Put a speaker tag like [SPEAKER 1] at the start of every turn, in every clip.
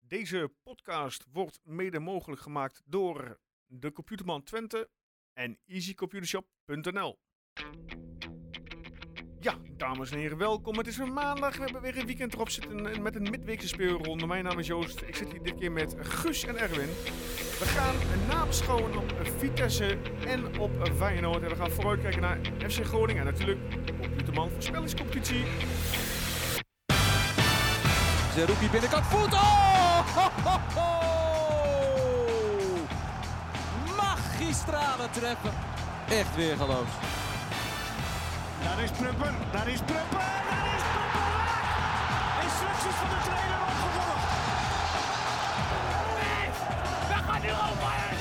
[SPEAKER 1] Deze podcast wordt mede mogelijk gemaakt door de Computerman Twente en easycomputershop.nl. Ja, dames en heren, welkom. Het is weer maandag. We hebben weer een weekend erop zitten en met een midweekse speelronde. Mijn naam is Joost. Ik zit hier dit keer met Guus en Erwin. We gaan nabeschouwen op Vitesse en op Feyenoord. En we gaan vooruitkijken naar FC Groningen en natuurlijk Computerman voorspellingscompetitie.
[SPEAKER 2] Zerouki binnenkant voet. Oh! Ho, ho, ho! Magistrale treppen. Echt weer geloof.
[SPEAKER 3] Daar is Prupper, daar is Prupper, daar is Prupper! Instructies van de trainer opgevolgd.
[SPEAKER 4] We gaan nu over!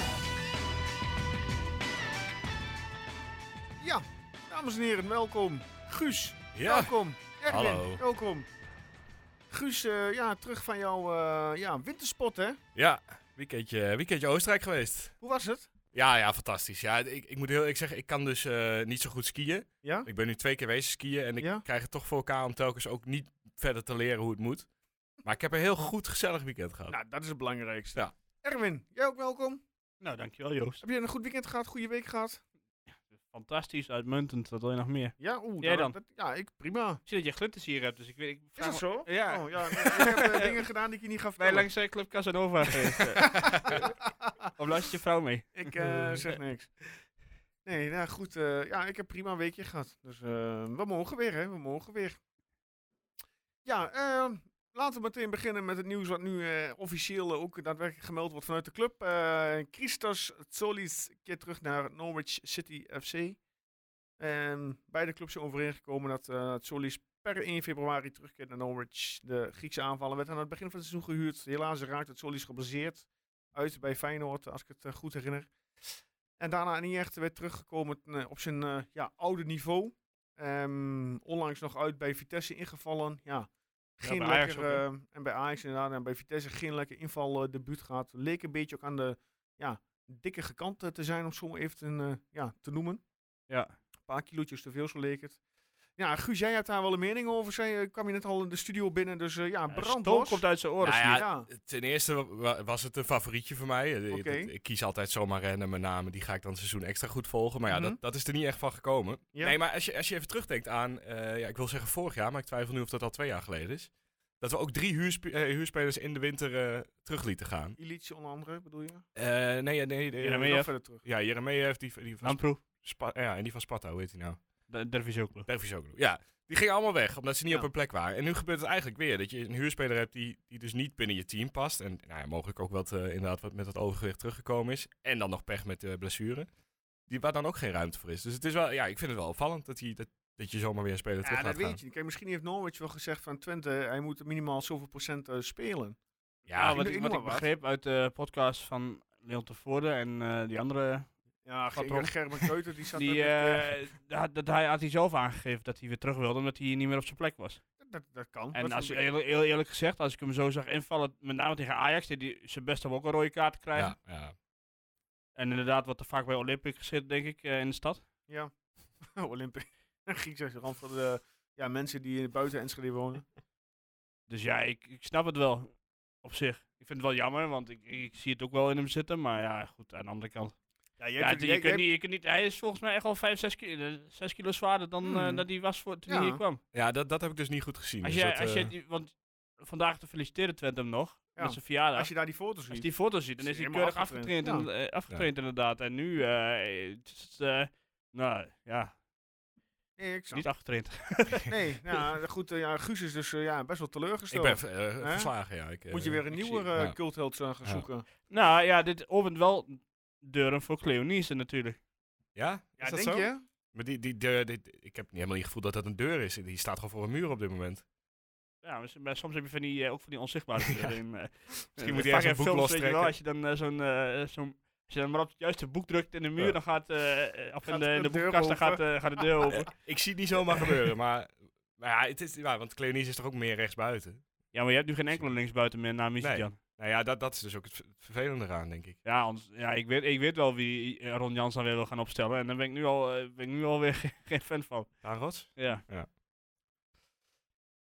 [SPEAKER 1] Ja, dames en heren, welkom. Guus,
[SPEAKER 5] Ja.
[SPEAKER 1] welkom. Erwin,
[SPEAKER 5] Hallo.
[SPEAKER 1] welkom. Guus, eh, ja, terug van jouw eh, ja, winterspot, hè?
[SPEAKER 5] Ja, weekendje, weekendje Oostenrijk geweest.
[SPEAKER 1] Hoe was het?
[SPEAKER 5] Ja, ja, fantastisch. Ja, ik, ik moet heel eerlijk zeggen, ik kan dus eh, niet zo goed skiën.
[SPEAKER 1] Ja?
[SPEAKER 5] Ik ben nu twee keer wezen skiën en ik
[SPEAKER 1] Ja?
[SPEAKER 5] krijg het toch voor elkaar om telkens ook niet verder te leren hoe het moet. Maar ik heb een heel goed, gezellig weekend gehad.
[SPEAKER 1] Nou, dat is het belangrijkste.
[SPEAKER 5] Ja.
[SPEAKER 1] Erwin, jij ook welkom.
[SPEAKER 3] Nou, dankjewel Joost.
[SPEAKER 1] Heb je een goed weekend gehad, goede week gehad?
[SPEAKER 3] Fantastisch, uitmuntend, wat wil je nog meer?
[SPEAKER 1] Ja, oeh.
[SPEAKER 3] Jij
[SPEAKER 1] dat-
[SPEAKER 3] dan?
[SPEAKER 1] dat- ja, ik prima.
[SPEAKER 3] Ik zie dat je glitters hier hebt, dus ik weet... Ik
[SPEAKER 1] Is dat zo?
[SPEAKER 3] Ja.
[SPEAKER 1] Oh, ja. nee, ik heb eh, dingen gedaan die ik je niet ga
[SPEAKER 3] Bij
[SPEAKER 1] vertellen.
[SPEAKER 3] langs eh, Club Casanova geweest. eh. of luistert je vrouw mee?
[SPEAKER 1] Ik eh, zeg niks. Nee, nou goed. eh, ja, ik heb prima een weekje gehad. Dus eh, we mogen weer, hè. We mogen weer. Ja, eh, laten we meteen beginnen met het nieuws wat nu eh, officieel eh, ook daadwerkelijk gemeld wordt vanuit de club. Eh, Christos Tsolis keert terug naar Norwich City FC. En beide clubs zijn overeengekomen dat eh Tsolis per 1 februari terugkeert naar Norwich. De Griekse aanvaller werd aan het begin van het seizoen gehuurd. Helaas raakte Tsolis geblesseerd uit bij Feyenoord, als ik het eh, goed herinner. En daarna niet echt weer teruggekomen eh, op zijn eh, ja, oude niveau. Ehm, onlangs nog uit bij Vitesse ingevallen. Ja, geen
[SPEAKER 3] bij Ajax
[SPEAKER 1] lekker, eh, en bij Ajax inderdaad, en bij Vitesse geen lekker inval eh, debuut gehad. Leek een beetje ook aan de ja, dikke gekant eh, te zijn, om zo even te, eh, ja, te noemen.
[SPEAKER 3] Ja.
[SPEAKER 1] Een paar kilootjes te veel, zo leek het. Ja, Guus, jij hebt daar wel een mening over. Zij eh, kwam je net al in de studio binnen, dus eh, ja, brand
[SPEAKER 3] Stoom komt uit zijn oren.
[SPEAKER 5] Nou ja,
[SPEAKER 1] ja.
[SPEAKER 5] Ten eerste wa- was het een favorietje voor mij. Eh,
[SPEAKER 1] Oké.
[SPEAKER 5] dat- Ik kies altijd zomaar random mijn namen. Die ga ik dan het seizoen extra goed volgen. Maar ja,
[SPEAKER 1] Mhm.
[SPEAKER 5] dat, dat is er niet echt van gekomen.
[SPEAKER 1] Ja.
[SPEAKER 5] Nee, maar als je, als je even terugdenkt aan... eh, ja, ik wil zeggen vorig jaar, maar ik twijfel nu of dat al twee jaar geleden is. Dat we ook drie huurspe- eh, huurspelers in de winter eh, terug lieten gaan.
[SPEAKER 1] Illich onder andere, bedoel je?
[SPEAKER 5] Eh, nee, nee, nee. de-
[SPEAKER 3] Jeremejev.
[SPEAKER 1] Nog verder terug.
[SPEAKER 5] Ja, Jeremejev, die, die van
[SPEAKER 3] Namproef.
[SPEAKER 5] Spa- ja, en die van Sparta, hoe heet hij nou?
[SPEAKER 3] Dervisoglu.
[SPEAKER 5] Dervisoglu. Ja, die gingen allemaal weg, omdat ze niet
[SPEAKER 1] Ja.
[SPEAKER 5] op hun plek waren. En nu gebeurt het eigenlijk weer, dat je een huurspeler hebt die, die dus niet binnen je team past. En nou ja, mogelijk ook wat, eh, inderdaad wat met dat overgewicht teruggekomen is. En dan nog pech met eh blessure. Die, waar dan ook geen ruimte voor is. Dus het is wel, ja, ik vind het wel opvallend dat, die, dat, dat je zomaar weer een speler terug
[SPEAKER 1] Ja, dat
[SPEAKER 5] laat gaan.
[SPEAKER 1] weet je. niet. Kijk, misschien heeft Norwich wel gezegd van Twente, eh, hij moet minimaal zoveel procent eh, spelen.
[SPEAKER 5] Ja,
[SPEAKER 1] ik noem-
[SPEAKER 3] wat ik,
[SPEAKER 1] ik
[SPEAKER 3] wat
[SPEAKER 1] noem
[SPEAKER 3] ik
[SPEAKER 1] maar wat.
[SPEAKER 3] begreep uit de podcast van Leon Tevoorde en eh, die andere
[SPEAKER 1] Ja,
[SPEAKER 3] Gaat
[SPEAKER 1] Ger-
[SPEAKER 3] om.
[SPEAKER 1] Gerben Keuter, die zat...
[SPEAKER 3] Die,
[SPEAKER 1] er met, eh,
[SPEAKER 3] eh, dat, dat hij had hij zelf aangegeven dat hij weer terug wilde, omdat hij niet meer op zijn plek was.
[SPEAKER 1] dat, dat kan.
[SPEAKER 3] En
[SPEAKER 1] Dat
[SPEAKER 3] als,
[SPEAKER 1] vind ik-
[SPEAKER 3] heel, heel eerlijk gezegd, als ik hem zo zag invallen, met name tegen Ajax, deed hij zijn best om ook een rode kaart te krijgen.
[SPEAKER 5] ja, ja.
[SPEAKER 3] En inderdaad, wat er vaak bij Olympic zit, denk ik, eh, in de stad.
[SPEAKER 1] Ja. Olympisch. Griekse rand van de ja, mensen die buiten Enschede wonen.
[SPEAKER 3] Dus ja, ik, ik snap het wel op zich. Ik vind het wel jammer, want ik, ik zie het ook wel in hem zitten. Maar ja, goed, aan de andere kant.
[SPEAKER 1] Ja,
[SPEAKER 3] Ja, je, kunt niet, je kunt niet, hij is volgens mij echt wel 5, 6 kilo, 6 eh, kilo zwaarder dan eh,
[SPEAKER 1] Hmm.
[SPEAKER 3] dat hij was voor, toen
[SPEAKER 1] Ja.
[SPEAKER 3] hij hier kwam.
[SPEAKER 5] ja dat, dat heb ik dus niet goed gezien.
[SPEAKER 3] Als
[SPEAKER 5] Dus
[SPEAKER 3] jij,
[SPEAKER 5] dat,
[SPEAKER 3] als
[SPEAKER 5] eh,
[SPEAKER 3] jij die- want vandaag te feliciteren Twente hem nog,
[SPEAKER 1] Ja.
[SPEAKER 3] met zijn verjaardag.
[SPEAKER 1] Als je daar die foto's
[SPEAKER 3] Als je
[SPEAKER 1] ziet.
[SPEAKER 3] die foto ziet, dan
[SPEAKER 1] Is
[SPEAKER 3] is hij
[SPEAKER 1] helemaal
[SPEAKER 3] keurig
[SPEAKER 1] afgetraind.
[SPEAKER 3] afgetraind, in- eh, afgetraind inderdaad. En nu, eh, het is, eh, nou ja,
[SPEAKER 1] Nee, ik snap.
[SPEAKER 3] niet afgetraind.
[SPEAKER 1] Nee, nou, goed, eh, ja, Guus is dus eh, ja, best wel
[SPEAKER 5] ik
[SPEAKER 1] teleurgesteld.
[SPEAKER 5] ben eh,
[SPEAKER 1] Hè?
[SPEAKER 5] verslagen, ja. Ik, eh,
[SPEAKER 1] Moet je weer een
[SPEAKER 5] ik
[SPEAKER 1] nieuwe
[SPEAKER 5] zie-
[SPEAKER 1] eh,
[SPEAKER 5] ja.
[SPEAKER 1] cultheld eh, gaan
[SPEAKER 5] Ja.
[SPEAKER 1] zoeken.
[SPEAKER 3] Nou ja, dit opent wel deuren voor Cleonice natuurlijk.
[SPEAKER 5] Ja?
[SPEAKER 1] Ja,
[SPEAKER 5] Is dat
[SPEAKER 1] denk
[SPEAKER 5] zo?
[SPEAKER 1] je?
[SPEAKER 5] Maar die, die deur, die- ik heb niet helemaal niet het gevoel dat dat een deur is. Die staat gewoon voor een muur op dit moment.
[SPEAKER 3] Ja, maar s- maar soms heb je van die, eh, ook van die onzichtbare
[SPEAKER 5] Ja.
[SPEAKER 3] deuren. in, eh, eh,
[SPEAKER 5] moet je ergens
[SPEAKER 3] vaak
[SPEAKER 5] een
[SPEAKER 3] in
[SPEAKER 5] boek
[SPEAKER 3] films, weet je wel,
[SPEAKER 5] lostrekken.
[SPEAKER 3] Als je dan eh, zo'n, eh, zo'n- als je dan maar op het juiste boek drukt in de muur,
[SPEAKER 5] Ja.
[SPEAKER 3] dan gaat, eh, eh, of
[SPEAKER 1] Gaat
[SPEAKER 3] in de,
[SPEAKER 1] de
[SPEAKER 3] in de
[SPEAKER 1] deur
[SPEAKER 3] boekenkast, dan
[SPEAKER 1] open.
[SPEAKER 3] gaat, eh, gaat de deur open.
[SPEAKER 5] Eh, ik zie het niet zomaar gebeuren, maar, maar ja, het is, ja, want Cleonice is toch ook meer rechtsbuiten?
[SPEAKER 3] Ja, maar je hebt nu geen enkele linksbuiten meer na Mizidjan.
[SPEAKER 5] Nou ja, dat, dat is dus ook het ver- het vervelende eraan, denk ik.
[SPEAKER 3] Ja, ons- ja ik, weet, ik weet wel wie eh, Ron Jans dan weer wil gaan opstellen. En daar ben ik nu, al, eh, ben ik nu alweer geen fan van.
[SPEAKER 5] Aan Rots?
[SPEAKER 3] Ja.
[SPEAKER 5] Ja,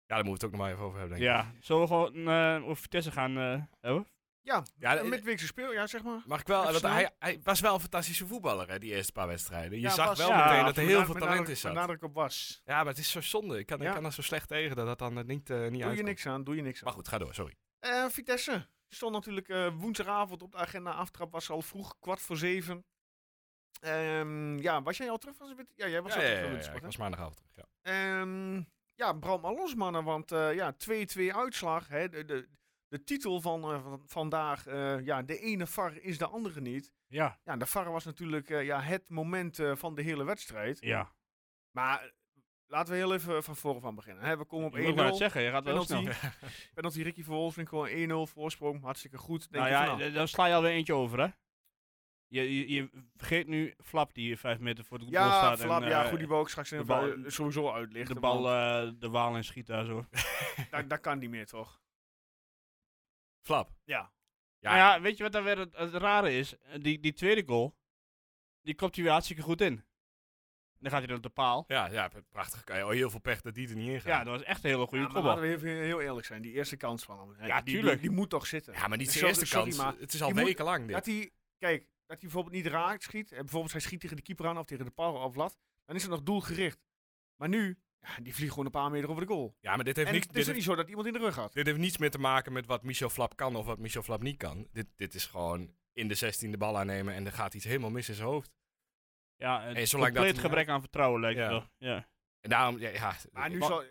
[SPEAKER 5] daar moeten we het ook nog maar even over hebben, denk ik.
[SPEAKER 3] Ja. Zullen we gewoon eh, over Vitesse gaan eh, hebben?
[SPEAKER 1] Ja,
[SPEAKER 5] Ja,
[SPEAKER 1] een
[SPEAKER 5] eh,
[SPEAKER 1] midweekse speel, ja, zeg maar.
[SPEAKER 5] Mag ik wel,
[SPEAKER 1] Even
[SPEAKER 5] want hij,
[SPEAKER 1] snel.
[SPEAKER 5] hij was wel een fantastische voetballer, hè, die eerste paar wedstrijden. Je
[SPEAKER 1] Ja,
[SPEAKER 5] zag
[SPEAKER 1] was-
[SPEAKER 5] wel
[SPEAKER 3] ja,
[SPEAKER 5] meteen dat er
[SPEAKER 1] Met
[SPEAKER 5] heel
[SPEAKER 1] nadruk-
[SPEAKER 5] veel
[SPEAKER 1] met
[SPEAKER 5] talent
[SPEAKER 1] nadruk-
[SPEAKER 5] in zat.
[SPEAKER 1] Met nadruk op was.
[SPEAKER 5] Ja, maar het is zo zonde. Ik kan, ik
[SPEAKER 1] Ja.
[SPEAKER 5] kan er zo slecht tegen dat dat dan eh, niet, eh niet
[SPEAKER 1] Doe je
[SPEAKER 5] uitkomt.
[SPEAKER 1] niks aan, doe je niks aan.
[SPEAKER 5] Maar goed, ga door, sorry.
[SPEAKER 1] Eh, Vitesse stond natuurlijk eh, woensdagavond op de agenda. Aftrap was al vroeg, kwart voor zeven. Ehm, ja, was jij al terug van Zwitserland? Ja, jij was
[SPEAKER 5] Ja,
[SPEAKER 1] al
[SPEAKER 5] ja,
[SPEAKER 1] terug
[SPEAKER 5] ja,
[SPEAKER 1] van
[SPEAKER 5] ja,
[SPEAKER 1] Zwitserland,
[SPEAKER 5] ik
[SPEAKER 1] hè?
[SPEAKER 5] was maandagavond terug. Ja.
[SPEAKER 1] Ehm, ja, Bram Allos, mannen, want eh, ja, 2-2 uitslag. Hè, de, de, de titel van, eh, van vandaag, eh, ja, de ene VAR is de andere niet.
[SPEAKER 3] Ja.
[SPEAKER 1] Ja, de VAR was natuurlijk eh, ja, het moment eh, van de hele wedstrijd.
[SPEAKER 3] Ja.
[SPEAKER 1] Maar eh, laten we heel even eh, van voren van beginnen. Hè, we komen op
[SPEAKER 3] Ik moet maar het
[SPEAKER 1] 1-0,
[SPEAKER 3] zeggen, nou- je gaat wel heel snel.
[SPEAKER 1] penalty. penalty Ricky van Wolfswinkel, 1-0 voorsprong, hartstikke goed. Denk
[SPEAKER 3] Nou
[SPEAKER 1] je van,
[SPEAKER 3] ja, d- dan sla je alweer eentje over, hè? Je, je, je vergeet nu Flap die vijf meter voor de goal
[SPEAKER 1] Ja,
[SPEAKER 3] staat.
[SPEAKER 1] Flap,
[SPEAKER 3] en,
[SPEAKER 1] ja,
[SPEAKER 3] eh,
[SPEAKER 1] goed, die wou ik straks in
[SPEAKER 3] de
[SPEAKER 1] de bal,
[SPEAKER 3] bal-
[SPEAKER 1] sowieso uitlichten.
[SPEAKER 3] De bal
[SPEAKER 1] want
[SPEAKER 3] eh, de waal in schiet daar zo.
[SPEAKER 1] dat, dat kan niet meer, toch?
[SPEAKER 5] Flap.
[SPEAKER 1] Ja.
[SPEAKER 5] Ja,
[SPEAKER 3] Nou ja, weet je wat daar weer het, het rare is? Eh, Die, die tweede goal, die kopt hij weer hartstikke goed in. Dan gaat hij dan op de paal.
[SPEAKER 5] ja, ja, prachtig. Oh, heel veel pech dat die er niet in
[SPEAKER 3] Ja,
[SPEAKER 5] gaat.
[SPEAKER 3] dat was echt een hele goede
[SPEAKER 1] Ja, maar
[SPEAKER 3] kopbal.
[SPEAKER 1] laten we even heel eerlijk zijn, die eerste kans van hem. hè,
[SPEAKER 3] Ja,
[SPEAKER 1] die,
[SPEAKER 3] tuurlijk.
[SPEAKER 1] Die, die moet toch zitten.
[SPEAKER 5] Ja, maar niet zijn
[SPEAKER 1] Sorry-
[SPEAKER 5] eerste
[SPEAKER 1] sorry,
[SPEAKER 5] kans.
[SPEAKER 1] maar
[SPEAKER 5] het is al
[SPEAKER 1] je moet-
[SPEAKER 5] weken lang
[SPEAKER 1] Dat
[SPEAKER 5] dit.
[SPEAKER 1] hij, kijk, dat hij bijvoorbeeld niet raakt schiet. En bijvoorbeeld hij schiet tegen de keeper aan of tegen de paal of lat. Dan is het nog doelgericht. Maar nu, ja, die vliegt gewoon een paar meter over de goal.
[SPEAKER 5] Ja, maar dit heeft,
[SPEAKER 1] en
[SPEAKER 5] niks,
[SPEAKER 1] het is
[SPEAKER 5] dit,
[SPEAKER 1] ook niet
[SPEAKER 5] heeft,
[SPEAKER 1] zo dat iemand in de rug had.
[SPEAKER 5] dit heeft niets meer te maken met wat Michel Flap kan of wat Michel Flap niet kan. Dit, dit is gewoon in de 16 de bal aannemen en er gaat iets helemaal mis in zijn hoofd.
[SPEAKER 3] Ja, een
[SPEAKER 5] Hey, zolang dat
[SPEAKER 3] compleet
[SPEAKER 5] hij-
[SPEAKER 3] gebrek aan vertrouwen lijkt
[SPEAKER 5] Ja.
[SPEAKER 3] het wel. Ja.
[SPEAKER 5] En daarom, ja, ja
[SPEAKER 1] Maar nu
[SPEAKER 5] wa-
[SPEAKER 1] zal eh,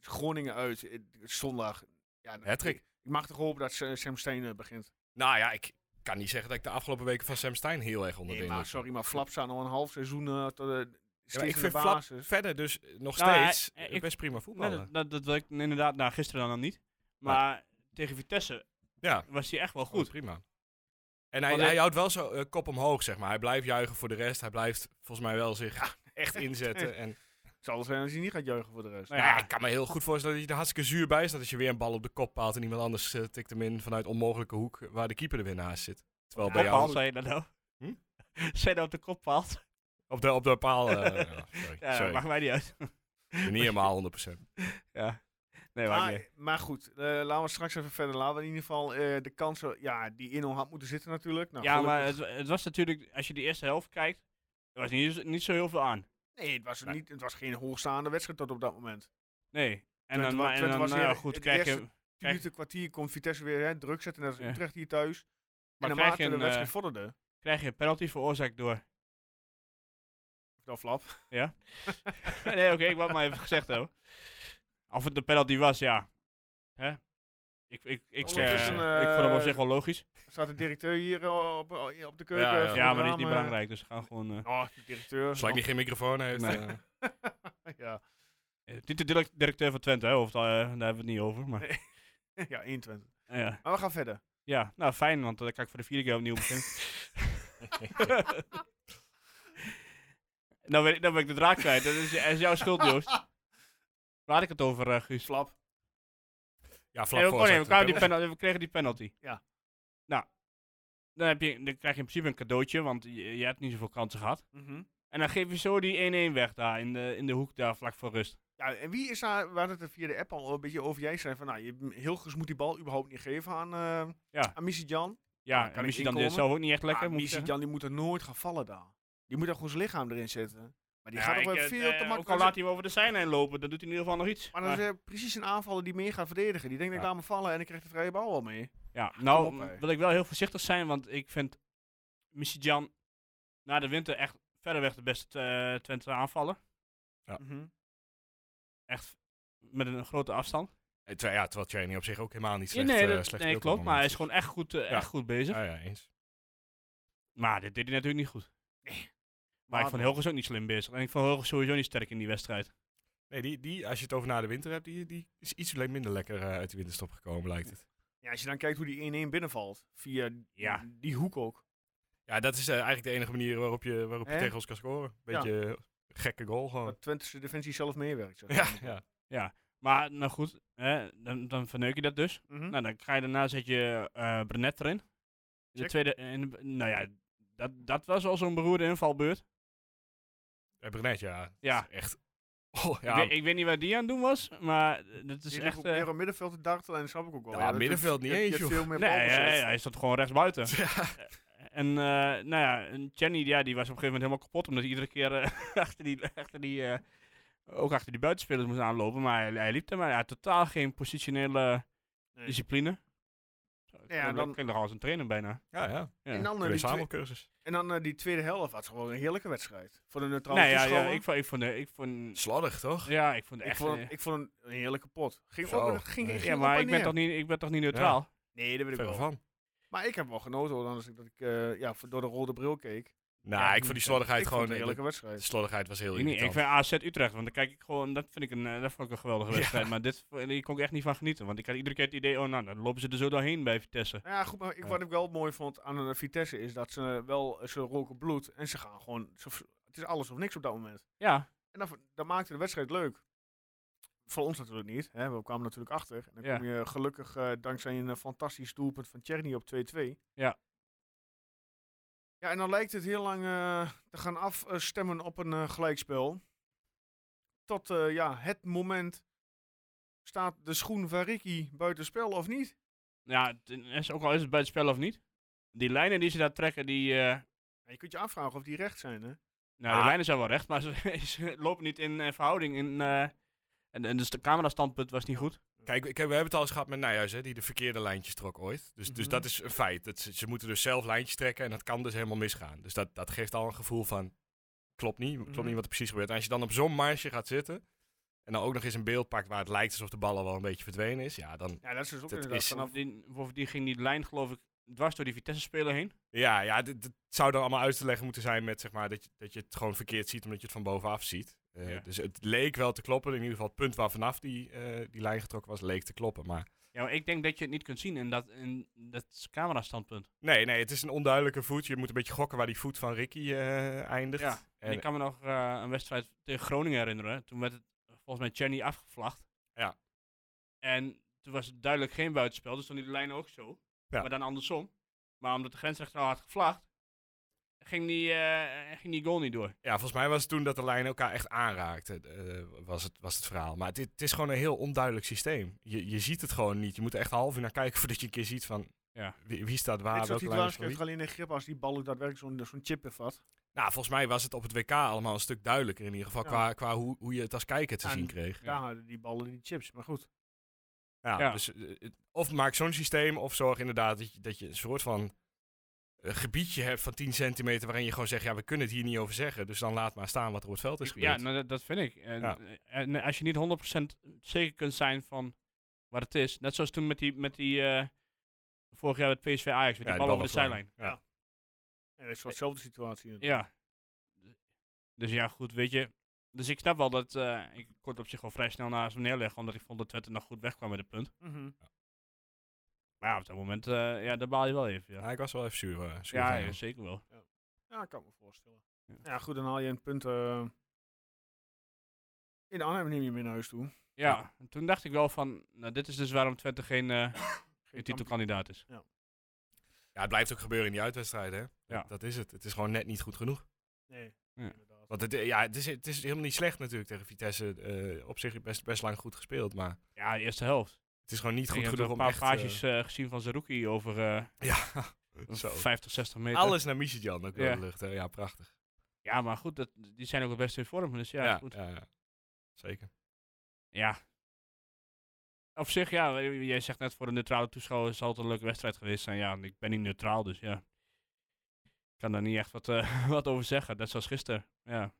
[SPEAKER 1] Groningen uit, eh, zondag. Ja,
[SPEAKER 5] Hattrick.
[SPEAKER 1] ik, ik mag toch hopen dat eh, Sam Steen eh, begint.
[SPEAKER 5] Nou ja, ik kan niet zeggen dat ik de afgelopen weken van Sam Stein heel erg onder de
[SPEAKER 1] Nee, maar
[SPEAKER 5] indruk
[SPEAKER 1] sorry, maar Flap staat al een half seizoen eh tot de
[SPEAKER 5] Ja, maar ik
[SPEAKER 1] steeds in de
[SPEAKER 5] vind Flap
[SPEAKER 1] basis.
[SPEAKER 5] verder dus nog
[SPEAKER 3] Nou, hij-
[SPEAKER 5] steeds
[SPEAKER 3] eh, ik-
[SPEAKER 5] best prima
[SPEAKER 3] Nee,
[SPEAKER 5] voetballer.
[SPEAKER 3] dat, dat, dat wil ik inderdaad, nou gisteren dan, nog niet. Maar tegen Vitesse
[SPEAKER 5] ja,
[SPEAKER 3] was hij echt wel
[SPEAKER 5] goed.
[SPEAKER 3] goed.
[SPEAKER 5] Prima. En hij,
[SPEAKER 3] Want hij-
[SPEAKER 5] hij houdt wel zo eh, kop omhoog, zeg maar. Hij blijft juichen voor de rest. Hij blijft volgens mij wel zich echt inzetten. En,
[SPEAKER 1] Het zal wel zijn als hij niet gaat juichen voor de rest.
[SPEAKER 3] Nou
[SPEAKER 5] Nou ja,
[SPEAKER 3] ja.
[SPEAKER 5] ik kan me heel goed voorstellen dat je er hartstikke zuur bij staat als je weer een bal op de kop paalt en iemand anders eh, tikt hem in vanuit onmogelijke hoek eh, waar de keeper er weer naast zit. Terwijl bij
[SPEAKER 3] Koppaal,
[SPEAKER 5] jou
[SPEAKER 3] zei je dat nou?
[SPEAKER 5] Hm?
[SPEAKER 3] Zei je dat op de kop paalt?
[SPEAKER 5] op de, op de paal... eh, ja, sorry,
[SPEAKER 3] Ja,
[SPEAKER 5] sorry.
[SPEAKER 3] maakt mij niet uit.
[SPEAKER 5] Ik ben niet helemaal 100%.
[SPEAKER 3] Ja. Nee, maakt niet
[SPEAKER 1] Maar,
[SPEAKER 3] uit.
[SPEAKER 1] maar goed, eh, laten we straks even verder. Laten we in ieder geval eh, de kansen, ja, die in had moeten zitten natuurlijk. Nou,
[SPEAKER 3] ja,
[SPEAKER 1] gelukkig-
[SPEAKER 3] maar het, het was natuurlijk, als je de eerste helft kijkt, er was niet, niet zo heel veel aan.
[SPEAKER 1] nee, het was, niet, het was geen hoogstaande wedstrijd tot op dat moment.
[SPEAKER 3] Nee. En
[SPEAKER 1] Twente
[SPEAKER 3] dan,
[SPEAKER 1] wa-
[SPEAKER 3] maar- en
[SPEAKER 1] Twente
[SPEAKER 3] dan
[SPEAKER 1] was
[SPEAKER 3] nou
[SPEAKER 1] weer
[SPEAKER 3] ja, goed,
[SPEAKER 1] het
[SPEAKER 3] krijg je,
[SPEAKER 1] eerste-
[SPEAKER 3] maar
[SPEAKER 1] Tien
[SPEAKER 3] Kijk.
[SPEAKER 1] minuten, kwartier kon Vitesse weer hè, druk zetten. Net als
[SPEAKER 3] Ja.
[SPEAKER 1] Utrecht hier thuis. en
[SPEAKER 3] krijg
[SPEAKER 1] naarmate
[SPEAKER 3] je, een,
[SPEAKER 1] de wedstrijd
[SPEAKER 3] eh,
[SPEAKER 1] vorderde,
[SPEAKER 3] krijg je een penalty veroorzaakt door.
[SPEAKER 1] dan flap.
[SPEAKER 3] nee, oké, ik wou het maar even gezegd hebben. Of het een penalty was, ja. Hè? Ik, ik, ik, eh,
[SPEAKER 1] Ondertussen,
[SPEAKER 3] ik vond hem op
[SPEAKER 1] eh,
[SPEAKER 3] zich wel logisch.
[SPEAKER 1] Staat de directeur hier eh, op, op de keuken.
[SPEAKER 5] Ja, ja.
[SPEAKER 1] voor
[SPEAKER 3] Ja,
[SPEAKER 1] de
[SPEAKER 3] maar die is niet
[SPEAKER 1] ramen.
[SPEAKER 3] belangrijk, dus we gaan gewoon... eh,
[SPEAKER 1] Oh, de directeur.
[SPEAKER 5] Zolang die geen microfoon heeft.
[SPEAKER 3] Nee.
[SPEAKER 5] eh,
[SPEAKER 1] ja.
[SPEAKER 3] eh, Niet de direct- directeur van Twente, hè, of, eh, daar hebben we het niet over. Maar,
[SPEAKER 1] Nee. ja, 21.
[SPEAKER 3] ja.
[SPEAKER 1] Maar we gaan verder.
[SPEAKER 3] ja, nou fijn, want dan kan ik voor de vierde keer opnieuw beginnen. nou, ben ik, nou ben ik de draak kwijt, dat is, dat is jouw schuld, Joost. Waar had ik het over, eh, Guus?
[SPEAKER 1] Flap.
[SPEAKER 5] ja,
[SPEAKER 3] Nee,
[SPEAKER 5] vlak
[SPEAKER 3] we,
[SPEAKER 5] voor
[SPEAKER 3] oh nee,
[SPEAKER 5] zijn
[SPEAKER 3] we,
[SPEAKER 5] de
[SPEAKER 3] kwamen die
[SPEAKER 5] penalty.
[SPEAKER 3] penalty, we kregen die penalty.
[SPEAKER 1] Ja.
[SPEAKER 3] Nou, dan, heb je, dan krijg je in principe een cadeautje, want je, je hebt niet zoveel kansen gehad. En dan geef je zo die 1-1 weg daar in de, in de hoek daar vlak voor rust.
[SPEAKER 1] Ja, en wie is daar, we hadden het er via de app al een beetje over, jij zei van, nou, je, Hilgers moet die bal überhaupt niet geven aan, eh
[SPEAKER 3] Ja.
[SPEAKER 1] aan Missy Jan.
[SPEAKER 3] Ja,
[SPEAKER 1] kan
[SPEAKER 3] en
[SPEAKER 1] ik
[SPEAKER 3] misschien dan dit
[SPEAKER 1] inkomen?
[SPEAKER 3] zelf ook niet echt lekker.
[SPEAKER 1] ah,
[SPEAKER 3] moet ik
[SPEAKER 1] Missy
[SPEAKER 3] zeggen.
[SPEAKER 1] Jan, die moet er nooit gaan vallen daar. Die moet daar gewoon zijn lichaam erin zetten. Maar die
[SPEAKER 3] Ja,
[SPEAKER 1] gaat
[SPEAKER 3] ik,
[SPEAKER 1] toch wel
[SPEAKER 3] eh,
[SPEAKER 1] veel te
[SPEAKER 3] eh, Ook
[SPEAKER 1] makkelijk.
[SPEAKER 3] al laat hij hem over de zijlijn lopen, dan doet hij in ieder geval nog iets.
[SPEAKER 1] Maar dat is eh, precies een aanvaller die meer gaat verdedigen. Die denkt,
[SPEAKER 3] Ja.
[SPEAKER 1] ik laat me vallen en ik krijg de vrije bal wel mee.
[SPEAKER 3] Ja,
[SPEAKER 5] Ah,
[SPEAKER 3] nou
[SPEAKER 1] op, hè.
[SPEAKER 3] wil ik wel heel voorzichtig zijn, want ik vind Jan na de winter echt verreweg de beste eh, Twente aanvaller. Echt met een grote afstand.
[SPEAKER 5] Eh, terwijl- Ja, terwijl Cheney op zich ook helemaal niet
[SPEAKER 3] Ja,
[SPEAKER 5] slecht
[SPEAKER 3] nee,
[SPEAKER 5] eh,
[SPEAKER 3] dat-
[SPEAKER 5] slecht
[SPEAKER 3] nee
[SPEAKER 5] speelt op
[SPEAKER 3] klopt,
[SPEAKER 5] het
[SPEAKER 3] maar hij
[SPEAKER 5] moment.
[SPEAKER 3] is gewoon echt goed, eh,
[SPEAKER 5] Ja.
[SPEAKER 3] echt goed bezig.
[SPEAKER 5] Ah, ja, eens.
[SPEAKER 3] Maar dit deed hij natuurlijk niet goed. Maar ik
[SPEAKER 1] Maar-
[SPEAKER 3] vond Hilgers ook niet slim bezig. En ik vond Hilgers sowieso niet sterk in die wedstrijd.
[SPEAKER 5] Nee, die, die, als je het over na de winter hebt, die, die is iets le- minder lekker eh, uit de winterstop gekomen, lijkt het.
[SPEAKER 1] Ja, als je dan kijkt hoe die 1-1 binnenvalt, via
[SPEAKER 3] Ja.
[SPEAKER 1] die hoek ook.
[SPEAKER 5] Ja, dat is eh, eigenlijk de enige manier waarop je, waarop je
[SPEAKER 1] Hè?
[SPEAKER 5] tegen ons kan scoren. Beetje gekke goal
[SPEAKER 3] Oh.
[SPEAKER 5] gewoon.
[SPEAKER 1] Dat Twente defensie zelf meewerkt. Zeg.
[SPEAKER 5] Ja, ja.
[SPEAKER 3] Maar nou goed, hè, dan, dan verneuk je dat dus.
[SPEAKER 5] Hm?
[SPEAKER 1] Mhm.
[SPEAKER 3] Nou, dan ga je daarna zet je eh Brenet erin. In de
[SPEAKER 1] Check.
[SPEAKER 3] tweede, in de- nou ja, dat, dat was al zo'n beroerde invalbeurt.
[SPEAKER 5] Eh, Brenet, ja.
[SPEAKER 3] Ja.
[SPEAKER 5] Is Echt Oh,
[SPEAKER 3] Ik, weet, ik weet niet waar die aan het doen was, maar dat is
[SPEAKER 1] Die echt
[SPEAKER 3] echt... eh, Nou,
[SPEAKER 1] meer op middenveld te dartelen en dat snap ik ook wel.
[SPEAKER 5] Ja,
[SPEAKER 1] dat is-
[SPEAKER 5] middenveld niet
[SPEAKER 1] je hebt-
[SPEAKER 5] eens,
[SPEAKER 1] je hebt
[SPEAKER 5] joh.
[SPEAKER 1] Veel meer
[SPEAKER 3] nee,
[SPEAKER 1] balbezit.
[SPEAKER 3] hij, hij stond gewoon rechts buiten. En eh, nou ja, en Channy ja, die was op een gegeven moment helemaal kapot, omdat hij iedere keer eh, achter die, achter die eh, ook achter die buitenspelers moest aanlopen. Maar hij, hij liep er maar, hij had totaal geen positionele
[SPEAKER 1] Nee.
[SPEAKER 3] discipline. Zo, ik
[SPEAKER 1] Ja,
[SPEAKER 3] ja,
[SPEAKER 1] dan-
[SPEAKER 3] dan klinkt nog als een trainer bijna.
[SPEAKER 5] Ja, ja.
[SPEAKER 3] Ja.
[SPEAKER 1] En dan, eh, die, twee-
[SPEAKER 5] Examencursus.
[SPEAKER 1] en dan eh, die tweede helft was gewoon een heerlijke wedstrijd. Voor de neutrale
[SPEAKER 3] nee, ja, ja,
[SPEAKER 1] toeschouwer.
[SPEAKER 3] ik vond, ik vond, eh, ik vond,
[SPEAKER 5] Slordig, toch?
[SPEAKER 3] ja, ik vond
[SPEAKER 1] Ik
[SPEAKER 3] echt,
[SPEAKER 1] vond,
[SPEAKER 3] eh,
[SPEAKER 1] hem- ik vond hem een heerlijke pot. Ging
[SPEAKER 5] Zo.
[SPEAKER 1] op, ging,
[SPEAKER 5] Nee.
[SPEAKER 1] ging
[SPEAKER 3] ja,
[SPEAKER 1] op
[SPEAKER 3] maar
[SPEAKER 1] en
[SPEAKER 3] ik ben,
[SPEAKER 1] neer.
[SPEAKER 3] toch niet, ik ben toch niet neutraal?
[SPEAKER 1] Nee, dat weet ik
[SPEAKER 5] Verre
[SPEAKER 1] wel.
[SPEAKER 5] van.
[SPEAKER 1] Maar ik heb wel genoten, hoor, anders ik dat ik eh, ja, voor- door de rode bril keek.
[SPEAKER 5] Nou,
[SPEAKER 1] Ja,
[SPEAKER 5] ik vond die slordigheid
[SPEAKER 1] ik vond
[SPEAKER 5] gewoon...
[SPEAKER 1] het een
[SPEAKER 5] eh,
[SPEAKER 1] heerlijke
[SPEAKER 5] De de
[SPEAKER 1] wedstrijd.
[SPEAKER 5] slordigheid was heel
[SPEAKER 3] Ik, niet, ik
[SPEAKER 5] irritant.
[SPEAKER 3] vind AZ Utrecht, want dan kijk ik gewoon, dat vind ik een, eh, dat vond ik een geweldige
[SPEAKER 5] Ja.
[SPEAKER 3] wedstrijd. Maar dit, vo- die kon ik echt niet van genieten, want ik had iedere keer het idee, oh nou, dan lopen ze er zo doorheen bij Vitesse.
[SPEAKER 1] Nou ja, goed, maar ik, wat ik wel mooi vond aan eh, Vitesse is dat ze wel, eh, ze roken bloed en ze gaan gewoon, ze v- het is alles of niks op dat moment.
[SPEAKER 3] Ja,
[SPEAKER 1] En dat, v- dat maakte de wedstrijd leuk. Voor ons natuurlijk niet, hè. we kwamen natuurlijk achter. En dan
[SPEAKER 3] Ja.
[SPEAKER 1] kom je gelukkig eh, dankzij een eh, fantastisch doelpunt van Tjerni op 2-2.
[SPEAKER 3] Ja.
[SPEAKER 1] Ja, en dan lijkt het heel lang eh, te gaan afstemmen op een eh, gelijkspel. Tot eh, ja, het moment staat de schoen van Ricky buitenspel of niet?
[SPEAKER 3] ja het is, ook al is het bij het spel of niet. Die lijnen die ze daar trekken, die, eh,
[SPEAKER 1] Ja, je kunt je afvragen of die recht zijn, hè?
[SPEAKER 3] nou
[SPEAKER 5] Ah.
[SPEAKER 3] de lijnen zijn wel recht, maar ze, ze lopen niet in eh, verhouding. In, eh, en, en dus de camerastandpunt was niet goed.
[SPEAKER 5] Kijk, ik heb, we hebben het al eens gehad met Nijhuis, hè, die de verkeerde lijntjes trok ooit. Dus, dus
[SPEAKER 1] Mhm.
[SPEAKER 5] dat is een feit. Dat ze, ze moeten dus zelf lijntjes trekken en dat kan dus helemaal misgaan. Dus dat, dat geeft al een gevoel van, klopt niet, klopt
[SPEAKER 1] Mhm.
[SPEAKER 5] niet wat er precies gebeurt. En als je dan op zo'n marge gaat zitten en dan ook nog eens een beeld pakt waar het lijkt alsof de bal al wel een beetje verdwenen is. Ja, dan,
[SPEAKER 1] Ja, dat is dus ook
[SPEAKER 5] Dat
[SPEAKER 1] inderdaad
[SPEAKER 5] is-
[SPEAKER 1] vanaf...
[SPEAKER 3] Bovendien, bovendien ging die lijn geloof ik dwars door die Vitesse-speler heen.
[SPEAKER 5] ja, ja dit, dit zou dan allemaal uit te leggen moeten zijn met zeg maar, dat, je, dat je het gewoon verkeerd ziet omdat je het van bovenaf ziet. Eh,
[SPEAKER 3] Ja.
[SPEAKER 5] Dus het leek wel te kloppen. In ieder geval het punt waar vanaf die, eh, die lijn getrokken was, leek te kloppen. Maar
[SPEAKER 3] Ja, maar ik denk dat je het niet kunt zien in dat, in dat camerastandpunt.
[SPEAKER 5] Nee, nee, het is een onduidelijke voet. Je moet een beetje gokken waar die voet van Ricky eh, eindigt.
[SPEAKER 3] Ja, en
[SPEAKER 5] en,
[SPEAKER 3] ik kan me nog eh, een wedstrijd tegen Groningen herinneren. Toen werd het volgens mij Chenny afgevlacht.
[SPEAKER 5] Ja.
[SPEAKER 3] En toen was het duidelijk geen buitenspel, dus stond die lijn ook zo.
[SPEAKER 5] Ja.
[SPEAKER 3] Maar dan andersom. Maar omdat de grensrechter al had gevlacht, ging die, eh, ging die goal niet door.
[SPEAKER 5] ja, volgens mij was het toen dat de lijnen elkaar echt aanraakten, eh, was, het, was het verhaal. Maar het, het is gewoon een heel onduidelijk systeem. Je, je ziet het gewoon niet. Je moet er echt een half uur naar kijken voordat je een keer ziet van
[SPEAKER 3] Ja.
[SPEAKER 5] wie, wie staat waar,
[SPEAKER 1] Dit soort
[SPEAKER 5] welke lijn is
[SPEAKER 1] situaties
[SPEAKER 5] van
[SPEAKER 1] krijgt
[SPEAKER 5] wie.
[SPEAKER 1] er alleen een grip als die bal ook daadwerkelijk zo'n zo'n chip bevat.
[SPEAKER 5] Nou, volgens mij was het op het WK allemaal een stuk duidelijker in ieder geval
[SPEAKER 1] Ja.
[SPEAKER 5] qua, qua hoe, hoe je het als kijker te
[SPEAKER 1] Ja,
[SPEAKER 5] zien
[SPEAKER 1] en-
[SPEAKER 5] kreeg.
[SPEAKER 1] Daar hadden die ballen die chips, maar goed.
[SPEAKER 5] Ja,
[SPEAKER 3] Ja.
[SPEAKER 5] Dus, eh, het- of maak zo'n systeem, of zorg inderdaad dat je, dat je een soort van eh, gebiedje hebt van 10 centimeter waarin je gewoon zegt, ja, we kunnen het hier niet over zeggen. Dus dan laat maar staan wat er op het veld is gebeurd.
[SPEAKER 3] Ja, nou, dat, dat vind ik. En, eh,
[SPEAKER 5] Ja.
[SPEAKER 3] en als je niet 100% zeker kunt zijn van wat het is. Net zoals toen met die, met die eh, vorig jaar met PSV Ajax, met
[SPEAKER 5] Ja,
[SPEAKER 3] die bal over de zijlijn.
[SPEAKER 5] Ja.
[SPEAKER 1] Ja. En dat is wel dezelfde situatie.
[SPEAKER 3] Ja. Dus ja, goed, weet je. Dus ik snap wel dat eh, ik kort op zich wel vrij snel naast hem neerleggen, omdat ik vond dat Twente nog goed wegkwam met het punt.
[SPEAKER 1] Mhm.
[SPEAKER 3] Maar ja, op dat moment, eh, ja, daar baal je wel even. Ja,
[SPEAKER 5] Ja, ik was wel even zuur. eh, zuur
[SPEAKER 3] ja,
[SPEAKER 5] van hem.
[SPEAKER 3] ja, zeker wel.
[SPEAKER 1] Ja, ik kan me voorstellen.
[SPEAKER 3] Ja.
[SPEAKER 1] Ja. goed, dan haal je een punt eh, in Arnhem neem je mee naar huis toe.
[SPEAKER 3] Ja, en toen dacht ik wel van, nou, dit is dus waarom Twente geen,
[SPEAKER 1] Geen
[SPEAKER 3] eh,
[SPEAKER 1] kampioen.
[SPEAKER 3] titelkandidaat is.
[SPEAKER 5] Ja, het blijft ook gebeuren in die uitwedstrijden. Hè?
[SPEAKER 3] Ja.
[SPEAKER 5] Dat is het. Het is gewoon net niet goed genoeg.
[SPEAKER 1] Nee,
[SPEAKER 3] Ja.
[SPEAKER 1] inderdaad.
[SPEAKER 5] Want het, eh, ja, het, is, het is helemaal niet slecht natuurlijk tegen Vitesse. eh, op zich best, best lang goed gespeeld, maar
[SPEAKER 3] Ja, de eerste helft.
[SPEAKER 5] het is gewoon niet
[SPEAKER 3] ik
[SPEAKER 5] goed
[SPEAKER 3] heb
[SPEAKER 5] genoeg
[SPEAKER 3] nog een
[SPEAKER 5] om
[SPEAKER 3] paar
[SPEAKER 5] echt... eh,
[SPEAKER 3] paasjes eh, gezien van Zerouki over eh,
[SPEAKER 5] ja, zo.
[SPEAKER 3] 50, 60 meter.
[SPEAKER 5] Alles naar Michijan ook door
[SPEAKER 3] Ja.
[SPEAKER 5] de lucht. Hè? Ja, prachtig.
[SPEAKER 3] Ja, maar goed, dat, die zijn ook het beste in vorm, dus ja, goed.
[SPEAKER 5] ja, ja. Zeker.
[SPEAKER 3] Ja. Op zich, ja, j- jij zegt net voor een neutrale toeschouwer zal het een leuke wedstrijd geweest zijn. Ja, en ik ben niet neutraal, dus ja. Ik kan daar niet echt wat, eh, wat over zeggen. Net zoals gisteren. Ja.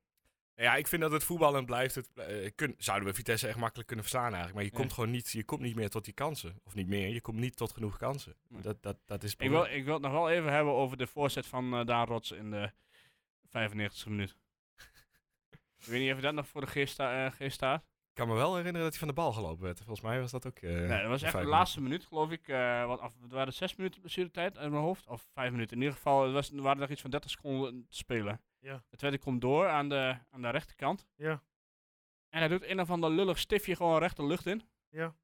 [SPEAKER 5] Ja, ik vind dat het voetballen blijft. Het, eh, kun- zouden we Vitesse echt makkelijk kunnen verslaan eigenlijk. Maar je
[SPEAKER 3] Ja.
[SPEAKER 5] komt gewoon niet, je komt niet meer tot die kansen. Of niet meer, je komt niet tot genoeg kansen.
[SPEAKER 3] Nee.
[SPEAKER 5] Dat, dat, dat is het
[SPEAKER 3] Ik, wil,
[SPEAKER 5] probleem.
[SPEAKER 3] ik wil het nog wel even hebben over de voorzet van eh, Daan Rots in de 95e minuut. ik weet niet of dat nog voor de geest, sta- eh, geest staat.
[SPEAKER 5] Ik kan me wel herinneren dat hij van de bal gelopen werd. Volgens mij was dat ook... eh,
[SPEAKER 3] nee, dat was
[SPEAKER 5] vijf
[SPEAKER 3] echt de
[SPEAKER 5] minuten.
[SPEAKER 3] laatste minuut, geloof ik. eh wat, of, het waren zes minuten blessuretijd uit mijn hoofd. Of vijf minuten. In ieder geval het was, er waren nog iets van 30 seconden te spelen.
[SPEAKER 1] Ja.
[SPEAKER 3] Het tweede komt door aan de, aan de rechterkant.
[SPEAKER 1] Ja.
[SPEAKER 3] En hij doet een of ander lullig stiftje gewoon recht de lucht in.
[SPEAKER 1] Ja.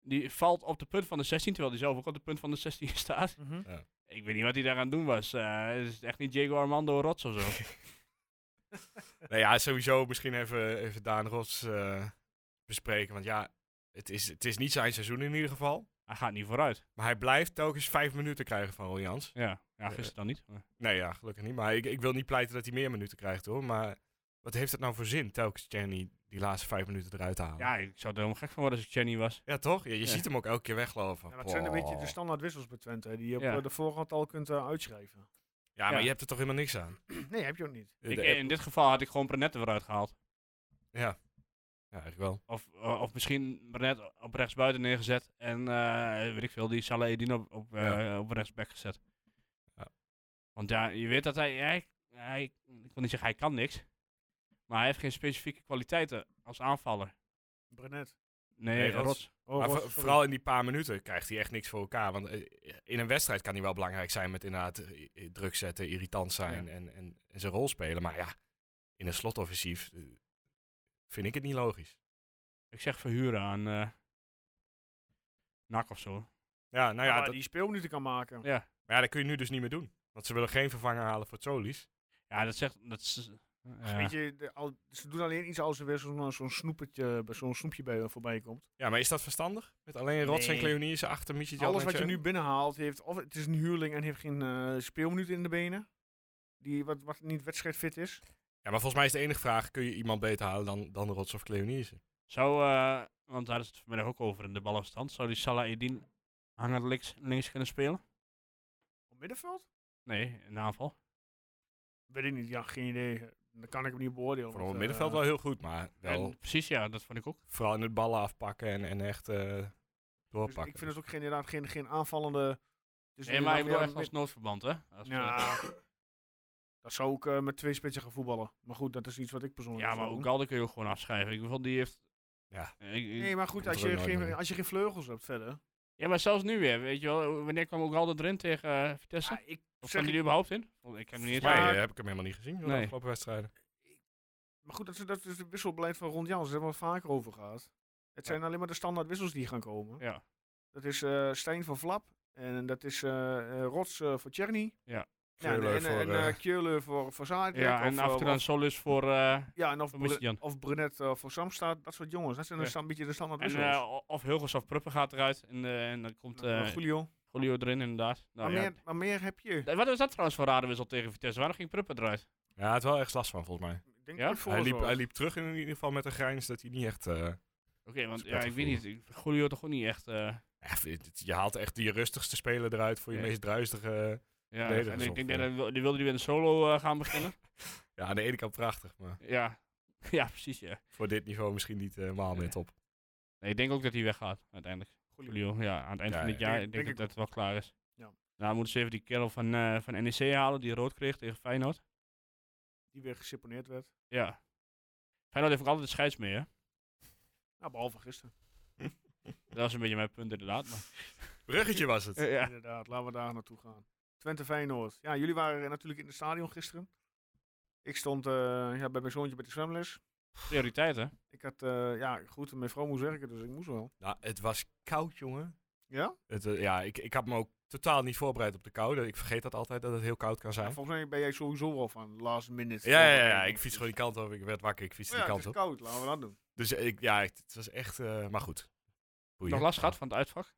[SPEAKER 3] Die valt op de punt van de 16, terwijl hij zelf ook op de punt van de 16 staat.
[SPEAKER 1] Mhm.
[SPEAKER 3] Ik weet niet wat hij daar aan het doen was. Eh, het is echt niet Diego Armando Rots of zo.
[SPEAKER 5] nou ja, sowieso misschien even, even Daan Rots eh, bespreken. Want ja, het is, het is niet zijn seizoen in ieder geval.
[SPEAKER 3] Hij gaat niet vooruit.
[SPEAKER 5] Maar hij blijft telkens vijf minuten krijgen van Roljans.
[SPEAKER 3] Ja, ja gisteren dan niet. maar-
[SPEAKER 5] Nee ja, gelukkig niet. Maar ik, ik wil niet pleiten dat hij meer minuten krijgt hoor. Maar wat heeft het nou voor zin telkens Jenny die laatste vijf minuten eruit te halen?
[SPEAKER 3] Ja, ik zou er helemaal gek van worden als ik Jenny was.
[SPEAKER 5] Ja, toch? Ja, je
[SPEAKER 3] Ja.
[SPEAKER 5] ziet hem ook elke keer weglopen. Oh.
[SPEAKER 1] Ja, dat zijn een beetje de
[SPEAKER 5] Boah.
[SPEAKER 1] standaard wissels bij Twente, hè, die je op
[SPEAKER 3] Ja.
[SPEAKER 1] eh, de voorhand al kunt eh, uitschrijven.
[SPEAKER 5] Ja, maar
[SPEAKER 3] Ja.
[SPEAKER 5] je hebt er toch helemaal niks aan?
[SPEAKER 1] Nee, heb je ook niet.
[SPEAKER 3] Ik,
[SPEAKER 5] De-
[SPEAKER 3] in dit geval had ik gewoon Brenet er weer uitgehaald.
[SPEAKER 5] ja. ja, eigenlijk wel.
[SPEAKER 1] Oh,
[SPEAKER 3] Of, eh, of misschien Brenet op rechtsbuiten neergezet. En eh, weet ik veel, die Saleh Edin op, op, eh, op rechtsback gezet.
[SPEAKER 5] Ja.
[SPEAKER 3] Want ja, je weet dat hij, hij, hij- Ik wil niet zeggen hij kan niks. Maar hij heeft geen specifieke kwaliteiten als aanvaller.
[SPEAKER 1] Brenet.
[SPEAKER 3] Nee,
[SPEAKER 5] Nee,
[SPEAKER 3] Rots.
[SPEAKER 5] Rots.
[SPEAKER 1] Oh,
[SPEAKER 5] maar
[SPEAKER 1] Ros,
[SPEAKER 5] vo-
[SPEAKER 1] sorry.
[SPEAKER 5] vooral in die paar minuten krijgt hij echt niks voor elkaar. Want eh, in een wedstrijd kan hij wel belangrijk zijn met inderdaad eh, eh, druk zetten, irritant zijn en, en, en zijn rol spelen. Maar ja, in een slotoffensief eh, vind ik het niet logisch.
[SPEAKER 3] Ik zeg verhuren aan eh NAC of zo.
[SPEAKER 5] Ja, nou
[SPEAKER 1] Ja,
[SPEAKER 5] ja,
[SPEAKER 1] maar
[SPEAKER 5] dat,
[SPEAKER 1] die speelminuten kan maken.
[SPEAKER 3] Ja,
[SPEAKER 5] maar ja, dat kun je nu dus niet meer doen. Want ze willen geen vervanger halen voor Tsolis.
[SPEAKER 3] ja dat zegt... Dat is, eh, ja.
[SPEAKER 1] Weet je, de- al- ze doen alleen iets als er weer zo'n zo'n snoepetje, bij- zo'n snoepje bij eh, voorbij komt.
[SPEAKER 5] Ja, maar is dat verstandig? Met alleen Rots en
[SPEAKER 1] Nee.
[SPEAKER 5] Cleonissen achter Michi
[SPEAKER 1] Alles wat je nu binnenhaalt, heeft, of het is een huurling en heeft geen eh, speelminuut in de benen. Die wat, wat niet wedstrijdfit is.
[SPEAKER 5] Ja, maar volgens mij is de enige vraag, kun je iemand beter halen dan, dan Rots of Cleonissen?
[SPEAKER 3] Zou, eh, want daar is het vanmiddag ook over in de balafstand. Zou die Salah Edin hanger links, links kunnen spelen?
[SPEAKER 1] Op middenveld?
[SPEAKER 3] Nee, in de aanval.
[SPEAKER 1] Weet ik niet, ja, geen idee. Dan kan ik hem niet beoordelen.
[SPEAKER 5] Voor
[SPEAKER 1] want,
[SPEAKER 5] het
[SPEAKER 1] eh,
[SPEAKER 5] middenveld wel heel goed, maar wel
[SPEAKER 3] En, precies, ja, dat vond ik ook.
[SPEAKER 5] vooral in het ballen afpakken en, en echt eh,
[SPEAKER 1] dus
[SPEAKER 5] doorpakken.
[SPEAKER 1] ik vind het ook geen, inderdaad geen, geen aanvallende... Dus
[SPEAKER 3] Nee, maar ik bedoel
[SPEAKER 1] inderdaad
[SPEAKER 3] echt
[SPEAKER 1] wel
[SPEAKER 3] als noodverband, hè? Als we-
[SPEAKER 1] Ja, dat zou ook eh, met twee spitsen gaan voetballen. Maar goed, dat is iets wat ik persoonlijk
[SPEAKER 3] ja,
[SPEAKER 1] zou
[SPEAKER 3] maar
[SPEAKER 1] doen.
[SPEAKER 3] ook Galde kun je ook gewoon afschrijven. Ik bedoel, die heeft...
[SPEAKER 5] Ja.
[SPEAKER 3] Eh, ik- ik-
[SPEAKER 1] Nee, maar goed,
[SPEAKER 5] Komt
[SPEAKER 1] als
[SPEAKER 5] er
[SPEAKER 1] je,
[SPEAKER 5] ook nooit
[SPEAKER 1] geen,
[SPEAKER 5] meer.
[SPEAKER 1] als je geen vleugels hebt verder.
[SPEAKER 3] ja, maar zelfs nu weer, weet je wel. Wanneer kwam ook Galde erin tegen eh, Vitesse?
[SPEAKER 1] Ja, ik
[SPEAKER 3] of
[SPEAKER 1] Ah, zeg
[SPEAKER 3] kwam die er überhaupt in? Want Ik heb hem niet eens...
[SPEAKER 5] Maar
[SPEAKER 1] Ja.
[SPEAKER 5] eh, heb ik hem helemaal niet gezien door de
[SPEAKER 3] Nee.
[SPEAKER 5] afgelopen wedstrijden.
[SPEAKER 1] Maar goed, dat is, dat is het wisselbeleid van Rond Jans, daar hebben we het vaker over gehad. Het zijn alleen maar de standaard wissels die gaan komen.
[SPEAKER 3] Ja.
[SPEAKER 1] Dat is eh Stijn voor Vlap. En dat is eh, eh, Rots eh, voor Tjerni.
[SPEAKER 3] Ja.
[SPEAKER 1] ja. En,
[SPEAKER 5] Keulen
[SPEAKER 1] en,
[SPEAKER 5] voor,
[SPEAKER 1] en
[SPEAKER 5] eh,
[SPEAKER 1] eh, Keulen voor, voor Zaadrek.
[SPEAKER 3] Ja, en
[SPEAKER 1] of,
[SPEAKER 3] af en toe
[SPEAKER 1] eh,
[SPEAKER 3] dan Solis voor... eh,
[SPEAKER 1] Ja, en of,
[SPEAKER 3] Voor Mr.
[SPEAKER 1] Brunet,
[SPEAKER 3] Jan.
[SPEAKER 1] of Brunet eh, voor Samstaat. Dat soort jongens. Dat zijn
[SPEAKER 3] Ja.
[SPEAKER 1] een sta- een beetje de standaard
[SPEAKER 3] en,
[SPEAKER 1] wissels.
[SPEAKER 3] eh, o- of Hilgers of Pruppen gaat eruit. En, eh, en dan komt
[SPEAKER 1] Nou,
[SPEAKER 3] eh
[SPEAKER 1] Julio.
[SPEAKER 3] Julio erin, inderdaad.
[SPEAKER 1] maar,
[SPEAKER 3] Nou, ja.
[SPEAKER 1] meer, maar meer heb je.
[SPEAKER 3] Eh, Wat was dat trouwens voor radenwissel tegen Vitesse? Waarom ging Pruppen eruit?
[SPEAKER 5] Ja, hij had wel echt last van volgens mij.
[SPEAKER 1] Ik denk
[SPEAKER 3] Ja?
[SPEAKER 1] dat het
[SPEAKER 5] Hij liep,
[SPEAKER 1] voorzorg.
[SPEAKER 5] hij liep terug in ieder geval met een grijns dat hij niet echt... eh,
[SPEAKER 3] Oké, want
[SPEAKER 5] is
[SPEAKER 3] ja, ik
[SPEAKER 5] prettig
[SPEAKER 3] weet niet. ik- Julio toch ook niet echt... eh,
[SPEAKER 5] ja, het- het- je haalt echt je rustigste speler eruit voor je
[SPEAKER 3] Ja.
[SPEAKER 5] meest druistige... eh,
[SPEAKER 3] ja,
[SPEAKER 5] Nee, dat
[SPEAKER 3] en
[SPEAKER 5] is
[SPEAKER 3] ik denk
[SPEAKER 5] ongeveer.
[SPEAKER 3] dat hij wil- die wilde die weer een solo eh, gaan beginnen.
[SPEAKER 5] Ja, aan de ene kant prachtig, maar
[SPEAKER 3] ja. ja, precies ja.
[SPEAKER 5] voor dit niveau misschien niet eh, helemaal meer top.
[SPEAKER 3] Nee, ik denk ook dat hij weggaat uiteindelijk.
[SPEAKER 1] Julio.
[SPEAKER 3] Julio, ja, aan het eind
[SPEAKER 5] Ja,
[SPEAKER 3] van dit
[SPEAKER 5] ja,
[SPEAKER 3] jaar.
[SPEAKER 1] denk-
[SPEAKER 3] Ik denk,
[SPEAKER 1] denk
[SPEAKER 3] dat het wel klaar is.
[SPEAKER 1] Ja.
[SPEAKER 3] Nou, moeten ze even die kerel van, eh, van NEC halen die rood kreeg tegen Feyenoord.
[SPEAKER 1] Die weer geseponeerd werd.
[SPEAKER 3] Ja. Feyenoord heeft ook altijd de scheids mee, hè?
[SPEAKER 1] Nou, behalve gisteren.
[SPEAKER 3] Dat was een beetje mijn punt inderdaad. Maar,
[SPEAKER 5] Bruggetje was het.
[SPEAKER 3] ja.
[SPEAKER 1] Inderdaad, laten we daar naartoe gaan. Twente Feyenoord. Ja, jullie waren eh, natuurlijk in het stadion gisteren. Ik stond eh, ja, bij mijn zoontje bij de zwemles.
[SPEAKER 3] Prioriteit, hè?
[SPEAKER 1] Ik had, eh, ja, goed, mijn vrouw moest werken, dus ik moest wel.
[SPEAKER 5] Nou, het was koud, jongen.
[SPEAKER 1] Ja?
[SPEAKER 5] Het, eh, ja, ik, ik had me ook totaal niet voorbereid op de koude. Ik vergeet dat altijd, dat het heel koud kan zijn.
[SPEAKER 1] Volgens mij ben jij sowieso wel van last minute.
[SPEAKER 5] Ja, ja, ja,
[SPEAKER 1] voorbereiding.
[SPEAKER 5] ik fiets gewoon die kant op. Ik werd wakker, ik fiets
[SPEAKER 1] Maar
[SPEAKER 5] die
[SPEAKER 1] Oh ja, het
[SPEAKER 5] kant
[SPEAKER 1] is
[SPEAKER 5] op.
[SPEAKER 1] koud, laten we dat doen.
[SPEAKER 5] Dus eh, ik, ja, het, het was echt... eh, maar goed. Boeien.
[SPEAKER 3] Nog last gehad van het uitvak?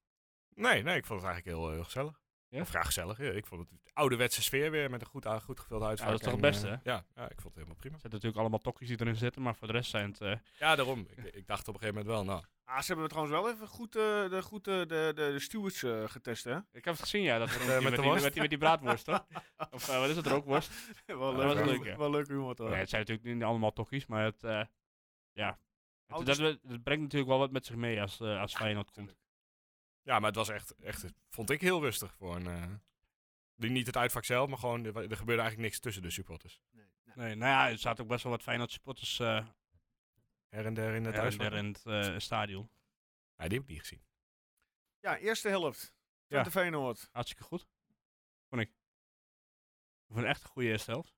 [SPEAKER 5] Nee, nee, ik vond het eigenlijk heel, eh, heel gezellig.
[SPEAKER 3] Ja?
[SPEAKER 5] Of ja, gezellig. ja. Ik vond het de ouderwetse sfeer weer met een goed, a- goed gevulde uitvak.
[SPEAKER 3] dat is toch
[SPEAKER 5] en,
[SPEAKER 3] het beste,
[SPEAKER 5] eh,
[SPEAKER 3] hè?
[SPEAKER 5] ja, ja, ik vond het helemaal prima.
[SPEAKER 3] Er zitten natuurlijk allemaal tokkies die erin zitten, maar voor de rest zijn het... eh,
[SPEAKER 5] Ja, daarom. Ik, ik dacht op een gegeven moment wel, nou...
[SPEAKER 1] Ah, ze hebben trouwens wel even goed, eh, de, goed eh, de, de, de stewards eh, getest, hè?
[SPEAKER 3] Ik heb het gezien, ja. Dat met,
[SPEAKER 5] eh,
[SPEAKER 3] met,
[SPEAKER 5] met de
[SPEAKER 3] die,
[SPEAKER 5] worst?
[SPEAKER 3] met, die, met die braadworst, toch? Of eh, wat is het, rookworst?
[SPEAKER 1] wel
[SPEAKER 3] dat was
[SPEAKER 1] humor-
[SPEAKER 3] leuk, ja.
[SPEAKER 1] Wel leuke humor, toch?
[SPEAKER 3] Nee, het zijn natuurlijk niet allemaal tokkies, maar het... eh, ja. Het,
[SPEAKER 1] Oud
[SPEAKER 3] dat,
[SPEAKER 1] is-
[SPEAKER 3] we- dat brengt natuurlijk wel wat met zich mee als, eh, als Feyenoord komt.
[SPEAKER 5] Ja, maar het was echt, echt vond ik heel rustig voor een... eh, die- niet het uitvak zelf, maar gewoon, er, wa- er gebeurde eigenlijk niks tussen de supporters.
[SPEAKER 1] Nee, nee.
[SPEAKER 3] Nee, nou ja, er zaten ook best wel wat Feyenoord supporters eh,
[SPEAKER 5] Her en der in het
[SPEAKER 3] her en
[SPEAKER 5] uitvak.
[SPEAKER 3] der in het eh, stadion.
[SPEAKER 5] Ja, die heb ik niet gezien.
[SPEAKER 1] Ja, eerste helft. Twente Feyenoord.
[SPEAKER 3] Hartstikke goed. Vond ik. Voor een echt een goede eerste helft.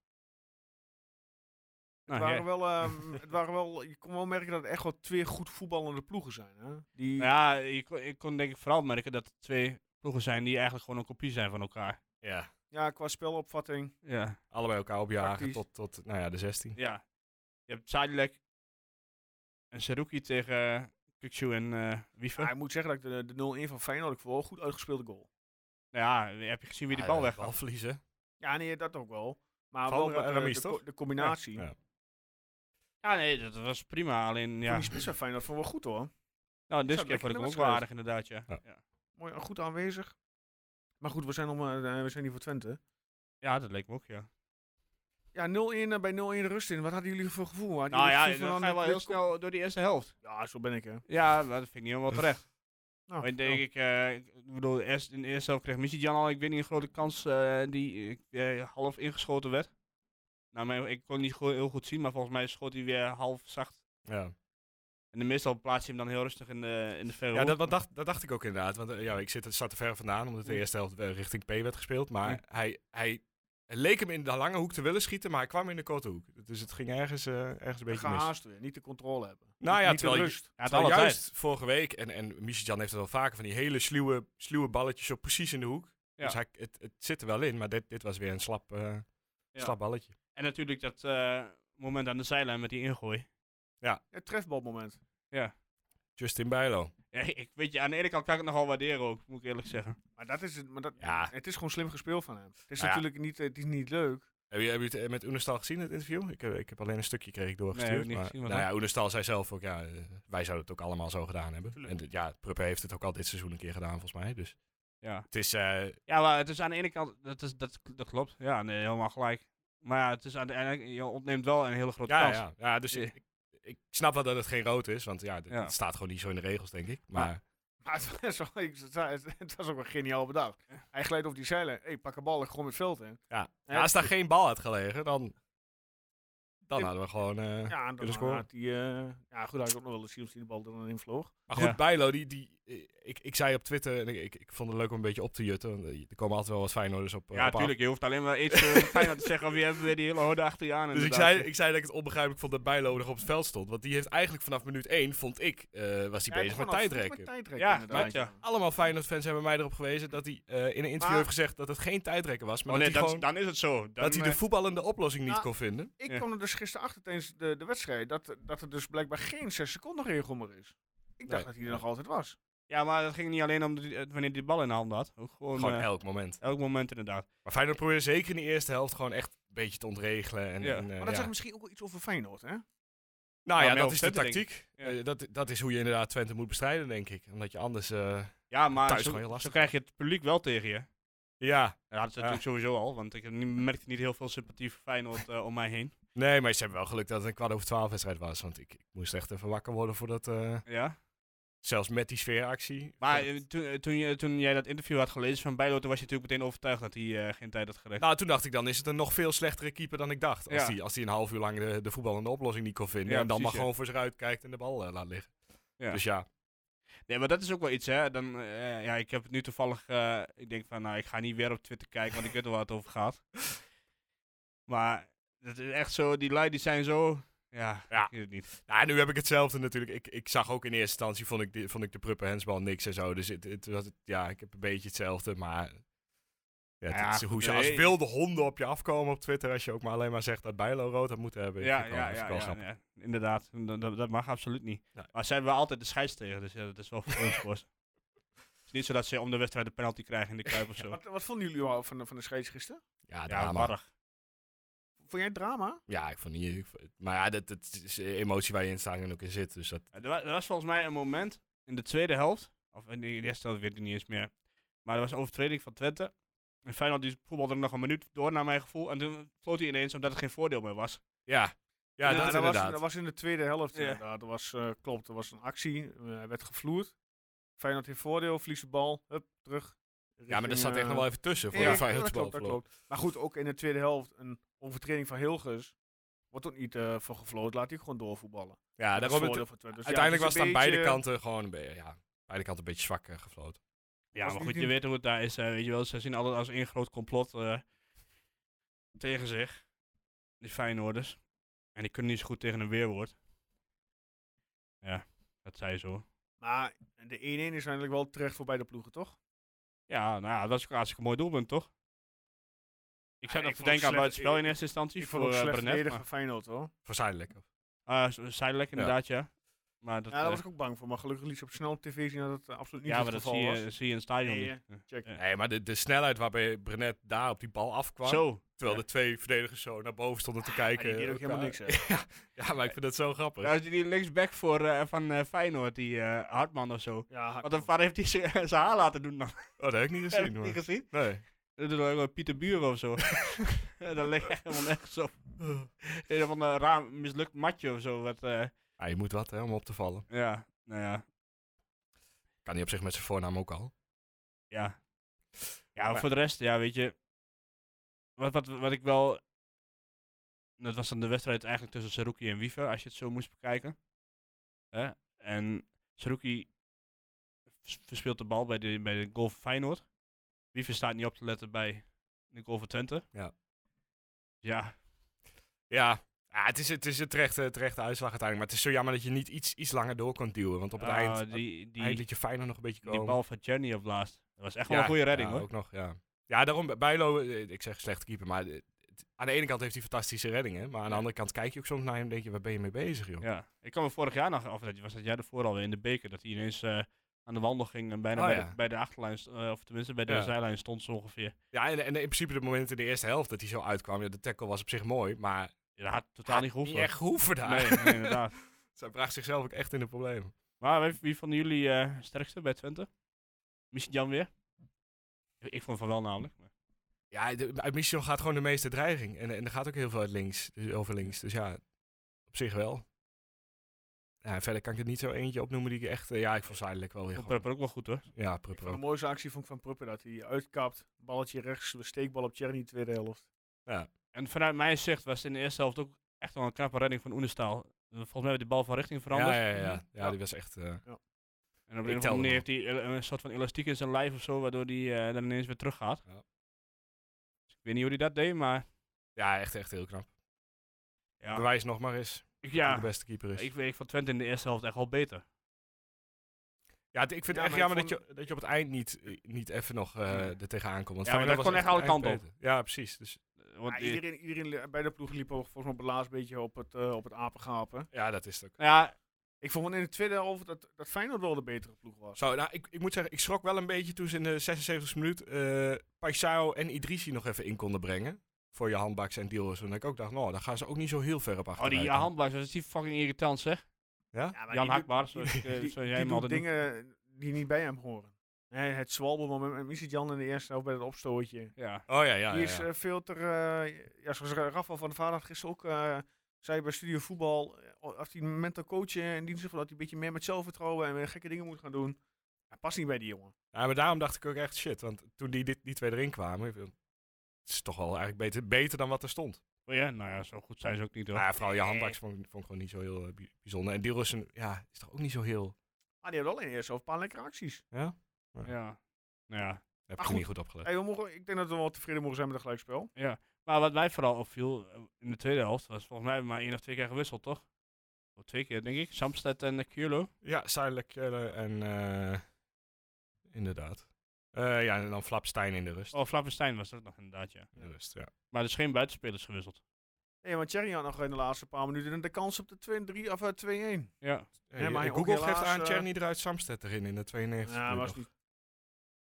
[SPEAKER 3] Nou,
[SPEAKER 1] Het waren,
[SPEAKER 3] jij-
[SPEAKER 1] wel, ehm, het waren wel, je kon wel merken dat het echt wel twee goed voetballende ploegen zijn. Hè? Die,
[SPEAKER 3] ja, ik kon, ik kon denk ik vooral merken dat het twee ploegen zijn die eigenlijk gewoon een kopie zijn van elkaar.
[SPEAKER 5] Ja,
[SPEAKER 1] Ja, qua spelopvatting.
[SPEAKER 3] Ja.
[SPEAKER 5] Allebei elkaar opjagen
[SPEAKER 1] Tactisch.
[SPEAKER 5] tot, tot nou ja, de 16.
[SPEAKER 3] ja. Je hebt Sadilek en Saruki tegen Kukchu en eh Wiever.
[SPEAKER 1] Maar ik moet zeggen dat ik de, de 0-1 van Feyenoord, ik vond wel een goed uitgespeelde goal.
[SPEAKER 3] Nou ja, heb je gezien wie die
[SPEAKER 5] Ja,
[SPEAKER 3] bal weg
[SPEAKER 5] Bal verliezen.
[SPEAKER 1] Ja, nee, dat ook wel. Maar
[SPEAKER 5] Van
[SPEAKER 1] wel eh, de,
[SPEAKER 5] Ra- Ramis,
[SPEAKER 1] de,
[SPEAKER 5] toch?
[SPEAKER 1] co- de combinatie.
[SPEAKER 5] Ja, ja.
[SPEAKER 3] Ja, nee, dat was prima. Alleen,
[SPEAKER 1] Van
[SPEAKER 3] ja.
[SPEAKER 1] Die spits van Feyenoord vond ik wel goed hoor.
[SPEAKER 3] Nou, dus
[SPEAKER 1] Zou
[SPEAKER 3] keer
[SPEAKER 1] ik
[SPEAKER 3] vond
[SPEAKER 1] lekker
[SPEAKER 3] ik hem ook
[SPEAKER 1] willen
[SPEAKER 3] wel
[SPEAKER 1] schrijven.
[SPEAKER 3] aardig, inderdaad, ja.
[SPEAKER 5] Ja.
[SPEAKER 3] Ja,
[SPEAKER 1] Mooi, eh, goed aanwezig. Maar goed, we zijn, nog maar, eh, we zijn hier voor Twente.
[SPEAKER 3] Ja, dat leek me ook, ja.
[SPEAKER 1] Ja, 0-1 eh, bij 0-1 de rust in. Wat hadden jullie voor gevoel? Hadden
[SPEAKER 3] Nou
[SPEAKER 1] jullie
[SPEAKER 3] ja,
[SPEAKER 1] het gevoel
[SPEAKER 3] dan
[SPEAKER 1] van,
[SPEAKER 3] ga je wel
[SPEAKER 1] eh,
[SPEAKER 3] heel
[SPEAKER 1] dit komt-
[SPEAKER 3] snel door die eerste helft.
[SPEAKER 1] Ja, zo ben ik hè.
[SPEAKER 3] Ja, maar dat vind ik niet helemaal terecht.
[SPEAKER 1] Nou,
[SPEAKER 3] Want ik denk ik, eh, ik bedoel, eerst, in de eerste helft kreeg Missie Jan al, ik weet niet, een grote kans eh, die eh, eh, half ingeschoten werd. Nou, maar ik kon niet go- heel goed zien, maar volgens mij schoot hij weer half zacht.
[SPEAKER 5] Ja.
[SPEAKER 3] En de meestal plaatst hij hem dan heel rustig in de, in de verre
[SPEAKER 5] Ja,
[SPEAKER 3] hoek.
[SPEAKER 5] dat, dat, dacht, dat dacht ik ook inderdaad. Want eh, ja, ik zit, zat er ver vandaan, omdat de
[SPEAKER 3] Ja.
[SPEAKER 5] eerste helft eh, richting P werd gespeeld. Maar hij, hij het leek hem in de lange hoek te willen schieten, maar hij kwam in de korte hoek. Dus het ging ergens, eh, ergens een beetje mis.
[SPEAKER 1] gehaast weer. Niet de controle hebben.
[SPEAKER 5] Nou ja,
[SPEAKER 1] niet de
[SPEAKER 5] terwijl, je-
[SPEAKER 1] rust.
[SPEAKER 3] ja, het
[SPEAKER 5] terwijl
[SPEAKER 3] alle tijd.
[SPEAKER 5] juist vorige week, en, en Michijan heeft het al vaker, van die hele sluwe, sluwe balletjes zo precies in de hoek.
[SPEAKER 3] Ja.
[SPEAKER 5] Dus hij, het, het zit er wel in, maar dit, dit was weer een slap, eh,
[SPEAKER 3] Ja.
[SPEAKER 5] slap balletje.
[SPEAKER 3] En natuurlijk dat eh, moment aan de zijlijn met die ingooi.
[SPEAKER 1] Het trefbalmoment.
[SPEAKER 5] Justin Bijlo.
[SPEAKER 3] Ja, ik weet je, aan de ene kant kan ik het nogal waarderen ook, moet ik eerlijk zeggen.
[SPEAKER 1] Maar dat is het. Maar dat,
[SPEAKER 5] Ja.
[SPEAKER 1] Het is gewoon slim gespeeld van hem. Het is
[SPEAKER 5] Nou ja.
[SPEAKER 1] natuurlijk niet, eh, het is niet leuk.
[SPEAKER 5] Heb je, heb je het eh, met Oenestal gezien, het interview? Ik, heb- ik heb alleen een stukje kreeg ik doorgestuurd.
[SPEAKER 3] Nee, heb ik niet
[SPEAKER 5] maar,
[SPEAKER 3] gezien, wat
[SPEAKER 5] nou
[SPEAKER 3] dan?
[SPEAKER 5] ja, Oenestal zei zelf ook, ja, eh, wij zouden het ook allemaal zo gedaan hebben.
[SPEAKER 3] Tuurlijk.
[SPEAKER 5] En dit- ja, Pruppen heeft het ook al dit seizoen een keer gedaan, volgens mij. Dus
[SPEAKER 3] Ja.
[SPEAKER 5] het is, eh,
[SPEAKER 3] Ja, maar het is aan de ene kant, dat, is, dat, dat klopt. Ja, nee, helemaal gelijk. Maar ja, het is aan de ene je ontneemt wel een hele grote
[SPEAKER 5] ja,
[SPEAKER 3] kans.
[SPEAKER 5] ja, ja, dus
[SPEAKER 3] Ja.
[SPEAKER 5] ik, ik snap wel dat het geen rood is, want ja, d-
[SPEAKER 3] Ja.
[SPEAKER 5] het staat gewoon niet zo in de regels, denk ik. Maar
[SPEAKER 1] Maar het was, wel- ik zei het, het was ook wel geniaal bedacht. Hij glijdt over die zeilen. hey, pak een bal, ik gooi het veld in.
[SPEAKER 5] ja,
[SPEAKER 1] Ja,
[SPEAKER 5] ja, als daar geen bal had gelegen, dan, dan
[SPEAKER 1] Ja.
[SPEAKER 5] hadden we gewoon... eh,
[SPEAKER 1] Ja, en dan
[SPEAKER 5] kunnen scoren.
[SPEAKER 1] had hij... eh, ja, goed, had ik ook nog wel eens zien of hij de bal er dan in vloog.
[SPEAKER 5] Maar goed,
[SPEAKER 3] Ja.
[SPEAKER 5] Bijlo, die, die, eh, ik, ik zei op Twitter, en ik, ik, ik vond het leuk om een beetje op te jutten. Want eh, er komen altijd wel wat Feyenoorders op. eh,
[SPEAKER 3] Ja,
[SPEAKER 5] op af.
[SPEAKER 3] tuurlijk. Je hoeft alleen maar iets eh, fijn aan te zeggen. Wie hebben weer die hele horde achter je aan?
[SPEAKER 5] Dus ik
[SPEAKER 3] inderdaad.
[SPEAKER 5] zei, ik zei dat ik het onbegrijpelijk vond dat Bijlo nog op het veld stond. Want die heeft eigenlijk vanaf minuut 1, vond ik, eh, was hij
[SPEAKER 1] Ja,
[SPEAKER 5] bezig met
[SPEAKER 1] gewoon al vroeg
[SPEAKER 5] tijdrekken.
[SPEAKER 1] Met tijdrekken,
[SPEAKER 3] Ja,
[SPEAKER 1] inderdaad.
[SPEAKER 3] klopt, ja.
[SPEAKER 5] Allemaal Feyenoord-fans hebben mij erop gewezen dat hij eh, in een interview
[SPEAKER 1] Maar-
[SPEAKER 5] heeft gezegd dat het geen tijdrekken was. Maar
[SPEAKER 3] oh nee,
[SPEAKER 5] dat hij
[SPEAKER 3] dat,
[SPEAKER 5] gewoon
[SPEAKER 3] dan is het zo. Dan,
[SPEAKER 5] dat hij de
[SPEAKER 3] eh,
[SPEAKER 5] voetballende oplossing niet
[SPEAKER 1] Ja.
[SPEAKER 5] kon vinden.
[SPEAKER 1] Ik
[SPEAKER 3] Ja.
[SPEAKER 1] kwam er dus gisteren achter tijdens de, de wedstrijd dat, dat er dus blijkbaar geen 6 seconden regel meer is. Ik dacht
[SPEAKER 5] Nee.
[SPEAKER 1] dat hij er nog altijd was.
[SPEAKER 3] ja, maar dat ging niet alleen om die- eh, wanneer die bal in de hand had. Ook gewoon
[SPEAKER 5] Gewoon
[SPEAKER 3] eh,
[SPEAKER 5] elk moment.
[SPEAKER 3] elk moment inderdaad.
[SPEAKER 5] Maar Feyenoord probeerde zeker in de eerste helft gewoon echt een beetje te ontregelen. En,
[SPEAKER 3] Ja.
[SPEAKER 5] en, eh,
[SPEAKER 1] Maar dat
[SPEAKER 5] ja.
[SPEAKER 1] zegt misschien ook wel iets over Feyenoord, hè?
[SPEAKER 5] Nou
[SPEAKER 3] Nou,
[SPEAKER 5] ja,
[SPEAKER 3] meer
[SPEAKER 5] dat
[SPEAKER 3] op
[SPEAKER 5] is de
[SPEAKER 3] Twente, denk ik.
[SPEAKER 5] tactiek.
[SPEAKER 3] Ja.
[SPEAKER 5] Eh, dat, dat is hoe je inderdaad Twente moet bestrijden, denk ik. Omdat je anders... eh,
[SPEAKER 3] Ja, maar
[SPEAKER 5] Thuis
[SPEAKER 3] zo,
[SPEAKER 5] gewoon heel
[SPEAKER 3] zo
[SPEAKER 5] lastig.
[SPEAKER 3] krijg je het publiek wel tegen je.
[SPEAKER 5] ja,
[SPEAKER 3] Ja, dat is
[SPEAKER 5] Ja.
[SPEAKER 3] natuurlijk sowieso al. Want ik heb niet- merkte niet heel veel sympathie voor Feyenoord eh, om mij heen.
[SPEAKER 5] nee, maar ze hebben wel geluk dat het een kwart over twaalf wedstrijd was. Want ik, ik moest echt even wakker worden voordat... eh,
[SPEAKER 3] Ja.
[SPEAKER 5] zelfs met die sfeeractie.
[SPEAKER 3] Maar
[SPEAKER 5] Eh,
[SPEAKER 3] eh, toen, eh, toen, je, toen jij dat interview had gelezen van Bijlo, toen was je natuurlijk meteen overtuigd dat hij eh, geen tijd had gerekt.
[SPEAKER 5] nou, toen dacht ik dan is het een nog veel slechtere keeper dan ik dacht. Als
[SPEAKER 3] Ja.
[SPEAKER 5] hij als die een half uur lang de, de voetballende oplossing niet kon vinden.
[SPEAKER 3] Ja,
[SPEAKER 5] en dan
[SPEAKER 3] precies,
[SPEAKER 5] maar gewoon voor zich uitkijkt en de bal eh, laat liggen.
[SPEAKER 3] Ja.
[SPEAKER 5] Dus ja,
[SPEAKER 3] Nee, maar dat is ook wel iets, hè. Dan, eh, ja, ik heb het nu toevallig, eh, ik denk van, nou, ik ga niet weer op Twitter kijken, want ik weet wel waar het over gaat. Maar dat is echt zo, die lui die zijn zo, ja,
[SPEAKER 5] Ja.
[SPEAKER 3] ik weet het niet.
[SPEAKER 5] nou, nu heb ik hetzelfde natuurlijk. Ik, ik zag ook in eerste instantie, vond ik, de, vond ik de pruppen hensbal niks en zo. Dus het, het, was- ja, ik heb een beetje hetzelfde, maar... Ja, het
[SPEAKER 3] Ja,
[SPEAKER 5] is hoe
[SPEAKER 3] goed,
[SPEAKER 5] ze
[SPEAKER 3] nee.
[SPEAKER 5] als wilde honden op je afkomen op Twitter. Als je ook maar alleen maar zegt dat Bijlo rood had moeten hebben.
[SPEAKER 3] Ja,
[SPEAKER 5] Vind ik wel-
[SPEAKER 3] ja,
[SPEAKER 5] vind
[SPEAKER 3] ja,
[SPEAKER 5] ik wel
[SPEAKER 3] ja,
[SPEAKER 5] grappig.
[SPEAKER 3] ja, inderdaad. Dat, dat, dat mag absoluut niet.
[SPEAKER 5] Nee.
[SPEAKER 3] Maar ze hebben altijd de scheids tegen, dus ja, dat is wel vervelend voor ze. Het is niet zo dat ze om de wedstrijd de penalty krijgen in de Kuip of zo.
[SPEAKER 1] Wat, wat vonden jullie al van de, van de scheids gisteren?
[SPEAKER 5] Ja,
[SPEAKER 3] ja,
[SPEAKER 5] drama.
[SPEAKER 3] warrig.
[SPEAKER 1] Vond jij het drama?
[SPEAKER 5] Ja, ik vond niet. ik vond- maar ja, dat, dat is een emotie waar je in staat en ook in zit. Dus dat,
[SPEAKER 3] Ja, Er was, er was volgens mij een moment in de tweede helft, of in de eerste helft weet ik niet eens meer, maar er was een overtreding van Twente. En Feyenoord die voetbalde nog een minuut door naar mijn gevoel en toen floot hij ineens omdat het geen voordeel meer was.
[SPEAKER 5] ja. Ja, dat,
[SPEAKER 1] was,
[SPEAKER 5] inderdaad.
[SPEAKER 1] dat was in de tweede helft
[SPEAKER 3] Ja.
[SPEAKER 1] inderdaad. Er was, eh, klopt, er was een actie. eh, Hij werd gevloerd. Feyenoord heeft voordeel, verliest de bal. Hup, terug.
[SPEAKER 5] ja, maar
[SPEAKER 1] Richting,
[SPEAKER 5] daar zat echt
[SPEAKER 1] eh,
[SPEAKER 5] nog wel even tussen. Voor
[SPEAKER 1] Ja,
[SPEAKER 5] de Feyenoord
[SPEAKER 1] dat klopt, dat
[SPEAKER 5] voetbal verloor.
[SPEAKER 1] klopt. Maar goed, ook in de tweede helft een overtreding van Hilgers. Wordt ook niet eh voor gevloot, laat hij gewoon doorvoetballen.
[SPEAKER 5] Ja, daarom het-
[SPEAKER 1] Dus
[SPEAKER 5] uiteindelijk was het aan beide kanten gewoon een beetje, ja, beide kanten een beetje zwak eh, gefloten.
[SPEAKER 3] Ja,
[SPEAKER 1] Was
[SPEAKER 3] maar
[SPEAKER 1] niet
[SPEAKER 3] goed, je
[SPEAKER 1] in-
[SPEAKER 3] weet hoe het daar is. eh, weet je wel, ze zien alles als één groot complot eh, tegen zich, die Feyenoorders. En die kunnen niet zo goed tegen een weerwoord. Ja, dat zei zo.
[SPEAKER 1] Maar de 1-1 is eigenlijk wel terecht voor beide ploegen, toch?
[SPEAKER 3] Ja, nou ja, dat is ook een hartstikke mooi doelpunt, toch? Ik zou
[SPEAKER 1] Ja,
[SPEAKER 3] dat
[SPEAKER 1] ik vond
[SPEAKER 3] denken aan
[SPEAKER 1] slecht-
[SPEAKER 3] buitenspel
[SPEAKER 1] ik-
[SPEAKER 3] in eerste instantie.
[SPEAKER 1] Ik vond
[SPEAKER 3] voor
[SPEAKER 1] het
[SPEAKER 3] eh,
[SPEAKER 1] slecht
[SPEAKER 3] Brenet.
[SPEAKER 1] verdedigen
[SPEAKER 3] maar-
[SPEAKER 1] van Feyenoord hoor.
[SPEAKER 5] Voor Zijdelijk.
[SPEAKER 3] Ah, z- Zijdelijk
[SPEAKER 5] Ja.
[SPEAKER 3] inderdaad, ja. Maar dat,
[SPEAKER 1] Ja, daar
[SPEAKER 3] eh,
[SPEAKER 1] was ik ook bang voor. Maar gelukkig liet ze op snel op tv zien dat het eh, absoluut niet
[SPEAKER 3] ja,
[SPEAKER 1] het
[SPEAKER 3] maar dat
[SPEAKER 1] geval
[SPEAKER 3] zie
[SPEAKER 1] was.
[SPEAKER 3] je, zie je in het stadion
[SPEAKER 1] Nee, eh,
[SPEAKER 3] niet.
[SPEAKER 1] check.
[SPEAKER 3] Ja.
[SPEAKER 5] Nee, maar de, de snelheid waarbij Brenet daar op die bal afkwam.
[SPEAKER 3] Zo.
[SPEAKER 5] Terwijl de twee verdedigers zo naar boven stonden te
[SPEAKER 1] Maar
[SPEAKER 5] kijken.
[SPEAKER 1] die deed ook helemaal niks.
[SPEAKER 5] elkaar.
[SPEAKER 1] hè.
[SPEAKER 5] Ja, maar ik vind dat zo grappig.
[SPEAKER 3] Daar is die linksback voor, eh, van eh, Feyenoord, die eh, Hartman of zo.
[SPEAKER 1] Ja,
[SPEAKER 3] Wat een vader heeft die zijn zijn haar laten doen dan.
[SPEAKER 5] Oh, dat heb ik niet
[SPEAKER 3] oh. Heb
[SPEAKER 5] gezien.
[SPEAKER 3] je niet
[SPEAKER 5] hoor.
[SPEAKER 3] gezien?
[SPEAKER 5] Nee.
[SPEAKER 3] Dat doet ook wel Pieter Buren of zo. dat ligt echt helemaal nergens op. Een van een raar mislukt matje of zo. Wat, eh,
[SPEAKER 5] Ja, je moet wat hè, om op te vallen.
[SPEAKER 3] ja, nou ja.
[SPEAKER 5] Kan hij op zich met zijn voornaam ook al.
[SPEAKER 3] Ja. Ja,
[SPEAKER 5] Maar-
[SPEAKER 3] voor de rest, ja, weet je. Wat, wat, wat ik wel. Dat was dan de wedstrijd eigenlijk tussen Saruki en Wiever, als je het zo moest bekijken. Hè? En Saruki vers- verspeelt de bal bij de, bij de goal van Feyenoord. Wiever staat niet op te letten bij de goal van Twente.
[SPEAKER 5] Ja.
[SPEAKER 3] Ja,
[SPEAKER 5] Ja, ja het is, het is een terechte, terechte uitslag uiteindelijk. Maar het is zo jammer dat je niet iets, iets langer door kon duwen. Want op het
[SPEAKER 3] ah,
[SPEAKER 5] eind,
[SPEAKER 3] die, die,
[SPEAKER 5] eind liet je Feyenoord nog een beetje komen.
[SPEAKER 3] die bal van Journey op laatst. Dat was echt
[SPEAKER 5] Ja,
[SPEAKER 3] wel een goede redding
[SPEAKER 5] ja,
[SPEAKER 3] hoor.
[SPEAKER 5] ook nog, ja. Ja, daarom, bij- Bijlo, eh, ik zeg slechte keeper, maar eh, het- aan de ene kant heeft hij fantastische reddingen. Maar aan de
[SPEAKER 3] Ja.
[SPEAKER 5] andere kant kijk je ook soms naar hem en denk je, waar ben je mee bezig, joh?
[SPEAKER 3] Ja, ik kwam vorig jaar nog, of dat was dat jaar ervoor alweer in de beker, dat hij ineens eh, aan de wandel ging en bijna
[SPEAKER 5] Oh,
[SPEAKER 3] bij,
[SPEAKER 5] ja.
[SPEAKER 3] de, bij de achterlijn, st- eh, of tenminste bij de
[SPEAKER 5] Ja.
[SPEAKER 3] zijlijn stond zo ongeveer.
[SPEAKER 5] Ja, en, en in principe het moment in de eerste helft dat hij zo uitkwam, ja, de tackle was op zich mooi, maar
[SPEAKER 3] Ja, dat had totaal niet
[SPEAKER 5] niet
[SPEAKER 3] gehoeven.
[SPEAKER 5] echt hoeven daar.
[SPEAKER 3] nee, nee, inderdaad.
[SPEAKER 5] Zij bracht zichzelf ook echt in de problemen.
[SPEAKER 3] Maar wie, wie van jullie eh, sterkste bij Twente? Misschien Jan weer? Ik, ik vond van wel namelijk. maar-
[SPEAKER 5] Ja, de, uit Mission gaat gewoon de meeste dreiging. En, en er gaat ook heel veel uit links, dus over links. Dus ja, op zich wel. Ja, en verder kan ik er niet zo eentje opnoemen die ik echt... eh, ja, ik vond Zijdelijk wel weer
[SPEAKER 3] Vond
[SPEAKER 5] goed.
[SPEAKER 3] Prepper ook wel goed hoor.
[SPEAKER 5] Ja,
[SPEAKER 1] Ik vond de
[SPEAKER 5] Prupper.
[SPEAKER 1] mooiste actie vond ik van Pruppen dat hij uitkapt. Balletje rechts, steekbal op Tjerni, tweede helft.
[SPEAKER 3] En vanuit mijn zicht was het in de eerste helft ook echt wel een knappe redding van Oenestaal. Volgens mij werd die bal van richting veranderd.
[SPEAKER 5] Ja, ja, ja, ja.
[SPEAKER 1] Ja.
[SPEAKER 5] ja, die was echt... eh,
[SPEAKER 3] En op
[SPEAKER 5] Ik
[SPEAKER 3] een of
[SPEAKER 5] tel
[SPEAKER 3] andere manier
[SPEAKER 5] hem
[SPEAKER 3] heeft hij ele- een soort van elastiek in zijn lijf of zo, waardoor hij eh, dan ineens weer terug gaat.
[SPEAKER 5] Ja.
[SPEAKER 3] Dus ik weet niet hoe hij dat deed, maar
[SPEAKER 5] Ja, echt, echt heel knap.
[SPEAKER 3] ja.
[SPEAKER 5] Bewijs nog maar eens
[SPEAKER 3] Ik,
[SPEAKER 5] wie
[SPEAKER 3] ja,
[SPEAKER 5] de beste keeper is.
[SPEAKER 3] ik, weet- ik vond Twente in de eerste helft echt wel beter.
[SPEAKER 5] ja, het- ik vind
[SPEAKER 1] Ja,
[SPEAKER 5] het echt
[SPEAKER 1] maar ik
[SPEAKER 5] jammer dat, je, dat je op het eind niet, eh, niet even nog eh
[SPEAKER 3] Nee.
[SPEAKER 5] er tegenaan komt. Want
[SPEAKER 3] Ja, maar
[SPEAKER 5] Feyenoord
[SPEAKER 3] dat
[SPEAKER 5] was
[SPEAKER 3] kon echt alle
[SPEAKER 5] op het eind
[SPEAKER 3] kanten
[SPEAKER 5] beter. Ja, precies. Dus,
[SPEAKER 3] Eh, Want
[SPEAKER 1] Ja,
[SPEAKER 3] die-
[SPEAKER 1] iedereen, iedereen li- bij de ploeg liep al volgens mij op het laatst beetje op het, eh op het apengapen.
[SPEAKER 5] ja, dat is het ook.
[SPEAKER 3] ja, oh,
[SPEAKER 1] Ik vond wel in de tweede helft dat, dat Feyenoord wel de betere ploeg was.
[SPEAKER 5] Zo, nou, ik, ik moet zeggen, ik schrok wel een beetje toen ze in de 76e minuut eh Paisao en Idrissi nog even in konden brengen. Voor je handbaks en dealers. En ik ook dacht, nou, daar gaan ze ook niet zo heel ver op
[SPEAKER 3] oh,
[SPEAKER 5] achteruit.
[SPEAKER 3] die
[SPEAKER 5] dan.
[SPEAKER 3] handbuis, dat is die fucking irritant zeg.
[SPEAKER 5] Ja?
[SPEAKER 1] Ja, maar
[SPEAKER 3] Jan
[SPEAKER 1] die doet-
[SPEAKER 3] Hakbaar, zoals ik, eh,
[SPEAKER 1] die-
[SPEAKER 3] zoals jij
[SPEAKER 1] die
[SPEAKER 3] hem
[SPEAKER 1] doet
[SPEAKER 3] altijd noemt.
[SPEAKER 1] dingen die niet bij hem horen. Hè, het zwalbelmoment met Misijan in de eerste helft bij dat opstootje.
[SPEAKER 3] Ja.
[SPEAKER 5] Oh ja, ja.
[SPEAKER 1] die
[SPEAKER 5] ja,
[SPEAKER 1] is
[SPEAKER 5] ja.
[SPEAKER 1] eh, veel te... eh, ja, zoals Ra- Rafael van der Vaart had gisteren ook eh, zei bij Studio Voetbal... eh, als hij een mental eh, coachen en die zegt dat hij een beetje meer met zelfvertrouwen en weer gekke dingen moet gaan doen. Hij past niet bij die jongen.
[SPEAKER 5] Ja, maar daarom dacht ik ook echt shit. Want toen die, dit, die twee erin kwamen, ik bedoel, het is toch wel eigenlijk beter, beter dan wat er stond.
[SPEAKER 3] Oh ja, nou ja, zo goed zijn ze ook niet hoor.
[SPEAKER 1] Ah.
[SPEAKER 5] Maar ja, vooral je handbaks vond, ik- vond ik gewoon niet zo heel eh, bij- bijzonder. En Dilrussen, ja, is toch ook niet zo heel...
[SPEAKER 1] Maar Ah, die had wel in de eerste helft een paar lekkere acties.
[SPEAKER 5] Ja?
[SPEAKER 3] Ja. Nou ja.
[SPEAKER 5] Heb ik
[SPEAKER 1] Maar
[SPEAKER 5] er
[SPEAKER 1] goed.
[SPEAKER 5] niet goed Eh, opgelet.
[SPEAKER 1] Hey, we mogen, ik denk dat we wel tevreden mogen zijn met een gelijkspel.
[SPEAKER 3] Maar wat mij vooral opviel eh, in de tweede helft, was volgens mij maar één of twee keer gewisseld toch? Of twee keer denk ik. Samsted en eh, Kjurlo.
[SPEAKER 5] Ja, Zuidelijk en... eh, inderdaad. Eh, ja, en dan Flapstein in de rust.
[SPEAKER 3] Oh, Flavenstein was dat nog inderdaad ja.
[SPEAKER 5] In de rust, ja.
[SPEAKER 3] Maar er is geen buitenspelers gewisseld.
[SPEAKER 1] Nee, want Thierry had nog in de laatste paar minuten de kans op de 2-3 of eh, 2-1.
[SPEAKER 3] Ja.
[SPEAKER 5] Hey,
[SPEAKER 1] Nee, maar
[SPEAKER 5] eh,
[SPEAKER 1] ook
[SPEAKER 5] Google
[SPEAKER 1] helaas,
[SPEAKER 5] geeft aan
[SPEAKER 1] eh,
[SPEAKER 5] Tjerni eruit Samsted erin in de 92.
[SPEAKER 1] Ja,
[SPEAKER 5] minuut
[SPEAKER 1] was
[SPEAKER 5] nog.
[SPEAKER 1] niet.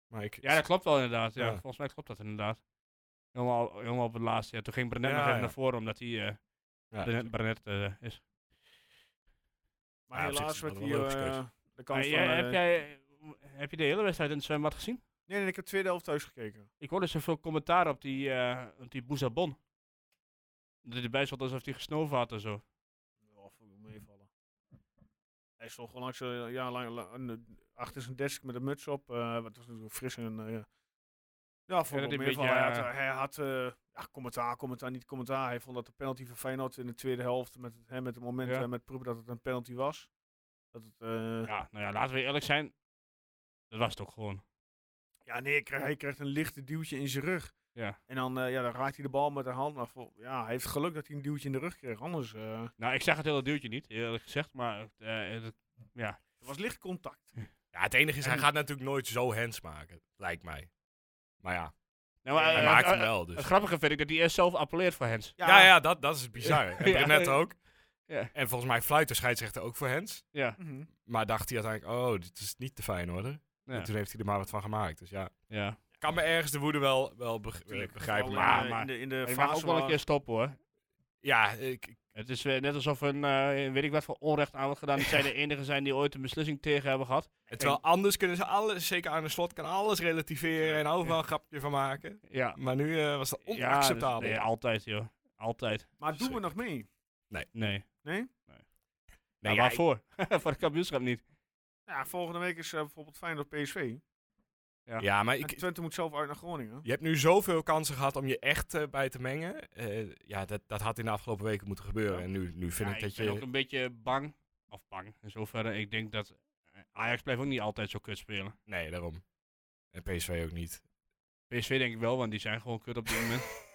[SPEAKER 5] Maar ik,
[SPEAKER 3] Ja, dat klopt wel inderdaad. Ja.
[SPEAKER 5] Ja.
[SPEAKER 3] Volgens mij klopt dat inderdaad. Helemaal, helemaal op het laatste. Ja. Toen ging Brenet
[SPEAKER 5] Ja,
[SPEAKER 3] nog even
[SPEAKER 5] ja.
[SPEAKER 3] naar voren, omdat hij eh
[SPEAKER 5] ja,
[SPEAKER 3] Brenet, Brenet, eh, is.
[SPEAKER 1] Maar
[SPEAKER 5] Ja, op zich is
[SPEAKER 1] helaas
[SPEAKER 5] het
[SPEAKER 1] werd
[SPEAKER 5] wel
[SPEAKER 1] hier
[SPEAKER 5] een logische
[SPEAKER 1] eh,
[SPEAKER 5] keuze.
[SPEAKER 1] de kans
[SPEAKER 3] Maar
[SPEAKER 1] van...
[SPEAKER 3] jij-
[SPEAKER 1] eh,
[SPEAKER 3] heb, jij, heb je de hele wedstrijd in het zwembad gezien?
[SPEAKER 1] Nee, nee, ik heb tweede helft thuis gekeken.
[SPEAKER 3] Ik hoorde zoveel commentaar op die, eh op die Boezabon. Dat hij erbij zat alsof hij gesnoven had en zo.
[SPEAKER 1] Oh, fuck, moet meevallen. Hij stond gewoon langs, eh, ja, lang, la- aan de- achter zijn desk met een muts op. eh, wat was natuurlijk fris en... eh, ja. ja, vond
[SPEAKER 3] dat
[SPEAKER 1] ik
[SPEAKER 3] hij
[SPEAKER 1] wel
[SPEAKER 3] een
[SPEAKER 1] meevallen. Hij
[SPEAKER 3] beetje,
[SPEAKER 1] had,
[SPEAKER 3] eh,
[SPEAKER 1] hij had eh, ja, commentaar, commentaar, niet commentaar. Hij vond dat de penalty van Feyenoord in de tweede helft... met, hè, met het moment
[SPEAKER 3] Ja.
[SPEAKER 1] eh, met Proep dat het een penalty was. Dat het... eh,
[SPEAKER 3] Ja, nou ja, laten we eerlijk zijn. Dat was het ook gewoon.
[SPEAKER 1] Ja, nee, hij krijgt, hij krijgt een lichte duwtje in zijn rug.
[SPEAKER 3] Ja.
[SPEAKER 1] En dan, eh, ja, dan raakt hij de bal met de hand. Maar vol- ja, hij heeft geluk dat hij een duwtje in de rug kreeg. Anders eh,
[SPEAKER 3] Nou, ik zag het hele duwtje niet, eerlijk gezegd. Maar eh, dat- ja.
[SPEAKER 1] het was licht contact.
[SPEAKER 5] Ja, het enige is, hij
[SPEAKER 1] En-
[SPEAKER 5] gaat natuurlijk nooit zo hands maken, lijkt mij. Maar ja,
[SPEAKER 3] Nou, maar,
[SPEAKER 5] Hij
[SPEAKER 3] eh,
[SPEAKER 5] maakt
[SPEAKER 3] eh,
[SPEAKER 5] hem
[SPEAKER 3] eh,
[SPEAKER 5] wel, dus.
[SPEAKER 3] Het grappige vind ik dat hij eerst zelf appelleert voor Hens.
[SPEAKER 5] Ja, ja, dat, dat is bizar. En
[SPEAKER 3] Ja.
[SPEAKER 5] Brenet ook.
[SPEAKER 3] Ja.
[SPEAKER 5] En volgens mij fluit de scheidsrechter ook voor Hens.
[SPEAKER 3] Ja.
[SPEAKER 1] Mhm.
[SPEAKER 5] Maar dacht hij uiteindelijk, oh, dit is niet te fijn hoor. En toen heeft hij er maar wat van gemaakt. Dus ja,
[SPEAKER 3] ja.
[SPEAKER 5] kan me ergens de woede wel, wel beg-
[SPEAKER 1] Tuurlijk,
[SPEAKER 5] eh, begrijpen.
[SPEAKER 1] vooral,
[SPEAKER 5] Maar
[SPEAKER 1] eh,
[SPEAKER 3] maar-
[SPEAKER 1] in de, in de
[SPEAKER 3] Ik mag ook
[SPEAKER 1] fase
[SPEAKER 3] wel een
[SPEAKER 1] waar-
[SPEAKER 3] keer stoppen hoor.
[SPEAKER 5] ja, ik, ik-
[SPEAKER 3] Het is eh, net alsof een, eh, weet ik wat voor onrecht aan wordt gedaan. Dat zij de enige zijn die ooit een beslissing tegen hebben gehad.
[SPEAKER 5] en terwijl anders kunnen ze alles, zeker aan de slot, kan alles relativeren en overal een grapje van maken.
[SPEAKER 3] Ja.
[SPEAKER 5] Maar nu eh, was dat
[SPEAKER 3] Ja, dat is-
[SPEAKER 5] onacceptabel.
[SPEAKER 3] nee, altijd joh. Altijd.
[SPEAKER 1] Maar doen we nog mee?
[SPEAKER 3] Nee.
[SPEAKER 5] Nee,
[SPEAKER 3] Nou,
[SPEAKER 5] ja, ik-
[SPEAKER 3] waarvoor? voor het kampioenschap niet.
[SPEAKER 1] Ja, volgende week is eh, bijvoorbeeld Feyenoord PSV.
[SPEAKER 3] ja.
[SPEAKER 5] ja, maar
[SPEAKER 1] En
[SPEAKER 5] ik,
[SPEAKER 1] Twente moet zelf uit naar Groningen.
[SPEAKER 5] je hebt nu zoveel kansen gehad om je echt eh, bij te mengen. Eh, ja, dat, dat had in de afgelopen weken moeten gebeuren. En nu, nu vind
[SPEAKER 3] Ja,
[SPEAKER 5] ik dat
[SPEAKER 3] ben ook
[SPEAKER 5] je...
[SPEAKER 3] een beetje bang. Of bang. In zoverre, ik denk dat eh, Ajax blijft ook niet altijd zo kut spelen.
[SPEAKER 5] Nee, daarom. En PSV ook niet.
[SPEAKER 3] PSV denk ik wel, want die zijn gewoon kut op dit moment.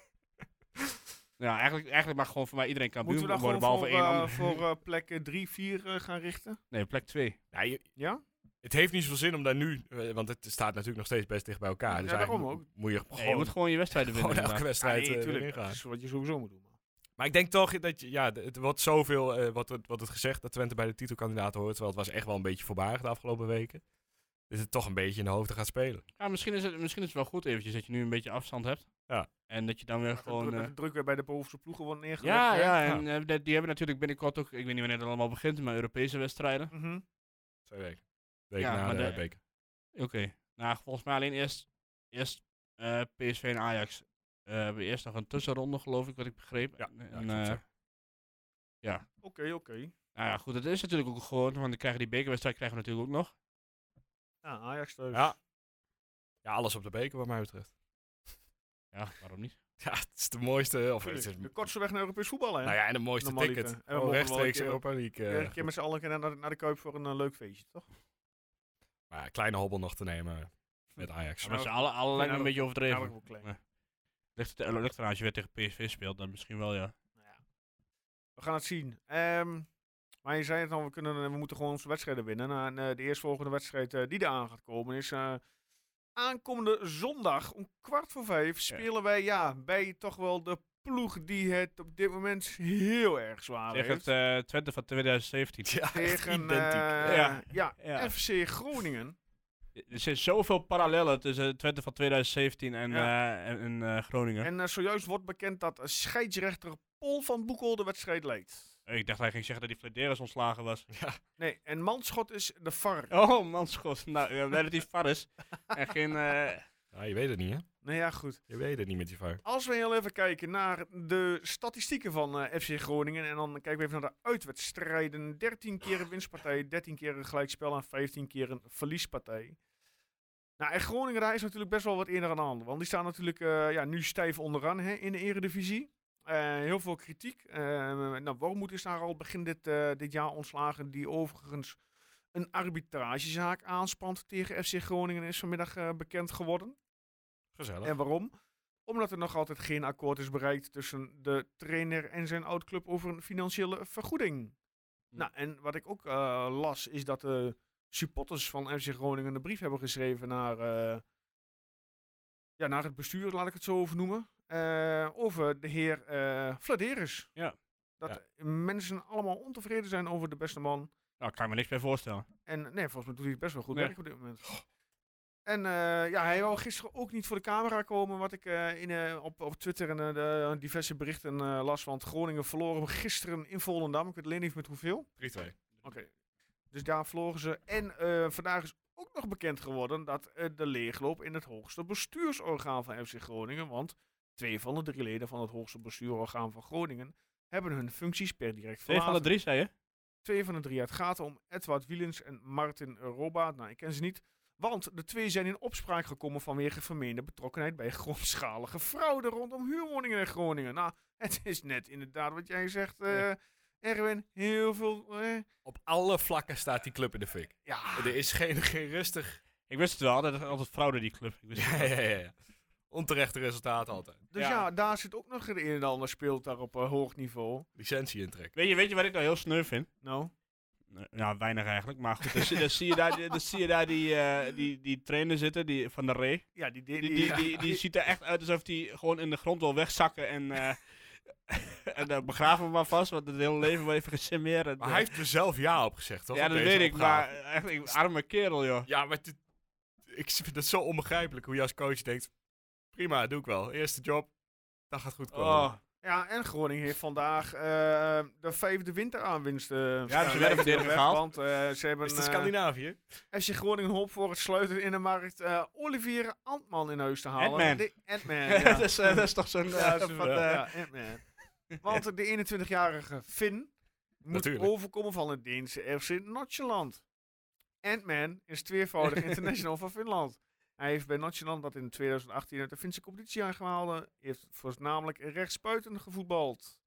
[SPEAKER 3] ja, eigenlijk, eigenlijk mag gewoon voor mij iedereen kampioen
[SPEAKER 1] Moeten we dan
[SPEAKER 3] worden,
[SPEAKER 1] gewoon
[SPEAKER 3] behalve
[SPEAKER 1] voor,
[SPEAKER 3] één
[SPEAKER 1] eh,
[SPEAKER 3] ander.
[SPEAKER 1] voor eh, plek 3, 4 gaan richten?
[SPEAKER 3] Nee, plek 2.
[SPEAKER 5] Nou, je-
[SPEAKER 1] Ja?
[SPEAKER 5] het heeft niet zoveel zin om daar nu, eh, want het staat natuurlijk nog steeds best dicht bij elkaar. Dus
[SPEAKER 1] Ja, daarom
[SPEAKER 5] eigenlijk mo- Moet je gewoon,
[SPEAKER 3] je moet gewoon je wedstrijden
[SPEAKER 5] gewoon
[SPEAKER 3] winnen.
[SPEAKER 5] elke
[SPEAKER 3] inderdaad.
[SPEAKER 5] wedstrijd eh,
[SPEAKER 1] tuurlijk.
[SPEAKER 5] erin
[SPEAKER 1] Dat
[SPEAKER 5] gaan.
[SPEAKER 1] is wat je sowieso moet doen.
[SPEAKER 5] Maar ik denk toch dat je, ja, d- het wordt zoveel, eh, wat, het- wat het gezegd, dat Twente bij de titelkandidaten hoort. Terwijl het was echt wel een beetje voorbarig de afgelopen weken. Dus het toch een beetje in de hoofden gaat spelen.
[SPEAKER 3] Ja, misschien, is het, misschien is het wel goed eventjes dat je nu een beetje afstand hebt.
[SPEAKER 5] Ja.
[SPEAKER 3] En dat je dan weer
[SPEAKER 1] Gewoon,
[SPEAKER 3] gewoon... eh,
[SPEAKER 1] de druk weer bij de bovenste ploegen wordt neergelegd.
[SPEAKER 3] ja,
[SPEAKER 1] hè?
[SPEAKER 3] ja, en eh, dat- die hebben natuurlijk binnenkort ook, ik weet niet wanneer het allemaal begint, maar Europese wedstrijden.
[SPEAKER 1] Mhm.
[SPEAKER 5] Twee weken. Week
[SPEAKER 3] Ja,
[SPEAKER 5] na
[SPEAKER 3] maar
[SPEAKER 5] de,
[SPEAKER 3] de-
[SPEAKER 5] beker.
[SPEAKER 3] Oké. Nou, volgens mij alleen eerst, eerst eh, PSV en Ajax. Eh, we hebben eerst nog een tussenronde, geloof ik, wat ik begreep.
[SPEAKER 5] Ja,
[SPEAKER 3] En,
[SPEAKER 5] ja, klopt, ja.
[SPEAKER 3] eh,
[SPEAKER 1] Oké, oké.
[SPEAKER 3] nou ja, goed, dat is natuurlijk ook gewoon, want dan krijgen die bekerwedstrijd krijgen we natuurlijk ook nog.
[SPEAKER 1] Ja, Nou, Ajax dus. thuis.
[SPEAKER 5] Ja. Ja, alles op de beker wat mij betreft.
[SPEAKER 3] Ja, waarom niet?
[SPEAKER 5] Ja, het is de mooiste, of het is,
[SPEAKER 1] Tuurlijk, De kortste weg naar Europees voetbal, hè?
[SPEAKER 5] nou ja, en de mooiste
[SPEAKER 1] Normaal
[SPEAKER 5] ticket.
[SPEAKER 1] liever. En we
[SPEAKER 5] Gewoon
[SPEAKER 1] mogen wel een
[SPEAKER 5] rechtstreeks
[SPEAKER 1] keer-
[SPEAKER 5] Europa League. eh,
[SPEAKER 1] Weer een keer met z'n allen naar de, naar de Kuip voor een eh, leuk feestje, toch?
[SPEAKER 5] maar ja, kleine hobbel nog te nemen met Ajax.
[SPEAKER 3] Ja, maar ze alle, alle lijken me een
[SPEAKER 1] nou,
[SPEAKER 3] beetje
[SPEAKER 1] Ja,
[SPEAKER 3] overdreven.
[SPEAKER 1] dat wel klein.
[SPEAKER 3] Ligt, het- ligt eraan als je weer tegen PSV speelt, dan misschien wel, ja.
[SPEAKER 1] We gaan het zien. Ehm, maar je zei het al, we, kunnen, we moeten gewoon onze wedstrijden winnen. Nou, en, eh, de eerstvolgende wedstrijd eh, die eraan gaat komen is... eh, aankomende zondag om kwart voor vijf
[SPEAKER 3] Ja.
[SPEAKER 1] spelen wij ja, bij toch wel de ploeg die het op dit moment heel erg zwaar
[SPEAKER 3] Tegen
[SPEAKER 1] heeft.
[SPEAKER 3] het eh Twente van 2017.
[SPEAKER 5] Ja, echt
[SPEAKER 1] tegen
[SPEAKER 5] identiek.
[SPEAKER 1] eh,
[SPEAKER 3] Ja.
[SPEAKER 1] ja,
[SPEAKER 3] Ja.
[SPEAKER 1] FC Groningen.
[SPEAKER 3] Er zijn zoveel parallellen tussen Twente van 2017 en, eh, en, en, eh, Groningen.
[SPEAKER 1] En eh, zojuist wordt bekend dat eh, scheidsrechter Paul van Boekel de wedstrijd leidt.
[SPEAKER 3] Ik dacht hij ging zeggen dat die Flederis ontslagen was.
[SPEAKER 1] Nee, en Manschot is de VAR.
[SPEAKER 3] Oh, manschot. Nou, ja, blij dat hij var is. En geen... eh,
[SPEAKER 5] Nou, je weet het niet, hè?
[SPEAKER 1] Nou ja, goed.
[SPEAKER 5] Je weet het niet met die VAR.
[SPEAKER 1] Als we heel even kijken naar de statistieken van eh, FC Groningen. En dan kijken we even naar de uitwedstrijden. 13 keer een winstpartij, 13 keer een gelijkspel en 15 keer een verliespartij. Nou, en Groningen daar is natuurlijk best wel wat eerder aan de hand. Want die staan natuurlijk eh, ja, nu stijf onderaan hè, in de eredivisie. Eh, heel veel kritiek. Eh nou, Wormoed is daar al begin dit, eh, dit jaar ontslagen. Die overigens een arbitragezaak aanspant tegen FC Groningen is vanmiddag eh, bekend geworden.
[SPEAKER 5] Gezellig.
[SPEAKER 1] En waarom? Omdat er nog altijd geen akkoord is bereikt tussen de trainer en zijn oud-club over een financiële vergoeding.
[SPEAKER 3] Hm.
[SPEAKER 1] Nou, en wat ik ook eh, las is dat de supporters van FC Groningen een brief hebben geschreven naar, eh, ja, naar het bestuur, laat ik het zo over noemen. eh, over de heer eh Vladeris.
[SPEAKER 3] Ja.
[SPEAKER 1] Dat mensen allemaal ontevreden zijn over de beste man.
[SPEAKER 3] nou, kan ik me niks bij voorstellen.
[SPEAKER 1] En nee, volgens mij doet hij best wel goed
[SPEAKER 3] Nee.
[SPEAKER 1] werk op dit moment. En eh, ja, hij wou gisteren ook niet voor de camera komen, wat ik eh, in, eh, op, op Twitter en eh, de diverse berichten eh, las. Want Groningen verloren gisteren in Volendam. Ik weet alleen niet met hoeveel.
[SPEAKER 5] 3-2.
[SPEAKER 1] Oké. Dus daar verloren ze. En eh, vandaag is ook nog bekend geworden dat eh, de leegloop in het hoogste bestuursorgaan van FC Groningen. Want twee van de drie leden van het hoogste bestuursorgaan van Groningen hebben hun functies per direct
[SPEAKER 3] Twee
[SPEAKER 1] verlaten.
[SPEAKER 3] van de drie, zei je?
[SPEAKER 1] Twee van de drie. Het gaat om Edward Wielens en Martin Robaat. Nou, ik ken ze niet. Want de twee zijn in opspraak gekomen vanwege vermeende betrokkenheid bij grootschalige fraude rondom huurwoningen in Groningen. Nou, het is net inderdaad wat jij zegt, eh, Erwin. Heel veel. eh,
[SPEAKER 5] Op alle vlakken staat die club in de fik.
[SPEAKER 1] ja.
[SPEAKER 5] Er is geen, geen rustig.
[SPEAKER 3] Ik wist het wel, dat is altijd fraude die club. Ik wist het
[SPEAKER 5] Ja,
[SPEAKER 3] wel.
[SPEAKER 5] ja, ja, ja. Onterechte resultaten altijd.
[SPEAKER 1] Dus ja.
[SPEAKER 3] Ja.
[SPEAKER 1] daar zit ook nog het een en ander speelt daar op eh, hoog niveau.
[SPEAKER 5] Licentie intrek.
[SPEAKER 3] Weet, je, weet je wat ik nou heel sneu vind?
[SPEAKER 1] Nou,
[SPEAKER 3] Eh, Nou, weinig eigenlijk. Maar goed, dan, zie- dan zie je daar, dan zie je daar die, eh, die, die trainer zitten die, van de Ray.
[SPEAKER 1] Ja, die, die,
[SPEAKER 3] Die, die, die, die ziet er echt uit alsof hij gewoon in de grond wil wegzakken. En, eh, en dan begraven we maar vast, want het hele leven wil even gesimmeerd.
[SPEAKER 5] Maar hij heeft er zelf ja op gezegd, toch?
[SPEAKER 3] ja,
[SPEAKER 5] op
[SPEAKER 3] dat
[SPEAKER 5] deze
[SPEAKER 3] weet ik,
[SPEAKER 5] opgave.
[SPEAKER 3] maar echt, ik- arme kerel, joh.
[SPEAKER 5] Ja, maar dit- ik vind het zo onbegrijpelijk hoe je als coach denkt... Prima, doe ik wel. Eerste job, dat gaat goed komen.
[SPEAKER 3] Oh,
[SPEAKER 1] Ja, en Groningen heeft vandaag eh, de vijfde winteraanwinst. eh,
[SPEAKER 3] hebben dus ze
[SPEAKER 1] staan.
[SPEAKER 3] weer een verdediger
[SPEAKER 1] Weg,
[SPEAKER 3] gehaald.
[SPEAKER 1] Want eh, ze hebben
[SPEAKER 5] Is het
[SPEAKER 1] eh,
[SPEAKER 5] Scandinavië?
[SPEAKER 1] FC Groningen hulp voor het sluiten in de markt eh, Olivier Antman in huis te halen.
[SPEAKER 3] Ant-Man.
[SPEAKER 1] De- Ant-Man,
[SPEAKER 3] dat,
[SPEAKER 1] ja.
[SPEAKER 3] is, eh, dat is toch zo'n...
[SPEAKER 1] Ja,
[SPEAKER 3] eh,
[SPEAKER 1] dat is
[SPEAKER 3] van,
[SPEAKER 1] wel-
[SPEAKER 3] eh,
[SPEAKER 1] ja, Ant-Man. Want eh, de 21-jarige Finn moet
[SPEAKER 5] Natuurlijk.
[SPEAKER 1] overkomen van het Deense FC Notcheland. Ant-Man is tweevoudig international van Finland. Hij heeft bij Notcheland, dat in 2018 uit de Finse competitie aangehaald, eh, heeft voornamelijk rechtsbuiten gevoetbald.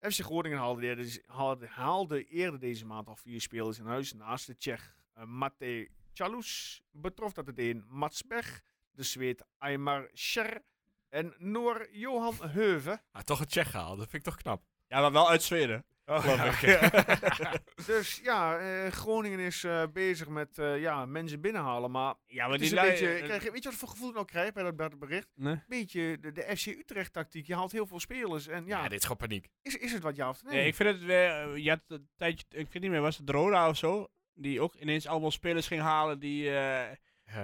[SPEAKER 1] FC Groningen haalde eerder, deze- haalde, haalde eerder deze maand al vier spelers in huis. Naast de Tsjech eh, Matej Chalus betrof dat de Deen Mats Berg, de Zweed Aymar Scher en Noor Johan Heuve.
[SPEAKER 5] Ah, toch een check gehaald, dat vind ik toch knap.
[SPEAKER 3] ja, maar wel uit Zweden.
[SPEAKER 1] Oh,
[SPEAKER 3] geloof ik.
[SPEAKER 1] Dus ja, eh, Groningen is eh, bezig met eh, ja, mensen binnenhalen. Maar
[SPEAKER 3] Ja, maar
[SPEAKER 1] het is
[SPEAKER 3] die
[SPEAKER 1] een
[SPEAKER 3] lui-
[SPEAKER 1] beetje,
[SPEAKER 3] eh,
[SPEAKER 1] krijg, je- weet je wat voor gevoel ik nou krijg bij dat, bij dat bericht?
[SPEAKER 3] Nee.
[SPEAKER 1] Een beetje de, de FC Utrecht tactiek. Je haalt heel veel spelers. En
[SPEAKER 5] Ja,
[SPEAKER 1] ja,
[SPEAKER 5] dit is gewoon paniek.
[SPEAKER 1] is, is het wat ja of nee?
[SPEAKER 3] Nee, ik vind het weer. eh, je had een tijdje, ik weet niet meer, was het Roda of zo? Die ook ineens allemaal spelers ging halen die eh,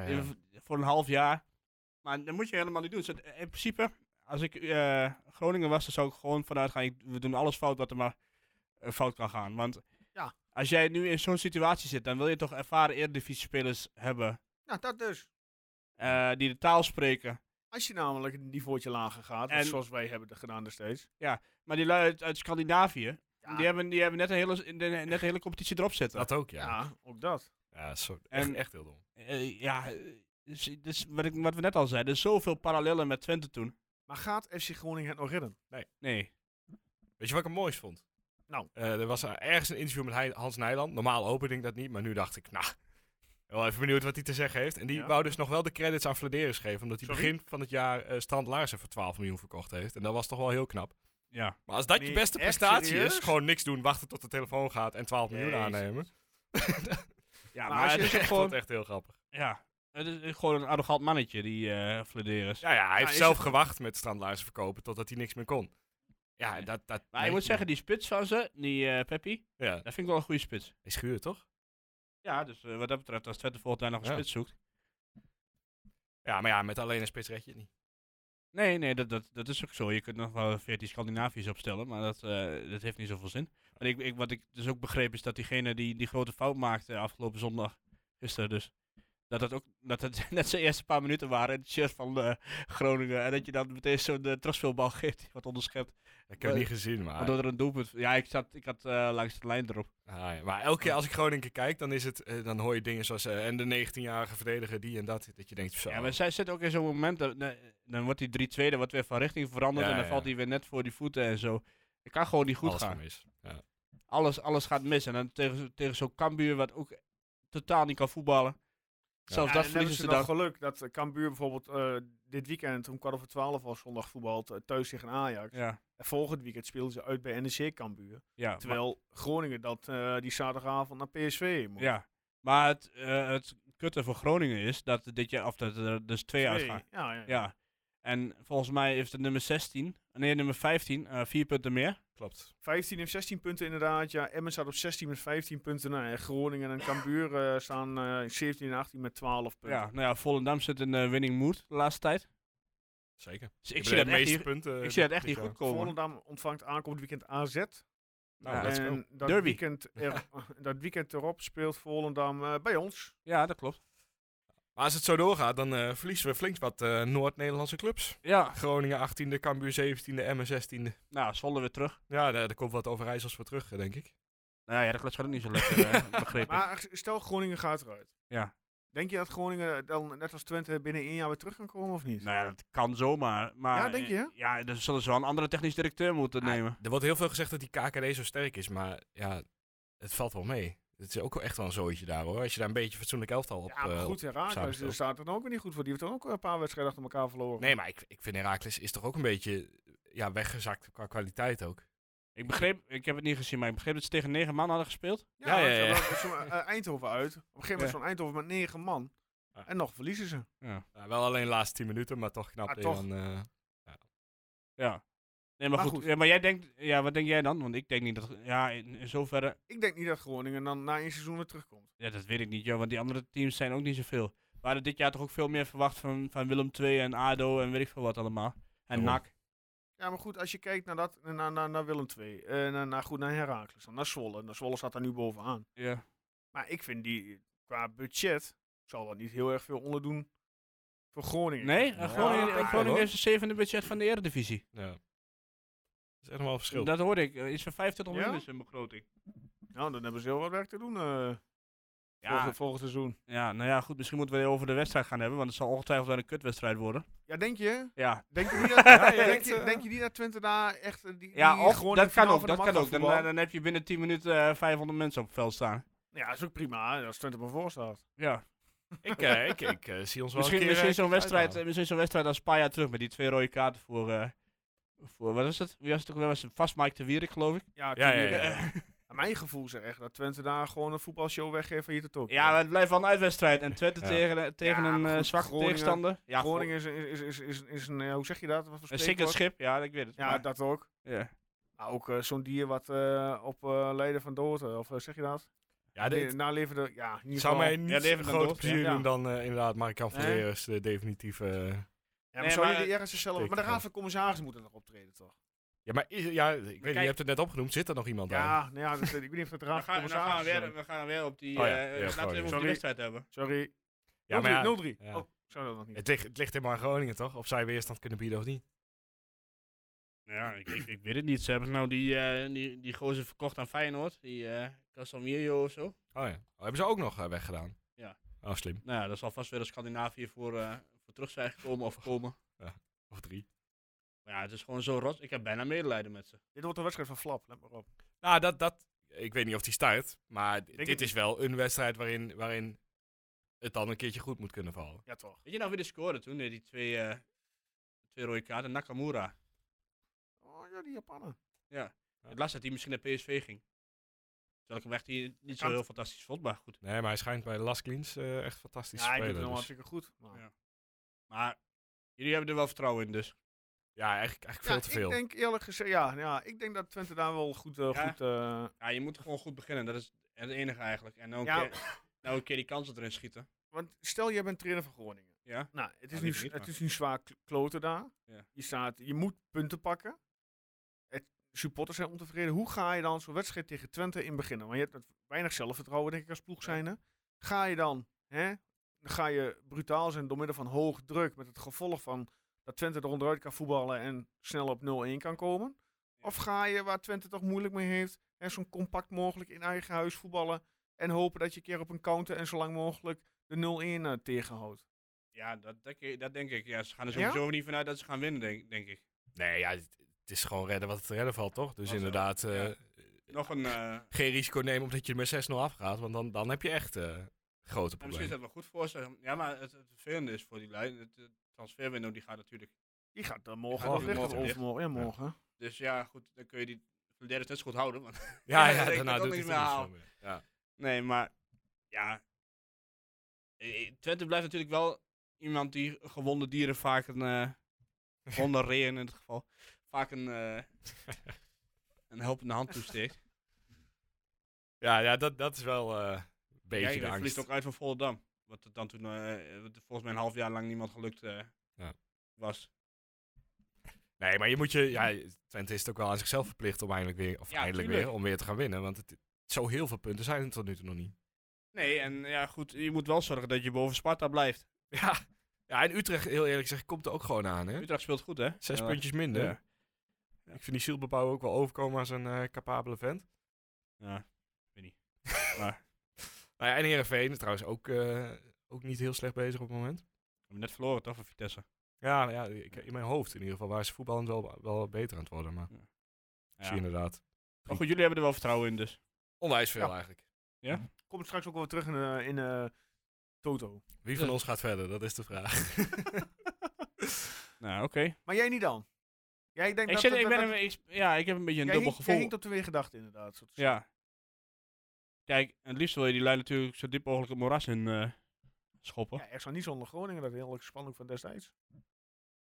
[SPEAKER 3] in- voor een half jaar. Maar dat moet je helemaal niet doen. Dus het- in principe, als ik eh, Groningen was, dan zou ik gewoon vanuit gaan. ik- we doen alles fout wat er maar eh, fout kan gaan. Want
[SPEAKER 1] Ja.
[SPEAKER 3] als jij nu in zo'n situatie zit, dan wil je toch ervaren eredivisie spelers hebben
[SPEAKER 1] Nou, dat dus.
[SPEAKER 3] eh, die de taal spreken.
[SPEAKER 1] Als je namelijk een niveautje lager gaat,
[SPEAKER 3] En-
[SPEAKER 1] zoals wij hebben gedaan destijds.
[SPEAKER 3] Maar die lui uit, uit Scandinavië,
[SPEAKER 1] Ja.
[SPEAKER 3] die, hebben, die hebben net een hele, in de- net een hele competitie erop zitten.
[SPEAKER 5] Dat ook,
[SPEAKER 1] Ja,
[SPEAKER 5] ja.
[SPEAKER 1] ook dat.
[SPEAKER 5] Ja, zo,
[SPEAKER 3] En-
[SPEAKER 5] echt, echt heel dom.
[SPEAKER 3] Eh, ja, eh, dus, dus wat, ik, wat we net al zeiden, er is zoveel parallellen met Twente toen.
[SPEAKER 1] Maar gaat FC Groningen het nog redden?
[SPEAKER 3] Nee.
[SPEAKER 5] Weet je wat ik het moois vond?
[SPEAKER 1] Nou.
[SPEAKER 5] Eh, er was eh, ergens een interview met Hein- Hans Nijland. Normaal open ik dat niet, maar nu dacht ik, nou, wel even benieuwd wat hij te zeggen heeft. En die
[SPEAKER 1] Ja.
[SPEAKER 5] wou dus nog wel de credits aan Vladeris geven, omdat hij
[SPEAKER 1] Sorry?
[SPEAKER 5] begin van het jaar eh Strand Larsen voor 12 miljoen verkocht heeft. En dat was toch wel heel knap.
[SPEAKER 3] Ja.
[SPEAKER 5] Maar als dat
[SPEAKER 1] Nee,
[SPEAKER 5] je beste
[SPEAKER 1] echt
[SPEAKER 5] prestatie
[SPEAKER 1] serieus?
[SPEAKER 5] is, gewoon niks doen, wachten tot de telefoon gaat en 12 miljoen
[SPEAKER 1] Jezus.
[SPEAKER 5] aannemen.
[SPEAKER 1] Maar
[SPEAKER 3] Ja, maar,
[SPEAKER 1] als je dus
[SPEAKER 3] het is
[SPEAKER 5] Ik
[SPEAKER 3] ook
[SPEAKER 5] vond het
[SPEAKER 3] gewoon,
[SPEAKER 5] echt heel grappig.
[SPEAKER 3] ja, het is eh, gewoon een arrogant mannetje, die eh Flederis.
[SPEAKER 5] Ja, ja hij heeft
[SPEAKER 1] is
[SPEAKER 5] zelf
[SPEAKER 1] het-
[SPEAKER 5] gewacht met strandlaars verkopen totdat hij niks meer kon. Ja, en dat... dat
[SPEAKER 3] Maar ik moet zeggen, die spits van ze, die eh Peppi,
[SPEAKER 5] Ja,
[SPEAKER 3] dat vind ik wel een goede spits.
[SPEAKER 5] hij schuurt toch?
[SPEAKER 3] Ja, dus eh, wat dat betreft, als Twente volgend jaar nog een
[SPEAKER 5] Ja.
[SPEAKER 3] spits zoekt.
[SPEAKER 5] Ja, maar ja, met alleen een spits red je het niet.
[SPEAKER 3] Nee, nee, dat, dat, dat is ook zo. Je kunt nog wel 14 Scandinaviërs opstellen, maar dat, eh, dat heeft niet zoveel zin. Maar ik, ik, wat ik dus ook begreep is dat diegene die die grote fout maakte afgelopen zondag, gisteren dus, dat dat ook dat het net zijn eerste paar minuten waren in het shirt van eh, Groningen. En dat je dan meteen zo'n eh, terugspeelbal geeft die wat onderschept. Eh,
[SPEAKER 5] Dat heb ik
[SPEAKER 3] Maar-
[SPEAKER 5] niet gezien, maar...
[SPEAKER 3] Waardoor er een doelpunt... Ja, ik, zat, ik had eh, langs de lijn erop.
[SPEAKER 5] Ah, ja. Maar elke keer als ik Groningen kijk, dan, is het, eh, dan hoor je dingen zoals... eh, en de 19-jarige verdediger, die en dat. Dat je denkt, zo.
[SPEAKER 3] Ja, maar zij zit ook in zo'n moment, dat- dan, dan wordt die 3-2, dan wordt weer van richting veranderd
[SPEAKER 5] Ja,
[SPEAKER 3] en dan
[SPEAKER 5] ja.
[SPEAKER 3] valt hij weer net voor die voeten en zo. Het kan gewoon niet goed
[SPEAKER 5] alles
[SPEAKER 3] gaan.
[SPEAKER 5] mis. Ja.
[SPEAKER 3] alles, alles gaat mis. En dan tegen, zo- tegen zo'n Cambuur wat ook totaal niet kan voetballen. Zelfs
[SPEAKER 1] Ja,
[SPEAKER 3] dat
[SPEAKER 1] en hebben
[SPEAKER 3] verliezen
[SPEAKER 1] ze
[SPEAKER 3] ze
[SPEAKER 1] nog
[SPEAKER 3] dan.
[SPEAKER 1] geluk dat eh, Cambuur bijvoorbeeld eh, dit weekend om kwart over twaalf al zondag voetbalt eh, thuis tegen Ajax.
[SPEAKER 3] Ja,
[SPEAKER 1] En volgend weekend speelden ze uit bij NEC Cambuur.
[SPEAKER 3] ja, maar,
[SPEAKER 1] Terwijl Groningen dat eh, die zaterdagavond naar PSV moet.
[SPEAKER 3] ja. maar het, eh, het kutte voor Groningen is dat dit jaar, of dat er dus twee
[SPEAKER 1] Twee.
[SPEAKER 3] uitgaan.
[SPEAKER 1] Ja, ja.
[SPEAKER 3] Ja. En volgens mij heeft de nummer 16, nee, nummer 15, eh, vier punten meer.
[SPEAKER 5] Klopt.
[SPEAKER 1] 15 heeft 16 punten inderdaad. Ja, Emmen staat op 16 met 15 punten. Nou, en Groningen en Cambuur eh, staan eh 17 en 18 met 12 punten.
[SPEAKER 3] Ja, nou ja, Volendam zit in eh, winning mood de laatste tijd.
[SPEAKER 5] Zeker.
[SPEAKER 3] Dus ik
[SPEAKER 5] Je
[SPEAKER 3] zie
[SPEAKER 5] bent
[SPEAKER 3] dat
[SPEAKER 5] de
[SPEAKER 3] echt
[SPEAKER 5] meeste
[SPEAKER 3] niet,
[SPEAKER 5] punten. eh,
[SPEAKER 3] ik zie dat echt niet
[SPEAKER 5] dit
[SPEAKER 3] goed
[SPEAKER 5] jaar.
[SPEAKER 3] komen.
[SPEAKER 1] Volendam ontvangt aankomend weekend AZ.
[SPEAKER 5] Nou,
[SPEAKER 3] Ja.
[SPEAKER 5] let's go.
[SPEAKER 1] en dat
[SPEAKER 3] Derby.
[SPEAKER 1] weekend, er- dat weekend erop speelt Volendam eh, bij ons.
[SPEAKER 3] Ja, dat klopt.
[SPEAKER 5] Maar als het zo doorgaat, dan eh, verliezen we flink wat eh, Noord-Nederlandse clubs.
[SPEAKER 3] Ja,
[SPEAKER 5] Groningen 18e, Cambuur 17e, Emmen 16e.
[SPEAKER 3] nou, Zwolle weer terug.
[SPEAKER 5] Ja, daar, daar komt wat Overijssels voor terug, eh, denk ik.
[SPEAKER 3] Nou ja, dat gaat ook niet zo lekker, eh, begreep ik.
[SPEAKER 1] Maar stel Groningen gaat eruit.
[SPEAKER 3] Ja.
[SPEAKER 1] Denk je dat Groningen dan net als Twente binnen één jaar weer terug kan komen of niet?
[SPEAKER 3] Nou ja, dat kan zomaar. Maar,
[SPEAKER 1] Ja, denk je, hè?
[SPEAKER 3] Ja, dan zullen ze wel een andere technisch directeur moeten
[SPEAKER 5] Ah,
[SPEAKER 3] nemen.
[SPEAKER 5] Er wordt heel veel gezegd dat die KKD zo sterk is, maar ja, het valt wel mee. Het is ook wel echt wel een zooitje daar hoor. Als je daar een beetje fatsoenlijk elftal op...
[SPEAKER 1] ja, maar
[SPEAKER 5] eh,
[SPEAKER 1] goed, Herakles
[SPEAKER 5] samenstel.
[SPEAKER 1] daar staat er dan ook weer niet goed voor. Die heeft dan ook eh, een paar wedstrijden achter elkaar verloren.
[SPEAKER 5] Nee, maar ik, ik vind Herakles is toch ook een beetje ja, weggezakt qua kwaliteit ook.
[SPEAKER 3] Ik begreep, ik heb het niet gezien, maar ik begreep dat ze tegen negen man hadden gespeeld.
[SPEAKER 1] Ja,
[SPEAKER 5] Ja, ja,
[SPEAKER 1] ze
[SPEAKER 5] ja.
[SPEAKER 1] lopen zo'n, eh, Eindhoven uit. Op een gegeven moment
[SPEAKER 3] Ja.
[SPEAKER 1] zo'n Eindhoven met negen man.
[SPEAKER 5] Ja.
[SPEAKER 1] En nog verliezen ze.
[SPEAKER 5] Ja, wel alleen de laatste 10 minuten, maar toch knap.
[SPEAKER 1] Maar
[SPEAKER 5] dat je
[SPEAKER 1] toch.
[SPEAKER 5] dan, eh,
[SPEAKER 3] Ja. Nee, maar,
[SPEAKER 1] Maar
[SPEAKER 3] goed.
[SPEAKER 1] goed.
[SPEAKER 3] Ja, maar jij denkt, ja, wat denk jij dan? Want ik denk niet dat, ja, in, in zoverre,
[SPEAKER 1] Ik denk niet dat Groningen dan na één seizoen weer terugkomt.
[SPEAKER 3] ja, dat weet ik niet, joh, want die andere teams zijn ook niet zoveel. We hadden dit jaar toch ook veel meer verwacht van, van Willem II en ADO en weet ik veel wat allemaal. En
[SPEAKER 5] Daarom.
[SPEAKER 3] NAC.
[SPEAKER 1] Ja, maar goed, als je kijkt naar, dat, naar, naar, naar Willem II, eh, naar, naar, goed, naar Heracles, dan naar Zwolle. Naar Zwolle staat daar nu bovenaan.
[SPEAKER 3] Ja.
[SPEAKER 1] Maar ik vind die, qua budget, zal dat niet heel erg veel onderdoen voor Groningen.
[SPEAKER 3] Nee, eh, Groningen,
[SPEAKER 1] Ja, Nou, ik
[SPEAKER 3] Groningen
[SPEAKER 5] hoor.
[SPEAKER 3] heeft het zevende budget van de Eredivisie.
[SPEAKER 5] ja. Dat is echt nog wel een verschil.
[SPEAKER 3] Dat hoorde ik. eh, Iets van 25
[SPEAKER 1] Ja?
[SPEAKER 3] miljoen is hun begroting.
[SPEAKER 1] Nou, dan hebben ze heel wat werk te doen eh
[SPEAKER 3] Ja,
[SPEAKER 1] volgend, volgend seizoen.
[SPEAKER 3] ja, nou ja, goed. Misschien moeten we het over de wedstrijd gaan hebben, want het zal ongetwijfeld wel een kutwedstrijd worden.
[SPEAKER 1] Ja, denk je?
[SPEAKER 3] Ja,
[SPEAKER 1] Denk je niet dat, ja,
[SPEAKER 5] je
[SPEAKER 1] denk,
[SPEAKER 5] denkt,
[SPEAKER 1] je,
[SPEAKER 5] eh,
[SPEAKER 1] denk je niet dat Twente daar echt eh, die,
[SPEAKER 3] ja
[SPEAKER 1] die
[SPEAKER 3] och,
[SPEAKER 1] gewoon
[SPEAKER 3] dat
[SPEAKER 1] de
[SPEAKER 3] kan
[SPEAKER 1] finale
[SPEAKER 3] ook.
[SPEAKER 1] van de
[SPEAKER 3] Dat kan
[SPEAKER 1] mat
[SPEAKER 3] ook. Dan,
[SPEAKER 1] voetballen?
[SPEAKER 3] eh, dan heb je binnen 10 minuten eh, 500 mensen op het veld staan.
[SPEAKER 1] Ja, is ook prima hè, als Twente maar voor staat.
[SPEAKER 3] Ja,
[SPEAKER 5] Ik, eh, ik, ik eh, zie ons wel
[SPEAKER 3] misschien,
[SPEAKER 5] een keer...
[SPEAKER 3] misschien
[SPEAKER 5] eh,
[SPEAKER 3] zo'n wedstrijd,
[SPEAKER 5] uithalen.
[SPEAKER 3] eh, misschien zo'n wedstrijd als een paar jaar terug met die twee rode kaarten voor, eh, voor wat is het? Wie was het ook weer? Was het vast Mike de Wierik, geloof ik.
[SPEAKER 1] Ja,
[SPEAKER 5] Ja, ja,
[SPEAKER 1] tuurlijk.
[SPEAKER 5] ja.
[SPEAKER 1] Eh, naar Mijn gevoel is echt dat Twente daar gewoon een voetbalshow weggeeft van hier tot ook.
[SPEAKER 3] Ja, maar het blijft wel een uitwedstrijd. En Twente
[SPEAKER 5] Ja.
[SPEAKER 3] tegen, eh, tegen
[SPEAKER 1] Ja,
[SPEAKER 3] een
[SPEAKER 1] maar
[SPEAKER 3] eh,
[SPEAKER 1] goed,
[SPEAKER 3] zwakke
[SPEAKER 1] Groningen-
[SPEAKER 3] tegenstander. Ja,
[SPEAKER 1] Groningen is, is, is, is, is een, eh, hoe zeg je dat? Wat voor
[SPEAKER 3] Een
[SPEAKER 1] spreekwoord?
[SPEAKER 3] zinkend schip, ja, ik weet het.
[SPEAKER 1] Ja,
[SPEAKER 3] maar-
[SPEAKER 1] dat ook.
[SPEAKER 3] ja.
[SPEAKER 1] Maar ook eh, zo'n dier wat eh, op eh leden van dood, eh, of eh, zeg je dat?
[SPEAKER 5] Ja, dit-
[SPEAKER 1] Nee, Nalevende, ja, in ieder
[SPEAKER 5] zou
[SPEAKER 1] geval.
[SPEAKER 5] mij
[SPEAKER 3] Ja,
[SPEAKER 5] niet
[SPEAKER 3] die heeft
[SPEAKER 5] een
[SPEAKER 3] hem
[SPEAKER 5] groot
[SPEAKER 3] dood,
[SPEAKER 5] plezier
[SPEAKER 1] ja.
[SPEAKER 5] doen dan eh, inderdaad Mark
[SPEAKER 1] Nee.
[SPEAKER 5] Valerius de definitieve...
[SPEAKER 1] Ja,
[SPEAKER 5] eh,
[SPEAKER 1] maar
[SPEAKER 3] Nee,
[SPEAKER 1] zou
[SPEAKER 3] maar-
[SPEAKER 1] je die ergens zelf... Maar de
[SPEAKER 5] Tekenen.
[SPEAKER 1] Raad van Commissarissen moet er nog optreden, toch?
[SPEAKER 5] Ja, maar is, ja, ik weet, niet, je
[SPEAKER 1] kijk-
[SPEAKER 5] hebt het net opgenoemd. Zit er nog iemand aan?
[SPEAKER 1] Ja, nou ja, dat, ik weet niet of het de
[SPEAKER 3] Dan
[SPEAKER 1] Raad van
[SPEAKER 5] Nou,
[SPEAKER 3] gaan, dan gaan we,
[SPEAKER 1] Commissarissen...
[SPEAKER 3] weer, we gaan weer op die.
[SPEAKER 5] Oh
[SPEAKER 3] eh
[SPEAKER 5] ja, ja,
[SPEAKER 3] laten we
[SPEAKER 5] Groningen.
[SPEAKER 3] even over
[SPEAKER 1] Sorry.
[SPEAKER 3] die wedstrijd hebben.
[SPEAKER 1] Sorry.
[SPEAKER 5] Ja, maar ja,
[SPEAKER 1] 03.
[SPEAKER 5] ja.
[SPEAKER 1] Oh, zou dat nog niet.
[SPEAKER 5] Het ligt, het ligt helemaal aan Groningen, toch? Of zij weerstand kunnen bieden of niet.
[SPEAKER 3] Ja, ik, ik, ik weet het niet. Ze hebben nou die, eh, die, die gozer verkocht aan Feyenoord. Die eh Casemiro of zo.
[SPEAKER 5] Oh ja. Oh, hebben ze ook nog eh, weggedaan?
[SPEAKER 3] Ja.
[SPEAKER 5] Oh, slim.
[SPEAKER 3] Nou ja, dat zal vast weer een Scandinavië voor, eh, voor terug zijn gekomen of komen.
[SPEAKER 5] Of drie.
[SPEAKER 3] Maar ja, het is gewoon zo rot. Ik heb bijna medelijden met ze.
[SPEAKER 1] Dit wordt een wedstrijd van Flap, let maar op.
[SPEAKER 5] Nou, dat, dat... Ik weet niet of die start. Maar d-
[SPEAKER 1] het
[SPEAKER 5] dit is
[SPEAKER 1] niet.
[SPEAKER 5] wel een wedstrijd waarin, waarin het dan een keertje goed moet kunnen vallen.
[SPEAKER 1] Ja, toch.
[SPEAKER 3] Weet je nou wie de scoorde toen? Nee, die twee, eh, twee rode kaarten. Nakamura.
[SPEAKER 1] Oh ja, die Japaner.
[SPEAKER 3] Het laatste dat hij misschien naar PSV ging. Terwijl ik hem echt hier niet zo
[SPEAKER 1] Kan-
[SPEAKER 3] heel fantastisch vond, maar goed.
[SPEAKER 5] Nee, maar hij schijnt bij Las Klins eh, echt fantastisch
[SPEAKER 1] Ja,
[SPEAKER 5] te
[SPEAKER 1] ik doe
[SPEAKER 5] spelen.
[SPEAKER 1] het nog
[SPEAKER 5] dus-
[SPEAKER 1] hartstikke goed. maar-
[SPEAKER 3] Ja. Maar jullie hebben er wel vertrouwen in dus.
[SPEAKER 5] Ja, eigenlijk, eigenlijk
[SPEAKER 1] Ja,
[SPEAKER 5] veel te veel.
[SPEAKER 1] Ik denk eerlijk gezegd, ja, ja, ik denk dat Twente daar wel goed... eh,
[SPEAKER 3] Ja.
[SPEAKER 1] goed eh,
[SPEAKER 3] Ja, je moet gewoon goed beginnen. Dat is het enige eigenlijk. En nou een,
[SPEAKER 1] Ja.
[SPEAKER 3] keer, nou een keer die kansen erin schieten.
[SPEAKER 1] want stel, jij bent trainer van Groningen.
[SPEAKER 3] Ja.
[SPEAKER 1] Nou, het is,
[SPEAKER 3] Nou,
[SPEAKER 1] nu,
[SPEAKER 3] liever
[SPEAKER 1] s-
[SPEAKER 3] niet,
[SPEAKER 1] het
[SPEAKER 3] maar-
[SPEAKER 1] is nu zwaar kl- kloten daar.
[SPEAKER 3] Ja.
[SPEAKER 1] Je, staat, je moet punten pakken. Het, supporters zijn ontevreden. Hoe ga je dan zo'n wedstrijd tegen Twente in beginnen? Want je hebt het- weinig zelfvertrouwen, denk ik, als ploeg zijnde. Ga je dan, hè, dan ga je brutaal zijn door middel van hoog druk. Met het gevolg van dat Twente er onderuit kan voetballen en snel op 0-1 kan komen. Of ga je, waar Twente toch moeilijk mee heeft, hè, zo'n compact mogelijk in eigen huis voetballen. En hopen dat je een keer op een counter en zo lang mogelijk de 0-1 eh, tegenhoudt.
[SPEAKER 3] Ja, dat, denk ik- dat denk ik. Ja, ze gaan er
[SPEAKER 1] Ja?
[SPEAKER 3] sowieso niet vanuit dat ze gaan winnen, denk, denk ik.
[SPEAKER 5] Nee, ja, het het is gewoon redden wat het te redden valt, toch? Dus
[SPEAKER 3] Als-
[SPEAKER 5] inderdaad, eh,
[SPEAKER 3] ja. Nog een... eh,
[SPEAKER 5] geen risico nemen omdat je er met 6-0 afgaat. Want dan, dan heb je echt eh, grote
[SPEAKER 3] Ja, misschien is
[SPEAKER 5] problemen.
[SPEAKER 3] dat wel goed voor ze. Ja, maar het, het vervelende is voor die lui. Het, het transferwindow die gaat natuurlijk.
[SPEAKER 1] Die gaat dan
[SPEAKER 3] gaat
[SPEAKER 1] morgen
[SPEAKER 5] nog
[SPEAKER 1] nog liggen.
[SPEAKER 3] morgen
[SPEAKER 1] of
[SPEAKER 3] liggen.
[SPEAKER 1] overmorgen. Ja, morgen.
[SPEAKER 3] Dus ja, goed, dan kun je die derde net zo goed houden. Want
[SPEAKER 5] Ja,
[SPEAKER 3] Ja,
[SPEAKER 5] ja, daarna
[SPEAKER 3] ik kan
[SPEAKER 5] doet het
[SPEAKER 3] ook niet
[SPEAKER 5] er
[SPEAKER 3] meer
[SPEAKER 5] niet
[SPEAKER 3] halen.
[SPEAKER 5] veel meer. Ja.
[SPEAKER 3] nee, maar ja. Eh, eh, Twente blijft natuurlijk wel iemand die gewonde dieren vaak een. eh gewonde reeën in het geval. Vaak een. eh, een helpende hand toesteekt.
[SPEAKER 5] Ja, ja dat, dat is wel eh, een
[SPEAKER 3] Kijk,
[SPEAKER 5] beetje de
[SPEAKER 3] hij
[SPEAKER 5] angst.
[SPEAKER 3] verliest ook uit van Volendam. Wat het dan toen eh, wat volgens mij een half jaar lang niemand gelukt eh,
[SPEAKER 5] Ja.
[SPEAKER 3] was.
[SPEAKER 5] Nee, maar je moet je... Ja, Twente is het ook wel aan zichzelf verplicht om eindelijk weer, of
[SPEAKER 3] Ja,
[SPEAKER 5] eindelijk
[SPEAKER 3] tuurlijk.
[SPEAKER 5] weer, om weer te gaan winnen. Want het, zo heel veel punten zijn er tot nu toe nog niet.
[SPEAKER 3] Nee, en ja, goed, je moet wel zorgen dat je boven Sparta blijft.
[SPEAKER 5] Ja, ja en Utrecht, heel eerlijk gezegd, komt er ook gewoon aan. Hè?
[SPEAKER 3] Utrecht speelt goed, hè?
[SPEAKER 5] Zes
[SPEAKER 3] Ja.
[SPEAKER 5] puntjes minder.
[SPEAKER 3] Ja.
[SPEAKER 5] Ik vind die zielbepauw ook wel overkomen als een eh, capabele vent.
[SPEAKER 3] Ja.
[SPEAKER 5] Nou ja, en Heerenveen is trouwens ook, eh, ook niet heel slecht bezig op het moment.
[SPEAKER 3] We hebben net verloren, toch, van Vitesse?
[SPEAKER 5] Ja, nou ja ik, in mijn hoofd in ieder geval. Waar ze voetballend wel, wel beter aan het worden. Maar ik zie
[SPEAKER 3] Ja.
[SPEAKER 5] inderdaad
[SPEAKER 3] Maar goed, jullie hebben er wel vertrouwen in, dus.
[SPEAKER 5] onwijs veel
[SPEAKER 1] Ja.
[SPEAKER 5] eigenlijk. Mhm.
[SPEAKER 1] Komt straks ook wel terug in, eh, in eh, Toto.
[SPEAKER 5] Wie van ons gaat verder? Dat is de vraag.
[SPEAKER 3] Nou, oké.
[SPEAKER 1] Maar jij niet dan? Ja, ik denk
[SPEAKER 3] Ik,
[SPEAKER 1] dat,
[SPEAKER 3] zit,
[SPEAKER 1] dat-
[SPEAKER 3] ik, ben
[SPEAKER 1] dat-
[SPEAKER 3] een, ik- ja, ik heb een beetje een
[SPEAKER 1] jij
[SPEAKER 3] dubbel
[SPEAKER 1] hinkt- jij
[SPEAKER 3] gevoel.
[SPEAKER 1] hinkt op twee gedachten inderdaad. soort-
[SPEAKER 3] Ja. Kijk, het liefst wil je die lijn natuurlijk zo diep mogelijk het moeras in eh, schoppen.
[SPEAKER 1] Ja, echt zo niet zonder Groningen, dat hele spanning van destijds.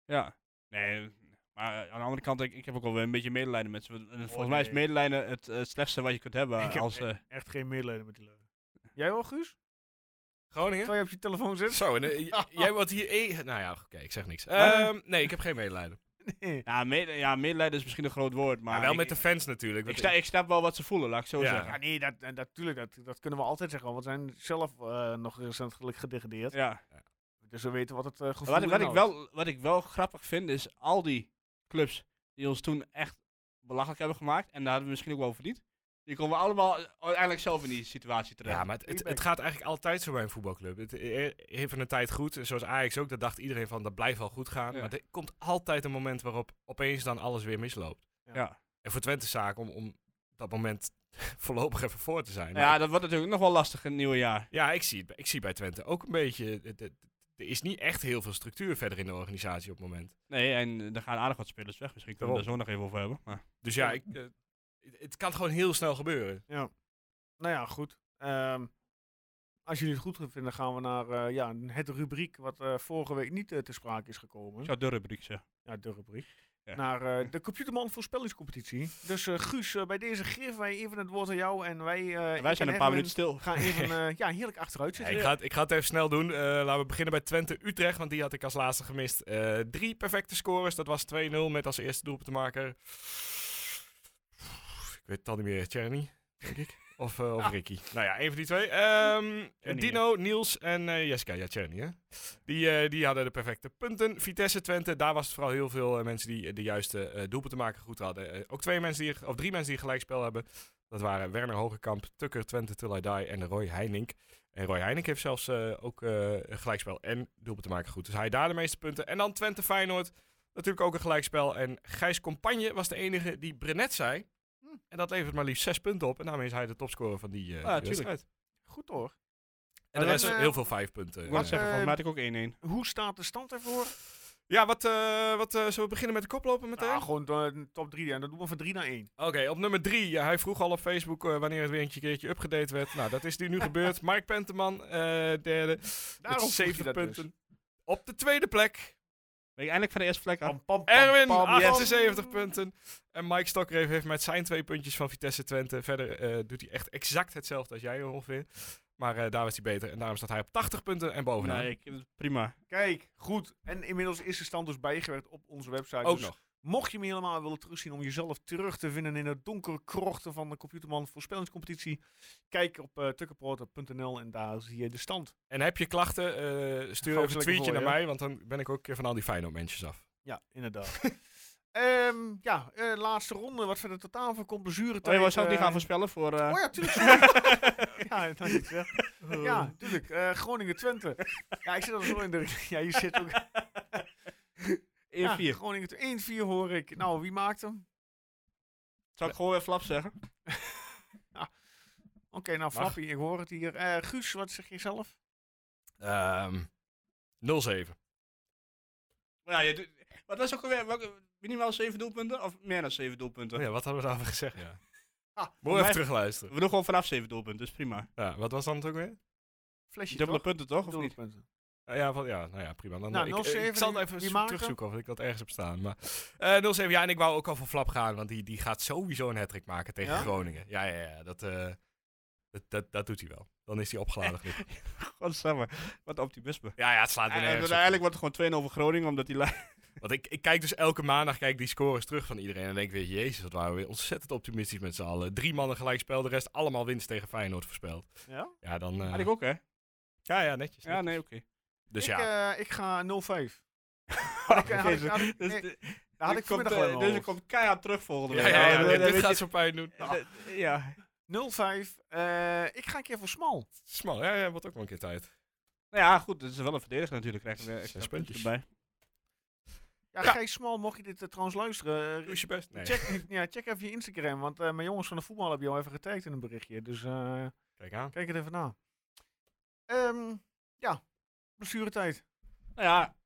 [SPEAKER 3] Ja. Nee, maar eh, aan de andere kant, ik, ik heb ook wel weer een beetje medelijden met ze. want, eh,
[SPEAKER 5] Oh,
[SPEAKER 3] Volgens mij is
[SPEAKER 1] nee.
[SPEAKER 3] medelijden het eh, slechtste wat je kunt hebben.
[SPEAKER 1] Ik heb e-
[SPEAKER 3] als, eh,
[SPEAKER 1] Echt geen medelijden met die leugen. Jij wel, Guus?
[SPEAKER 5] Groningen?
[SPEAKER 1] Terwijl je op je telefoon zit?
[SPEAKER 5] Zo, en, eh, j- jij wordt hier... e- nou ja, oké, ik zeg niks.
[SPEAKER 3] Maar-
[SPEAKER 5] Ehm, nee, ik heb geen medelijden.
[SPEAKER 1] Nee.
[SPEAKER 3] ja, mede, ja, medelijden is misschien een groot woord, maar...
[SPEAKER 5] Maar wel
[SPEAKER 3] ik,
[SPEAKER 5] met de fans natuurlijk.
[SPEAKER 3] ik,
[SPEAKER 5] want
[SPEAKER 3] sta, ik snap wel wat ze voelen, laat ik zo
[SPEAKER 5] Ja.
[SPEAKER 1] Ja,
[SPEAKER 3] zeggen.
[SPEAKER 1] nee, dat, en natuurlijk, dat, dat kunnen we altijd zeggen, want we zijn zelf eh, nog recentelijk gedegradeerd.
[SPEAKER 3] Ja.
[SPEAKER 1] Dus we weten wat het eh, gevoel
[SPEAKER 3] Wat, ik- wat, ik
[SPEAKER 1] inhoudt.
[SPEAKER 3] wel, wat ik wel grappig vind, is al die clubs die ons toen echt belachelijk hebben gemaakt, en daar hadden we misschien ook wel verdiend, die komen allemaal uiteindelijk zelf in die situatie terecht.
[SPEAKER 5] Ja, maar het, het, het gaat eigenlijk altijd zo bij een voetbalclub. Het e- heeft van een tijd goed, en zoals Ajax ook, dat dacht iedereen van dat blijft wel goed gaan.
[SPEAKER 3] Ja.
[SPEAKER 5] Maar er komt altijd een moment waarop opeens dan alles weer misloopt.
[SPEAKER 1] Ja.
[SPEAKER 3] Ja.
[SPEAKER 5] En voor Twente zaak om, om dat moment voorlopig even voor te zijn.
[SPEAKER 3] ja, dat wordt natuurlijk nog wel lastig in het nieuwe jaar.
[SPEAKER 5] Ja, ik zie, het- ik zie bij Twente ook een beetje. het- het- Er is niet echt heel veel structuur verder in de organisatie op het moment.
[SPEAKER 3] Nee, en eh, er gaan aardig wat spelers weg. Misschien kunnen we
[SPEAKER 5] Daarom.
[SPEAKER 3] daar zo nog even over hebben. Maar.
[SPEAKER 5] Dus ja, ik, eh, het- het kan gewoon heel snel gebeuren.
[SPEAKER 1] Nou ja, goed. Ehm, als jullie het goed vinden, gaan we naar eh, ja, het rubriek wat eh, vorige week niet eh, te sprake is gekomen.
[SPEAKER 3] Ik zou de rubriek zeggen.
[SPEAKER 1] Ja, de rubriek.
[SPEAKER 3] Ja.
[SPEAKER 1] Naar eh, de Computerman voorspellingscompetitie. Dus eh, Guus, eh, bij deze geven wij even het woord aan jou en wij... eh, ik
[SPEAKER 3] wij
[SPEAKER 1] en
[SPEAKER 3] zijn een
[SPEAKER 1] Erwin
[SPEAKER 3] paar minuten stil.
[SPEAKER 1] Gaan even eh, ja, heerlijk achteruit
[SPEAKER 5] Ja,
[SPEAKER 1] zitten.
[SPEAKER 5] ik, ga het, ik ga het even snel doen. Eh, laten we beginnen bij Twente Utrecht, want die had ik als laatste gemist. Eh, drie perfecte scores, dat was 2-0 met als eerste doelpunt te maken. Ik weet het al niet meer, Tjerny, denk ik. Of, eh, of Ricky. Nou ja, één van die twee. Ehm,
[SPEAKER 3] Tjerny,
[SPEAKER 5] Dino, Niels en eh, Jessica. Ja, Tjerny, hè? Die, eh, die hadden de perfecte punten. Vitesse Twente, daar was het vooral heel veel eh, mensen die eh, de juiste eh, doelpunten maken goed hadden. Eh, ook twee mensen die, of drie mensen die gelijkspel hebben. Dat waren Werner Hogekamp, Tukker, Twente Till I Die en Roy Heining. En Roy Heining heeft zelfs eh, ook eh, een gelijkspel en doelpunt te maken goed. Dus hij daar de meeste punten. En dan Twente Feyenoord, natuurlijk ook een gelijkspel. En Gijs Compagne was de enige die Brenet zei. En dat levert maar liefst zes punten op. En daarmee is hij de topscorer van
[SPEAKER 1] Ah,
[SPEAKER 5] die eh
[SPEAKER 3] tuurlijk.
[SPEAKER 5] wedstrijd.
[SPEAKER 1] Goed hoor.
[SPEAKER 5] En er
[SPEAKER 1] En,
[SPEAKER 5] was
[SPEAKER 1] eh,
[SPEAKER 5] heel veel vijf punten.
[SPEAKER 3] Ik
[SPEAKER 5] Ja.
[SPEAKER 3] wou zeggen,
[SPEAKER 1] eh,
[SPEAKER 3] volgens mij had ik ook 1-1.
[SPEAKER 1] Hoe staat de stand ervoor?
[SPEAKER 5] Ja, wat, eh, wat eh, zullen we beginnen met de koploper meteen?
[SPEAKER 1] Nou, gewoon eh, top 3 en dan doen we van 3 naar 1.
[SPEAKER 5] Oké, op nummer drie. Ja, hij vroeg al op Facebook eh, wanneer het weer eentje keertje upgedate werd. Nou, dat is nu, nu gebeurd. Mark Penteman, eh, derde.
[SPEAKER 1] Daarom
[SPEAKER 5] met
[SPEAKER 1] vroeg je
[SPEAKER 5] 70
[SPEAKER 1] dat dus.
[SPEAKER 5] punten. Op de tweede plek,
[SPEAKER 3] Ben ik eindelijk van de eerste vlek af?
[SPEAKER 5] Erwin,
[SPEAKER 1] pam, yes.
[SPEAKER 5] 78 punten. En Mike Stokreef heeft met zijn twee puntjes van Vitesse Twente. Verder eh, doet hij echt exact hetzelfde als jij ongeveer. Maar eh, daar was hij beter. En daarom staat hij op 80 punten en bovenaan.
[SPEAKER 3] Nee, ik, prima.
[SPEAKER 1] Kijk, goed. En inmiddels is de stand dus bijgewerkt op onze website.
[SPEAKER 3] Oh,
[SPEAKER 5] Ook
[SPEAKER 1] Dus
[SPEAKER 5] nog.
[SPEAKER 1] Mocht je hem helemaal willen terugzien om jezelf terug te vinden in de donkere krochten van de Computerman voorspellingscompetitie, kijk op eh tukkenproto.nl en daar zie je de stand.
[SPEAKER 5] En heb je klachten, eh,
[SPEAKER 1] Gooi ze
[SPEAKER 5] stuur even
[SPEAKER 1] lekker
[SPEAKER 5] een tweetje
[SPEAKER 1] voor,
[SPEAKER 5] naar
[SPEAKER 1] ja.
[SPEAKER 5] mij. Want dan ben ik ook een keer van al die fijne mensjes af.
[SPEAKER 1] Ja, inderdaad. Ehm, ja, eh, laatste ronde. Wat verder totaal voor komt blessure
[SPEAKER 3] Oh, je wou zelf niet gaan voorspellen voor... eh,
[SPEAKER 1] Oh ja, tuurlijk. sorry. ja, dat is wel. Ja, tuurlijk. eh, Groningen-Twente. Ja, ik zit al zo in de... Ja, je zit ook...
[SPEAKER 3] 1-4.
[SPEAKER 1] Ja, Groningen-Twente. 1-4 hoor ik. Nou, wie maakt hem?
[SPEAKER 3] Zal ik gewoon weer flap zeggen?
[SPEAKER 1] Oké, nou
[SPEAKER 5] Mag.
[SPEAKER 1] Flappy, ik hoor het hier. Eh, Guus, wat zeg je zelf?
[SPEAKER 5] Ehm 0-7.
[SPEAKER 3] Ja, je doet- wat was ook alweer? welke- Minimaal 7 doelpunten? Of meer dan 7 doelpunten?
[SPEAKER 5] Oh ja, wat hadden we daarover gezegd? Ja.
[SPEAKER 1] Ah,
[SPEAKER 5] Moet even
[SPEAKER 3] mij-
[SPEAKER 5] terugluisteren.
[SPEAKER 3] We doen gewoon vanaf 7 doelpunten, dus prima.
[SPEAKER 5] Ja, wat was dan het ook weer?
[SPEAKER 1] Flesje
[SPEAKER 3] Dubbele
[SPEAKER 1] toch?
[SPEAKER 3] punten toch, of niet?
[SPEAKER 1] Doelpunten.
[SPEAKER 5] Eh, ja, van, ja, nou ja, prima. Dan,
[SPEAKER 1] Nou,
[SPEAKER 5] eh, ik, eh,
[SPEAKER 1] 07,
[SPEAKER 5] ik zal
[SPEAKER 1] die-
[SPEAKER 5] het even
[SPEAKER 1] die
[SPEAKER 5] zo-
[SPEAKER 1] maken.
[SPEAKER 5] terugzoeken of ik dat ergens heb staan. Maar, eh 07, ja, en ik wou ook al voor Flap gaan, want die, die gaat sowieso een hattrick maken tegen
[SPEAKER 1] Ja?
[SPEAKER 5] Groningen. Ja, ja, ja, dat, eh, dat, dat, dat doet hij wel. Dan is hij opgeladen. genoeg.
[SPEAKER 3] Godsamme, wat optimisme.
[SPEAKER 5] ja, ja, het slaat weer
[SPEAKER 3] En, en
[SPEAKER 5] nergens op.
[SPEAKER 3] uiteindelijk wordt het gewoon 2-0 voor Groningen, omdat die lijn...
[SPEAKER 5] Want ik, ik kijk dus elke maandag kijk die scores terug van iedereen. En denk ik weer, jezus, wat waren we weer ontzettend optimistisch met z'n allen. Drie mannen gelijk spel, de rest allemaal winst tegen Feyenoord voorspeld.
[SPEAKER 1] Ja?
[SPEAKER 5] Ja, dan... eh,
[SPEAKER 3] Had ik ook, hè?
[SPEAKER 5] ja, ja, netjes.
[SPEAKER 3] Ja, nee, oké.
[SPEAKER 5] Dus
[SPEAKER 1] ik,
[SPEAKER 5] ja,
[SPEAKER 1] eh, ik ga 05.
[SPEAKER 3] Oké,
[SPEAKER 1] had ik-
[SPEAKER 3] zo-
[SPEAKER 1] had ik-
[SPEAKER 3] dus
[SPEAKER 1] nee,
[SPEAKER 3] de-
[SPEAKER 1] Daar had ik
[SPEAKER 3] komt,
[SPEAKER 1] vanmiddag
[SPEAKER 3] eh,
[SPEAKER 1] al in mijn
[SPEAKER 3] Deze komt keihard terug volgende
[SPEAKER 5] ja,
[SPEAKER 3] week.
[SPEAKER 5] ja, ja,
[SPEAKER 3] Nou, dan- dan
[SPEAKER 5] dit
[SPEAKER 3] weet
[SPEAKER 5] gaat
[SPEAKER 3] je-
[SPEAKER 5] zo pijn doen.
[SPEAKER 3] eh, Ja.
[SPEAKER 1] hoofd. 05. eh, ik ga een keer voor smal.
[SPEAKER 5] Smal, ja, ja, wordt ook wel een keer tijd.
[SPEAKER 3] Nou ja, goed, het is wel een verdediger natuurlijk. Krijgen we
[SPEAKER 5] Zes
[SPEAKER 3] extra
[SPEAKER 5] puntjes.
[SPEAKER 3] punten erbij.
[SPEAKER 1] Ja,
[SPEAKER 5] Ja.
[SPEAKER 1] Gijs Smal, mocht je dit eh, trouwens luisteren. eh,
[SPEAKER 5] Doe je best. Nee.
[SPEAKER 1] check, ja, check even je Instagram, want eh, mijn jongens van de voetbal hebben jou even getagd in een berichtje. Dus eh,
[SPEAKER 5] Kijk aan.
[SPEAKER 1] kijk het even na. Ehm ja, blessuretijd.
[SPEAKER 3] Nou ja,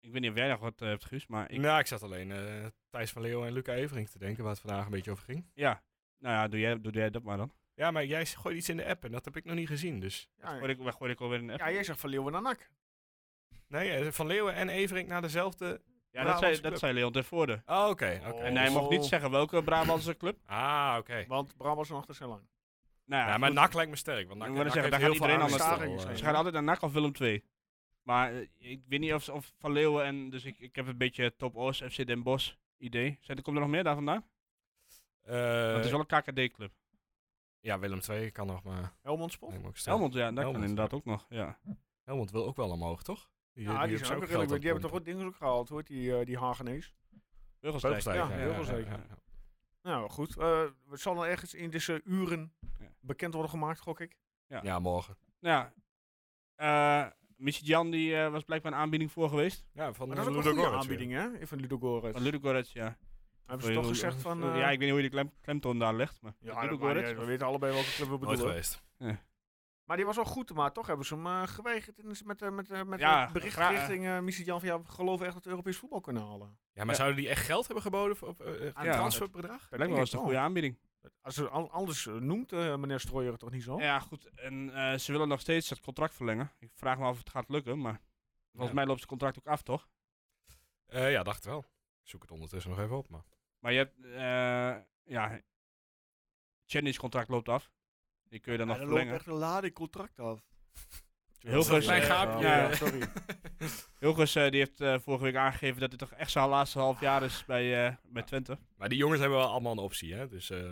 [SPEAKER 3] Ik weet niet of jij nog wat eh, hebt, Guus, maar ik,
[SPEAKER 5] Nou, ik zat alleen eh, Thijs van Leeuwen en Luca Evering te denken, waar het vandaag een beetje over ging.
[SPEAKER 3] ja. Nou ja, doe jij, doe jij dat maar dan.
[SPEAKER 5] Ja, maar jij gooit iets in de app en dat heb ik nog niet gezien, dus...
[SPEAKER 1] Ja,
[SPEAKER 3] Gooi ik, waar gooi ik alweer een app?
[SPEAKER 1] ja, jij zegt van Leeuwen naar NAC.
[SPEAKER 5] Nee, eh, van Leeuwen en Evering naar dezelfde...
[SPEAKER 3] Ja, dat
[SPEAKER 5] Brabantse
[SPEAKER 3] zei, dat
[SPEAKER 5] club.
[SPEAKER 3] zei Leon ten Voorde.
[SPEAKER 5] Oh, oké. oké.
[SPEAKER 3] en hij
[SPEAKER 5] Dus-
[SPEAKER 3] mocht niet zeggen welke Brabantse club.
[SPEAKER 5] Ah, oké.
[SPEAKER 1] Want Bram was nog te zo lang.
[SPEAKER 3] Nou ja,
[SPEAKER 5] Ja, maar
[SPEAKER 3] goed.
[SPEAKER 5] NAC lijkt me sterk, want NAC,
[SPEAKER 3] Ik wou
[SPEAKER 5] NAC
[SPEAKER 3] zeggen,
[SPEAKER 5] heeft
[SPEAKER 3] daar
[SPEAKER 5] heel
[SPEAKER 3] gaat
[SPEAKER 5] veel
[SPEAKER 1] iedereen
[SPEAKER 5] aandacht
[SPEAKER 1] anders
[SPEAKER 5] al,
[SPEAKER 1] staan.
[SPEAKER 3] Ze
[SPEAKER 5] eh.
[SPEAKER 3] gaan altijd naar NAC of Willem II. Maar eh, ik weet niet of, ze- of Van Leeuwen en... Dus ik, ik heb een beetje Top Oost, FC Den Bosch idee. Zijn er, komt er nog meer daar vandaan?
[SPEAKER 5] Eh,
[SPEAKER 3] Want het is wel een KKD-club.
[SPEAKER 5] Ja, Willem II kan nog, maar...
[SPEAKER 1] Oh. Helmond Spot?
[SPEAKER 5] lijkt me ook sterk.
[SPEAKER 3] Helmond, ja, dat kan
[SPEAKER 5] Helmond,
[SPEAKER 3] inderdaad ook nog. Ja.
[SPEAKER 5] Helmond wil ook wel omhoog, toch?
[SPEAKER 1] Ja, die, zijn ook redelijk
[SPEAKER 5] hebben ze geld
[SPEAKER 1] goed. Die hebben toch
[SPEAKER 5] aan
[SPEAKER 1] wat dingen ook gehaald, hoor, die, eh, die Hagenees.
[SPEAKER 3] Burgerstijk.
[SPEAKER 5] Beugelsdijk,
[SPEAKER 1] Ja, Beugelsdijk, ja. Nou, goed. eh, het zal wel ergens in deze uren
[SPEAKER 3] Ja.
[SPEAKER 1] bekend worden gemaakt, gok ik.
[SPEAKER 5] ja. Ja, morgen.
[SPEAKER 3] Nou ja, eh, Michi Jan die, eh, was blijkbaar een aanbieding voor geweest.
[SPEAKER 5] Ja, van
[SPEAKER 1] Maar dat is ook een goede
[SPEAKER 5] Ludogorets
[SPEAKER 1] aanbieding, hè? Van Ludogorets.
[SPEAKER 3] Van Ludogorets, ja.
[SPEAKER 1] Hebben ze toch gezegd van... eh,
[SPEAKER 3] ja, ik weet niet hoe je de klem, klemtoon daar legt, maar...
[SPEAKER 1] ja, dat maakt niet
[SPEAKER 3] Ludogorets.
[SPEAKER 1] uit, we weten allebei welke club we
[SPEAKER 5] weer. Nooit
[SPEAKER 1] bedoelen.
[SPEAKER 5] geweest.
[SPEAKER 1] Maar die was wel goed, maar toch hebben ze hem eh, geweigerd. En is met, eh, met, eh, met
[SPEAKER 3] Ja,
[SPEAKER 1] het bericht
[SPEAKER 3] gra-
[SPEAKER 1] richting eh Missie Jan van ja, we geloven echt dat we Europees voetbal kunnen halen.
[SPEAKER 5] Ja, maar
[SPEAKER 3] Ja.
[SPEAKER 5] zouden die echt geld hebben geboden voor, op, eh, eh,
[SPEAKER 1] Ja.
[SPEAKER 5] transferbedrag?
[SPEAKER 1] Dat
[SPEAKER 3] Blijkbaar
[SPEAKER 1] denk
[SPEAKER 3] was het een
[SPEAKER 1] ik
[SPEAKER 3] goede
[SPEAKER 1] wel.
[SPEAKER 3] aanbieding.
[SPEAKER 1] Als er, al- anders eh, noemt eh, meneer Strooijer het toch niet zo?
[SPEAKER 3] Ja, goed. En eh, ze willen nog steeds dat contract verlengen. Ik vraag me af of het gaat lukken, maar... Volgens
[SPEAKER 5] Ja.
[SPEAKER 3] mij loopt het contract ook af, toch?
[SPEAKER 5] Eh, ja, dacht wel. Ik zoek het ondertussen nog even op, maar...
[SPEAKER 3] Maar je hebt, eh, ja, Chenny's contract loopt af. Die kun je dan nog verlengen.
[SPEAKER 1] een lading contract af.
[SPEAKER 3] Heel
[SPEAKER 5] Dat is een
[SPEAKER 3] veel-
[SPEAKER 5] klein
[SPEAKER 3] eh,
[SPEAKER 5] gaapje.
[SPEAKER 3] ja.
[SPEAKER 5] eh.
[SPEAKER 1] sorry.
[SPEAKER 3] Hilgers eh, die heeft eh, vorige week aangegeven dat dit toch echt zijn laatste half jaar is bij, eh bij Twente.
[SPEAKER 5] Maar die jongens hebben wel allemaal een optie, hè? Dus eh,
[SPEAKER 1] Ja,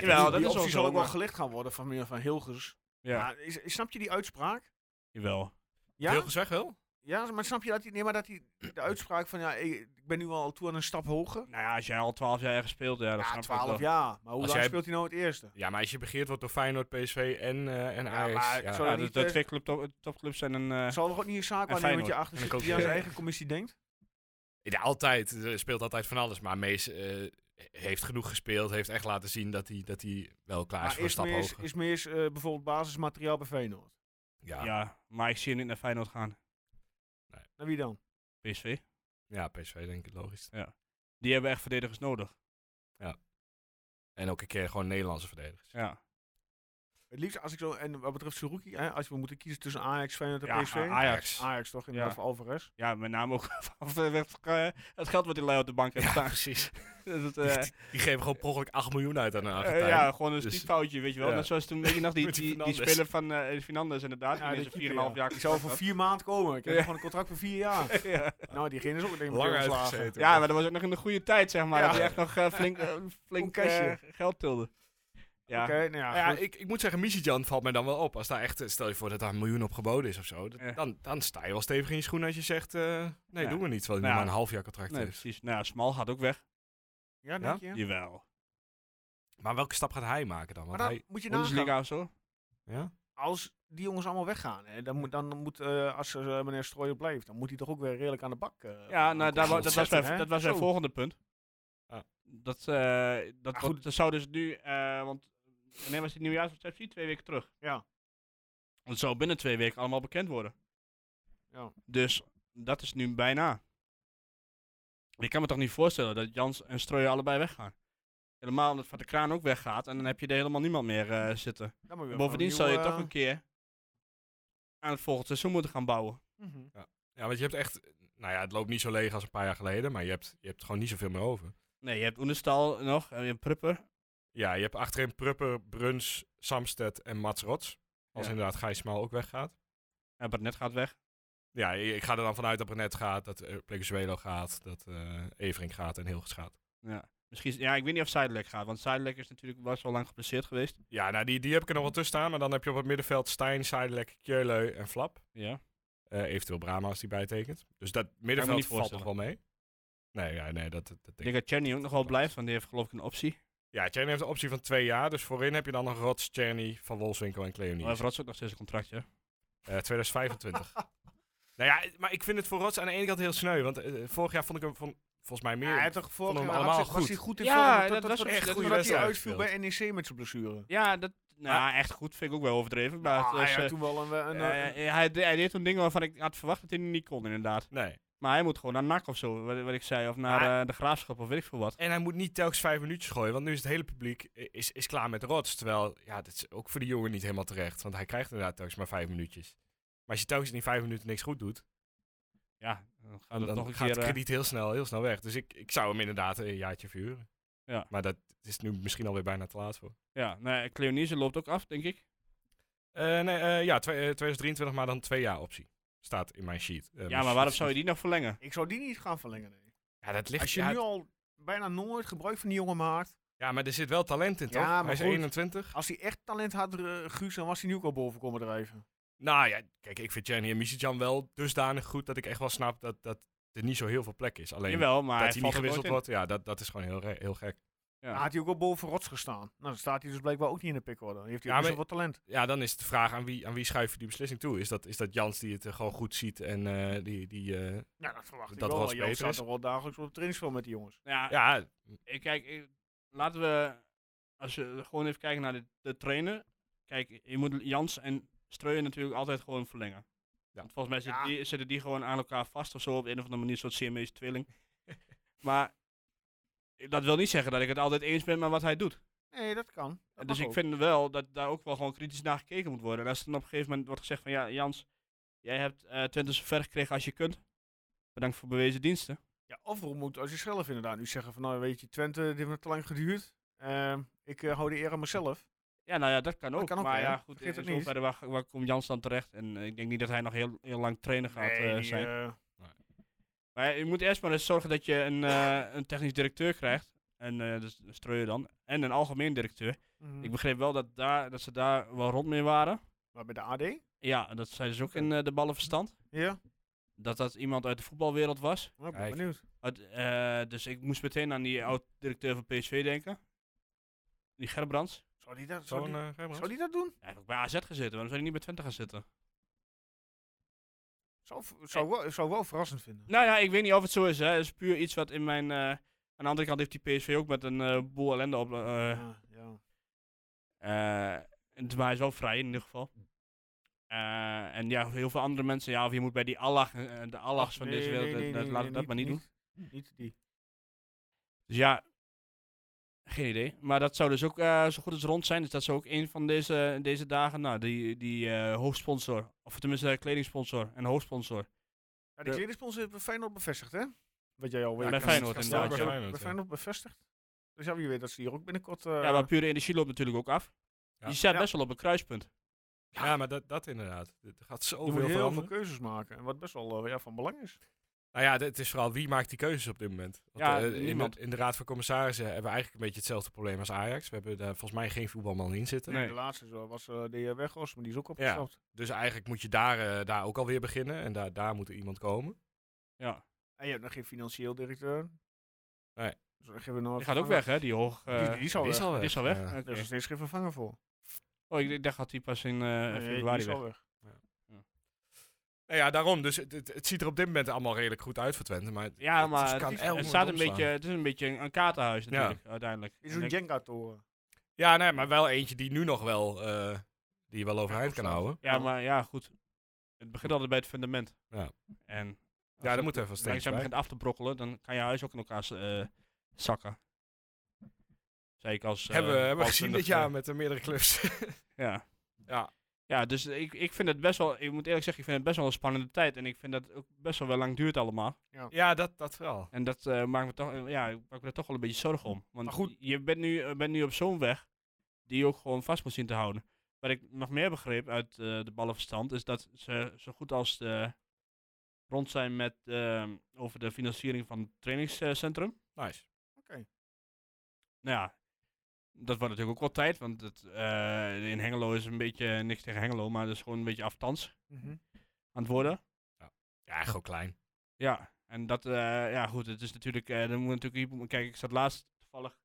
[SPEAKER 3] Jawel,
[SPEAKER 1] die,
[SPEAKER 3] dat
[SPEAKER 1] die
[SPEAKER 3] is
[SPEAKER 1] optie
[SPEAKER 3] ook
[SPEAKER 1] zal
[SPEAKER 3] zo,
[SPEAKER 1] ook wel
[SPEAKER 3] maar-
[SPEAKER 1] gelicht gaan worden van meneer Van Hilgers.
[SPEAKER 3] Ja,
[SPEAKER 1] Maar is, is- snap je die uitspraak?
[SPEAKER 3] jawel.
[SPEAKER 1] Ja?
[SPEAKER 5] heel gezegd wel.
[SPEAKER 1] ja, maar snap je dat, die, nee, maar dat die, de uitspraak van ja, ik ik ben nu al toe aan een stap hoger?
[SPEAKER 3] Nou ja, als jij al twaalf jaar ergens speelt, ja, dat
[SPEAKER 1] Ja,
[SPEAKER 3] snap ik wel.
[SPEAKER 1] 12 jaar. Maar hoe
[SPEAKER 5] Als
[SPEAKER 1] lang
[SPEAKER 5] jij-
[SPEAKER 1] speelt hij nou het eerste?
[SPEAKER 5] Ja, maar als je begeerd wordt door Feyenoord, PSV en, eh, en
[SPEAKER 1] Ja,
[SPEAKER 5] Ajax...
[SPEAKER 1] maar
[SPEAKER 5] ja.
[SPEAKER 1] zo-
[SPEAKER 3] Ja,
[SPEAKER 1] Zou
[SPEAKER 3] de,
[SPEAKER 1] niet,
[SPEAKER 3] de
[SPEAKER 1] eh,
[SPEAKER 3] twee club, top- topclubs zijn een... eh,
[SPEAKER 1] Zal er ook niet een zaak
[SPEAKER 3] En
[SPEAKER 1] waarnemen dat je achter
[SPEAKER 5] En
[SPEAKER 1] zit
[SPEAKER 5] ik ook
[SPEAKER 1] die aan
[SPEAKER 5] weer.
[SPEAKER 1] zijn eigen commissie denkt?
[SPEAKER 5] Ja, altijd. Er speelt altijd van alles. Maar Mees eh, heeft genoeg gespeeld. Heeft echt laten zien dat hij, dat hij wel klaar is
[SPEAKER 1] Maar
[SPEAKER 5] voor een
[SPEAKER 1] is
[SPEAKER 5] stap
[SPEAKER 1] meer,
[SPEAKER 5] hoger.
[SPEAKER 1] is meer is, eh, bijvoorbeeld basismateriaal bij Feyenoord.
[SPEAKER 5] ja.
[SPEAKER 3] ja.
[SPEAKER 5] Ja.
[SPEAKER 3] maar ik zie hem niet naar Feyenoord gaan.
[SPEAKER 1] Naar Nou, wie dan?
[SPEAKER 3] PSV.
[SPEAKER 5] PSV denk ik logisch.
[SPEAKER 3] Die hebben echt verdedigers nodig.
[SPEAKER 5] En ook een keer gewoon Nederlandse verdedigers.
[SPEAKER 3] Ja,
[SPEAKER 1] Het liefst als ik zo, en wat betreft Suruki, hè, als we moeten kiezen tussen Ajax, Feyenoord en
[SPEAKER 3] ja
[SPEAKER 1] PSV.
[SPEAKER 3] A- Ajax.
[SPEAKER 1] Ajax toch, inderdaad,
[SPEAKER 3] Ja.
[SPEAKER 1] voor Alvarez.
[SPEAKER 3] Ja, met name ook van eh, het geld wat die lui op de bank heeft staan.
[SPEAKER 5] precies.
[SPEAKER 3] Dat, eh,
[SPEAKER 5] Die geven gewoon per ongeluk 8 miljoen uit aan een
[SPEAKER 3] Eh,
[SPEAKER 5] Argentijn.
[SPEAKER 3] ja, gewoon een
[SPEAKER 5] Dus-
[SPEAKER 3] stieffoutje, weet je wel.
[SPEAKER 5] Ja.
[SPEAKER 3] Net zoals toen, weet je nog, die,
[SPEAKER 5] Met die
[SPEAKER 3] die, die
[SPEAKER 5] Fernandes.
[SPEAKER 3] speler van eh Fernandes inderdaad.
[SPEAKER 1] Ja,
[SPEAKER 3] die
[SPEAKER 1] die
[SPEAKER 3] is
[SPEAKER 1] keeper,
[SPEAKER 3] een 4,5 jaar
[SPEAKER 1] Ik zou voor vier maanden komen. Ik heb
[SPEAKER 3] Ja.
[SPEAKER 1] gewoon een contract voor vier jaar.
[SPEAKER 3] ja.
[SPEAKER 1] nou, diegene is ook denk ik
[SPEAKER 5] Lang
[SPEAKER 1] meteen ontslagen.
[SPEAKER 5] uitgezeten.
[SPEAKER 3] ja, maar dat was ook nog in de goede tijd, zeg maar.
[SPEAKER 1] Ja.
[SPEAKER 3] Dat hij echt nog eh, flink, eh,
[SPEAKER 1] Een
[SPEAKER 3] flink
[SPEAKER 1] cashje.
[SPEAKER 3] eh, geld tilde. Ja.
[SPEAKER 1] Oké, nou ja,
[SPEAKER 5] Nou ja,
[SPEAKER 1] goed.
[SPEAKER 5] ik, ik moet zeggen, Michijan valt mij dan wel op. Als daar echt, eh, stel je voor dat daar een miljoen op geboden is of zo. dat-
[SPEAKER 3] Ja.
[SPEAKER 5] dan, dan sta je wel stevig in je schoen als je zegt, eh, nee,
[SPEAKER 3] Ja.
[SPEAKER 5] doen we niet. Terwijl hij
[SPEAKER 3] Nou,
[SPEAKER 5] maar een half jaar contract
[SPEAKER 3] Nee,
[SPEAKER 5] heeft.
[SPEAKER 3] precies. Nou, ja, Smal gaat ook weg.
[SPEAKER 1] ja, denk je?
[SPEAKER 3] Jawel.
[SPEAKER 5] Maar welke stap gaat hij maken dan?
[SPEAKER 1] Maar
[SPEAKER 5] Want
[SPEAKER 1] dan
[SPEAKER 5] hij,
[SPEAKER 1] moet je nagaan.
[SPEAKER 3] Bundesliga of zo.
[SPEAKER 5] ja?
[SPEAKER 1] Als die jongens allemaal weggaan, hè, dan moet, dan moet eh, als eh, meneer Strooijer blijft, dan moet hij toch ook weer redelijk aan de bak. eh,
[SPEAKER 3] Ja, nou, daar, wa- dat was
[SPEAKER 1] ontzettend,
[SPEAKER 3] mijn,
[SPEAKER 1] hè?
[SPEAKER 3] dat was mijn
[SPEAKER 1] Zo.
[SPEAKER 3] volgende punt.
[SPEAKER 5] Ah.
[SPEAKER 3] Dat, eh, dat,
[SPEAKER 1] Ah,
[SPEAKER 3] wordt-
[SPEAKER 1] goed.
[SPEAKER 3] dat zou dus nu, eh, want wanneer was die nieuwjaarsreceptie? Twee weken terug.
[SPEAKER 1] Ja.
[SPEAKER 3] Dat zou binnen twee weken allemaal bekend worden.
[SPEAKER 1] Ja.
[SPEAKER 3] Dus dat is nu bijna. Ik kan me toch niet voorstellen dat Jans en Strooijer allebei weggaan. Helemaal omdat Van de Kraan ook weggaat en dan heb je er helemaal niemand meer eh, zitten.
[SPEAKER 1] Dan moet je weer
[SPEAKER 3] Bovendien
[SPEAKER 1] opnieuw,
[SPEAKER 3] zou je
[SPEAKER 1] eh,
[SPEAKER 3] toch een keer aan het volgende seizoen moeten gaan bouwen.
[SPEAKER 1] mhm.
[SPEAKER 5] Ja, want je hebt echt, nou ja, het loopt niet zo leeg als een paar jaar geleden, maar je hebt, je hebt gewoon niet zoveel meer over.
[SPEAKER 3] Nee, je hebt Oenestal nog, eh, je hebt Prupper.
[SPEAKER 5] Ja, je hebt achterin Prupper, Bruns, Samsted en Mats Rots. Als
[SPEAKER 3] Ja.
[SPEAKER 5] inderdaad Gijs Maal ook weggaat.
[SPEAKER 3] Ja, Barnett gaat weg.
[SPEAKER 5] Ja, i- ik ga er dan vanuit dat Brenet gaat, dat eh, Plegezuelo gaat, dat eh Evering gaat en Hilgers gaat.
[SPEAKER 3] Ja. Misschien, is- ja, ik weet niet of Sidelek gaat, want Sidelek is natuurlijk best wel lang geblesseerd geweest.
[SPEAKER 5] Ja, nou die, die heb ik er nog wel tussen staan, maar dan heb je op het middenveld Stijn, Seidelek, Kjöleu en Flap.
[SPEAKER 3] Ja.
[SPEAKER 5] Eh, eventueel Brama als die bijtekent. Dus dat
[SPEAKER 3] me
[SPEAKER 5] middenveld
[SPEAKER 3] niet
[SPEAKER 5] valt nog wel
[SPEAKER 3] voorstellen.
[SPEAKER 5] mee. Nee, ja, nee, dat, dat, dat
[SPEAKER 3] Ik
[SPEAKER 5] denk
[SPEAKER 3] denk
[SPEAKER 5] ik.
[SPEAKER 3] dat Cherny ook nog wel blijft, want die heeft geloof ik een optie.
[SPEAKER 5] Ja, Tjerny heeft de optie van twee jaar, dus voorin heb je dan nog Rots, Tjerny, Van Wolfswinkel en Cleonie.
[SPEAKER 3] Maar heeft Rots ook nog steeds een contractje.
[SPEAKER 5] Eh, 2025. nou ja, maar ik vind het voor Rots aan de ene kant heel sneu. Want eh, vorig jaar vond ik hem van, volgens mij meer.
[SPEAKER 1] Ja, hij had toch vorig
[SPEAKER 5] hem
[SPEAKER 1] jaar
[SPEAKER 5] allemaal
[SPEAKER 1] hartstikke- was
[SPEAKER 5] goed.
[SPEAKER 1] hij goed in
[SPEAKER 3] Ja,
[SPEAKER 1] vorm,
[SPEAKER 3] dat
[SPEAKER 1] tot- tot-
[SPEAKER 3] was
[SPEAKER 1] tot-
[SPEAKER 3] echt
[SPEAKER 1] tot-
[SPEAKER 5] goede
[SPEAKER 1] Totdat hij
[SPEAKER 5] wedstrijd
[SPEAKER 1] uitviel bij
[SPEAKER 5] gespeeld.
[SPEAKER 1] NEC met zijn blessure.
[SPEAKER 3] Ja, dat, nou, echt goed vind ik ook wel overdreven. Maar
[SPEAKER 1] Ah,
[SPEAKER 3] het was,
[SPEAKER 1] hij had
[SPEAKER 3] eh,
[SPEAKER 1] toen wel een... een,
[SPEAKER 3] eh,
[SPEAKER 1] een-
[SPEAKER 3] hij, de- hij deed toen dingen waarvan ik had verwacht dat hij niet kon, inderdaad.
[SPEAKER 5] Nee.
[SPEAKER 3] Maar hij moet gewoon naar NAC of zo, wat, wat ik zei. Of naar
[SPEAKER 5] Maar-
[SPEAKER 3] eh, de Graafschap of weet ik veel wat.
[SPEAKER 5] En hij moet niet telkens vijf minuutjes gooien, want nu is het hele publiek eh, is, is klaar met de rots. Terwijl, ja, dat is ook voor die jongen niet helemaal terecht, want hij krijgt inderdaad telkens maar vijf minuutjes. Maar als je telkens in die vijf minuten niks goed doet,
[SPEAKER 3] Ja, dan gaat
[SPEAKER 5] dan,
[SPEAKER 3] het nog een
[SPEAKER 5] gaat
[SPEAKER 3] keer...
[SPEAKER 5] het
[SPEAKER 3] eh,
[SPEAKER 5] krediet heel snel, heel snel weg. Dus ik, ik zou hem inderdaad een jaartje verhuren.
[SPEAKER 3] Ja.
[SPEAKER 5] Maar dat is nu misschien alweer bijna te laat voor.
[SPEAKER 3] ja, nee, Cleonise loopt ook af, denk ik.
[SPEAKER 5] Eh, nee, eh, ja, twe- eh, 2023, maar dan twee jaar optie. Staat in mijn sheet. Eh,
[SPEAKER 3] Ja,
[SPEAKER 5] mijn
[SPEAKER 3] maar
[SPEAKER 5] sheet-
[SPEAKER 3] waarom zou je die nog verlengen?
[SPEAKER 1] Ik zou die niet gaan verlengen. nee.
[SPEAKER 5] Ja, dat ligt...
[SPEAKER 1] Als je
[SPEAKER 5] ja,
[SPEAKER 1] nu al bijna nooit gebruik van die jongen maakt.
[SPEAKER 5] ja, maar er zit wel talent in, toch?
[SPEAKER 1] Ja, maar
[SPEAKER 5] hij is
[SPEAKER 1] goed.
[SPEAKER 5] 21.
[SPEAKER 1] Als hij echt talent had, eh, Guus, dan was hij nu ook al boven komen drijven.
[SPEAKER 5] Nou ja, kijk, ik vind Jenny en Misicjan wel dusdanig goed dat ik echt wel snap dat, dat er niet zo heel veel plek is. Alleen
[SPEAKER 3] Jawel, maar
[SPEAKER 5] dat hij
[SPEAKER 3] hij valt
[SPEAKER 5] niet
[SPEAKER 3] er
[SPEAKER 5] gewisseld
[SPEAKER 3] nooit
[SPEAKER 5] wordt, ja, dat, dat is gewoon heel, re- heel gek.
[SPEAKER 3] in. Ja.
[SPEAKER 1] Dan had hij ook al boven rots gestaan. Nou, dan staat hij dus blijkbaar ook niet in de pickorde. Dan heeft hij
[SPEAKER 5] Ja,
[SPEAKER 1] ook niet
[SPEAKER 5] maar-
[SPEAKER 1] zoveel talent.
[SPEAKER 5] Ja, dan is de vraag aan wie, aan wie schuif je die beslissing toe? Is dat, is dat Jans die het eh, gewoon goed ziet en eh, die... die eh,
[SPEAKER 1] Ja, dat verwacht
[SPEAKER 5] Dat
[SPEAKER 1] ik wel.
[SPEAKER 5] Rots
[SPEAKER 1] want Jan
[SPEAKER 5] beter
[SPEAKER 1] staat
[SPEAKER 5] is.
[SPEAKER 1] toch wel dagelijks op het trainingsveld met die jongens.
[SPEAKER 3] Ja,
[SPEAKER 5] ja,
[SPEAKER 3] ik, kijk, ik- laten we, als je gewoon even kijken naar de, de trainer. Kijk, je moet Jans en Streuer natuurlijk altijd gewoon verlengen. Want volgens mij zitten,
[SPEAKER 1] Ja.
[SPEAKER 3] die, zitten die gewoon aan elkaar vast of zo, op een of andere manier, een soort CME's twilling. maar dat wil niet zeggen dat ik het altijd eens ben met wat hij doet.
[SPEAKER 1] Nee, dat kan. Dat
[SPEAKER 3] dus
[SPEAKER 1] mag
[SPEAKER 3] ik
[SPEAKER 1] ook.
[SPEAKER 3] vind wel dat daar ook wel gewoon kritisch naar gekeken moet worden. En als dan op een gegeven moment wordt gezegd van, ja, Jans, jij hebt eh Twente zover gekregen als je kunt. Bedankt voor bewezen diensten.
[SPEAKER 1] Ja, of we moeten als je zelf inderdaad nu zeggen van nou weet je, Twente, dit heeft me te lang geduurd. Ehm, ik eh, hou de eer aan mezelf.
[SPEAKER 3] Ja, nou ja, dat kan ook.
[SPEAKER 1] Dat kan ook,
[SPEAKER 3] maar
[SPEAKER 1] hè?
[SPEAKER 3] ja, goed,
[SPEAKER 1] Vergeet
[SPEAKER 3] in
[SPEAKER 1] het niet.
[SPEAKER 3] zoverre waar, waar komt Jans dan terecht? En eh, ik denk niet dat hij nog heel, heel lang trainer gaat eh,
[SPEAKER 1] die,
[SPEAKER 3] zijn.
[SPEAKER 1] eh,
[SPEAKER 3] Maar je moet eerst maar eens zorgen dat je een, eh, een technisch directeur krijgt. En eh dus Streuer dan. En een algemeen directeur.
[SPEAKER 1] mhm.
[SPEAKER 3] Ik begreep wel dat, daar, dat ze daar wel rond mee waren.
[SPEAKER 1] maar bij de AD?
[SPEAKER 3] Ja, en dat zijn dus ook in eh, de ballenverstand.
[SPEAKER 1] Ja,
[SPEAKER 3] Dat dat iemand uit de voetbalwereld was.
[SPEAKER 1] Nou, ik ben
[SPEAKER 5] Kijk.
[SPEAKER 1] benieuwd.
[SPEAKER 3] Uit- eh, dus ik moest meteen aan die oud-directeur van PSV denken. Die Gerbrands.
[SPEAKER 1] Zou die dat, zou
[SPEAKER 5] zo'n...
[SPEAKER 1] die,
[SPEAKER 5] eh, Gerbrands?
[SPEAKER 1] zou die dat doen?
[SPEAKER 3] Hij heeft ook bij AZ gezeten. Waarom zou hij niet bij Twente gaan zitten?
[SPEAKER 1] Zou, zou, wel, zou wel verrassend vinden.
[SPEAKER 3] Nou ja, ik weet niet of het zo is. Hè. Het is puur iets wat in mijn. eh, aan de andere kant heeft die PSV ook met een eh, boel ellende op. eh,
[SPEAKER 1] Ja, ja.
[SPEAKER 3] eh, en- maar hij is wel vrij in ieder geval. Eh, en ja, heel veel andere mensen. Ja, of je moet bij die Allah, eh, de Allahs van
[SPEAKER 1] Nee,
[SPEAKER 3] deze
[SPEAKER 1] nee,
[SPEAKER 3] wereld. eh,
[SPEAKER 1] nee,
[SPEAKER 3] dat-
[SPEAKER 1] nee,
[SPEAKER 3] dat, laat
[SPEAKER 1] nee,
[SPEAKER 3] dat maar niet, doen.
[SPEAKER 1] Niet, niet die.
[SPEAKER 3] Dus ja, geen idee. Maar dat zou dus ook eh, zo goed als rond zijn. Dus dat zou ook een van deze, deze dagen. Nou, die, die eh, hoofdsponsor. Of tenminste, eh, kledingsponsor en hoofdsponsor.
[SPEAKER 1] Ja, die
[SPEAKER 3] Ja.
[SPEAKER 1] kledingsponsor heeft bij Feyenoord bevestigd, hè? Wat jij al weet.
[SPEAKER 3] bij
[SPEAKER 1] Ja,
[SPEAKER 3] Feyenoord
[SPEAKER 1] ja,
[SPEAKER 3] inderdaad,
[SPEAKER 1] bij
[SPEAKER 5] ja.
[SPEAKER 1] Feyenoord, Bij
[SPEAKER 5] Ja.
[SPEAKER 1] Feyenoord bevestigd. Dus ja, wie weet dat ze hier ook binnenkort... eh,
[SPEAKER 3] ja, maar pure energie loopt natuurlijk ook af.
[SPEAKER 5] Ja.
[SPEAKER 3] Die staat
[SPEAKER 1] Ja.
[SPEAKER 3] best wel op een kruispunt.
[SPEAKER 5] Ja, maar dat, dat inderdaad. Er gaat
[SPEAKER 1] je moet
[SPEAKER 5] zoveel
[SPEAKER 1] heel
[SPEAKER 5] veranderen.
[SPEAKER 1] veel keuzes maken. En wat best wel eh, ja, van belang is.
[SPEAKER 5] Nou ja, d- het is vooral wie maakt die keuzes op dit moment. Want,
[SPEAKER 3] Ja,
[SPEAKER 5] eh, in de-
[SPEAKER 3] niemand.
[SPEAKER 5] In, de Raad van Commissarissen hebben we eigenlijk een beetje hetzelfde probleem als Ajax. We hebben daar volgens mij geen voetbalman in zitten.
[SPEAKER 1] De laatste zo was eh de heer Weghorst, maar die is ook opgestapt.
[SPEAKER 5] Dus eigenlijk moet je daar, eh, daar ook alweer beginnen. En daar, daar moet er iemand komen.
[SPEAKER 3] Ja.
[SPEAKER 1] En je hebt nog geen financieel directeur.
[SPEAKER 5] Nee.
[SPEAKER 1] Dus dan geven we nog
[SPEAKER 3] Die gaat ook weg, hè? Die hoog.
[SPEAKER 1] Die,
[SPEAKER 3] eh,
[SPEAKER 1] die is al weg. Dus
[SPEAKER 3] die is al weg.
[SPEAKER 5] Ja.
[SPEAKER 1] Er is nog steeds geen vervanger voor.
[SPEAKER 3] Oh, ik, ik dacht dat hij pas in eh,
[SPEAKER 1] Nee, die
[SPEAKER 3] februari
[SPEAKER 1] is
[SPEAKER 3] weg.
[SPEAKER 1] al weg.
[SPEAKER 5] Nou ja, daarom. Dus het, het, het ziet er op dit moment allemaal redelijk goed uit voor Twente. Maar
[SPEAKER 3] Ja,
[SPEAKER 5] het
[SPEAKER 3] maar
[SPEAKER 5] kan
[SPEAKER 3] het, is,
[SPEAKER 5] elk
[SPEAKER 3] het
[SPEAKER 5] moment
[SPEAKER 3] staat een
[SPEAKER 5] omslaan.
[SPEAKER 3] beetje, het is een beetje een, een kaartenhuis natuurlijk, uiteindelijk.
[SPEAKER 1] Is een
[SPEAKER 3] En ik-
[SPEAKER 1] Jenga-toren.
[SPEAKER 5] Ja, nee, maar wel eentje die nu nog wel, eh, die je wel overeind kan
[SPEAKER 1] opstaat.
[SPEAKER 5] houden.
[SPEAKER 3] ja, maar ja, goed. Het begint altijd bij het fundament.
[SPEAKER 5] Ja.
[SPEAKER 3] En als
[SPEAKER 5] Ja,
[SPEAKER 3] het
[SPEAKER 5] dat moet even steeds
[SPEAKER 3] langzaam
[SPEAKER 5] bij.
[SPEAKER 3] begint af te brokkelen, dan kan je huis ook in elkaar eh, zakken. Zei ik als... eh,
[SPEAKER 5] hebben we, hebben we gezien dit
[SPEAKER 3] bouwkundige-
[SPEAKER 5] jaar met Dus, eh, meerdere clubs.
[SPEAKER 3] Ja.
[SPEAKER 5] Ja.
[SPEAKER 3] Ja, dus ik, ik vind het best wel, ik moet eerlijk zeggen, ik vind het best wel een spannende tijd. En ik vind dat het ook best wel wel lang duurt allemaal.
[SPEAKER 5] ja, dat, dat vooral.
[SPEAKER 3] En dat eh, maakt me toch, eh, ja, ik maak me daar toch wel een beetje zorgen om. Want
[SPEAKER 1] Maar goed.
[SPEAKER 3] je bent nu, eh, bent nu op zo'n weg die je ook gewoon vast moet zien te houden. Wat ik nog meer begreep uit eh, de ballenverstand is dat ze zo goed als eh, rond zijn met ehm, over de financiering van het trainingscentrum.
[SPEAKER 5] Nice.
[SPEAKER 3] Nou ja, dat wordt natuurlijk ook wel tijd, want het, eh, in Hengelo is een beetje, niks tegen Hengelo, maar dat is gewoon een beetje aftans aan het worden.
[SPEAKER 5] Ja, gewoon klein.
[SPEAKER 3] Ja, en dat, eh, ja goed, het is natuurlijk, eh dan moet natuurlijk, hypo- kijk, ik zat laatst, toevallig,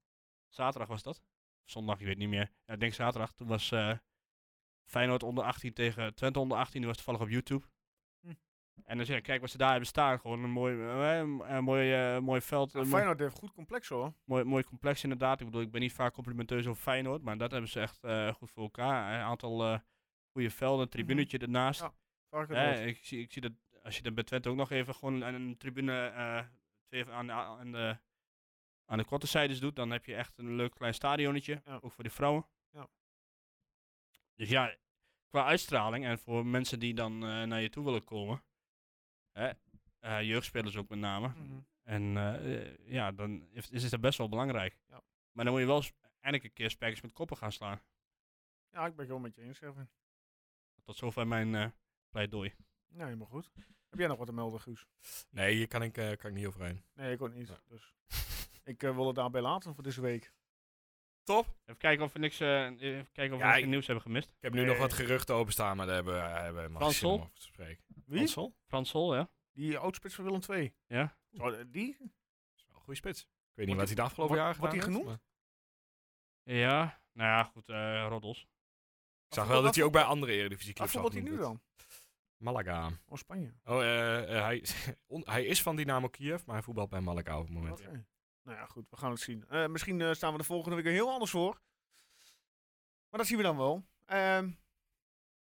[SPEAKER 3] zaterdag was dat? Zondag, ik weet niet meer. Ja, ik denk zaterdag, toen was eh, Feyenoord onder 18 tegen Twente onder 18, die was toevallig op YouTube.
[SPEAKER 1] Hm.
[SPEAKER 3] En dan zeg ik, kijk wat ze daar hebben staan, gewoon een mooi, eh, een, eh, mooi, eh, mooi veld,
[SPEAKER 1] Ja,
[SPEAKER 3] een mooi,
[SPEAKER 1] Feyenoord heeft goed complex hoor.
[SPEAKER 3] mooi, mooi complex inderdaad. Ik bedoel, ik ben niet vaak complimenteus over Feyenoord, maar dat hebben ze echt eh, goed voor elkaar. Een aantal eh goede velden, een tribunetje ernaast.
[SPEAKER 1] Mhm. Ja. Varkenoord.
[SPEAKER 3] Ja, ik, zie, ik zie dat als je dan bij Twente ook nog even gewoon aan een tribune eh, twee van- aan, de- aan de, aan de korte zijdes doet, dan heb je echt een leuk klein stadionnetje.
[SPEAKER 1] Ja.
[SPEAKER 3] Ook voor de vrouwen.
[SPEAKER 1] Ja.
[SPEAKER 3] Dus ja, qua uitstraling en voor mensen die dan eh, naar je toe willen komen. Hè, eh, jeugdspelers ook met name. En eh, eh, ja, dan is, is het best wel belangrijk.
[SPEAKER 1] Ja.
[SPEAKER 3] Maar dan moet je wel eens eindelijk een keer spijkers met koppen gaan slaan.
[SPEAKER 1] Ja, ik ben het wel met je eens, Erwin.
[SPEAKER 3] Tot zover mijn eh pleidooi.
[SPEAKER 1] Nou, helemaal goed. Heb jij nog wat te melden, Guus?
[SPEAKER 5] Nee, hier kan ik, eh, kan ik niet overheen.
[SPEAKER 1] Nee, ik ook niet.
[SPEAKER 5] Nee.
[SPEAKER 1] Dus ik eh, wil het daarbij laten voor deze week.
[SPEAKER 5] Top.
[SPEAKER 3] Even kijken of we niks, eh, even kijken of
[SPEAKER 5] Ja,
[SPEAKER 3] we
[SPEAKER 5] ik-
[SPEAKER 3] niks nieuws hebben gemist.
[SPEAKER 5] Ik heb nu
[SPEAKER 1] Eh,
[SPEAKER 5] nog wat geruchten openstaan, maar daar hebben we eh, hebben we
[SPEAKER 3] Frans
[SPEAKER 5] Max
[SPEAKER 3] Sol?
[SPEAKER 5] Zimmer over te spreken.
[SPEAKER 1] Wie?
[SPEAKER 5] Frans Sol?
[SPEAKER 3] Frans Sol, ja?
[SPEAKER 1] Die oudspits van Willem II.
[SPEAKER 3] Ja.
[SPEAKER 1] Zo, eh, die?
[SPEAKER 5] Is wel een goede spits. Ik weet niet
[SPEAKER 1] Wordt
[SPEAKER 5] wat hij de afgelopen
[SPEAKER 1] wordt-
[SPEAKER 5] jaren
[SPEAKER 1] wordt
[SPEAKER 5] gedaan
[SPEAKER 1] hij
[SPEAKER 5] heeft,
[SPEAKER 1] genoemd?
[SPEAKER 5] maar
[SPEAKER 3] Ja, nou ja, goed, eh roddels.
[SPEAKER 5] Ik zag
[SPEAKER 1] Wat-
[SPEAKER 5] wel
[SPEAKER 1] wat-
[SPEAKER 5] dat hij ook bij andere eredivisieclubs
[SPEAKER 1] Wat
[SPEAKER 5] zat.
[SPEAKER 1] voetbalt hij nu dan?
[SPEAKER 5] Malaga.
[SPEAKER 1] Oh, Spanje.
[SPEAKER 5] Oh, eh, eh, hij, on- hij is van Dynamo Kiev, maar hij voetbalt bij Malaga op het moment.
[SPEAKER 1] Oké. Nou ja, goed. We gaan het zien. Eh, misschien eh, staan we de volgende week er heel anders voor. Maar dat zien we dan wel. Ehm,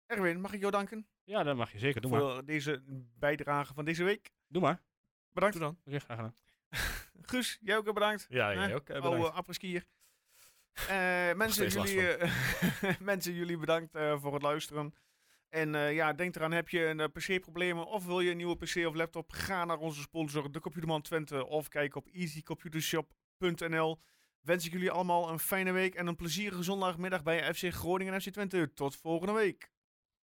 [SPEAKER 1] Erwin, mag ik jou danken
[SPEAKER 3] Ja, dat mag je zeker. Doe maar.
[SPEAKER 1] voor deze bijdrage van deze week?
[SPEAKER 3] Doe maar.
[SPEAKER 1] Bedankt.
[SPEAKER 5] Doe dan.
[SPEAKER 3] Oké, graag gedaan.
[SPEAKER 1] Guus, jij ook heel bedankt.
[SPEAKER 5] Ja,
[SPEAKER 1] Nee,
[SPEAKER 5] jij ook. eh,
[SPEAKER 1] Oude
[SPEAKER 5] bedankt.
[SPEAKER 1] appreskier. Eh, mensen,
[SPEAKER 5] steeds last
[SPEAKER 1] jullie, eh, mensen, jullie bedankt eh, voor het luisteren. En eh, ja, denk eraan, heb je een eh, PC-problemen of wil je een nieuwe PC of laptop? Ga naar onze sponsor, de Computerman Twente, of kijk op easycomputershop.nl. Wens ik jullie allemaal een fijne week en een plezierige zondagmiddag bij FC Groningen en FC Twente. Tot volgende week.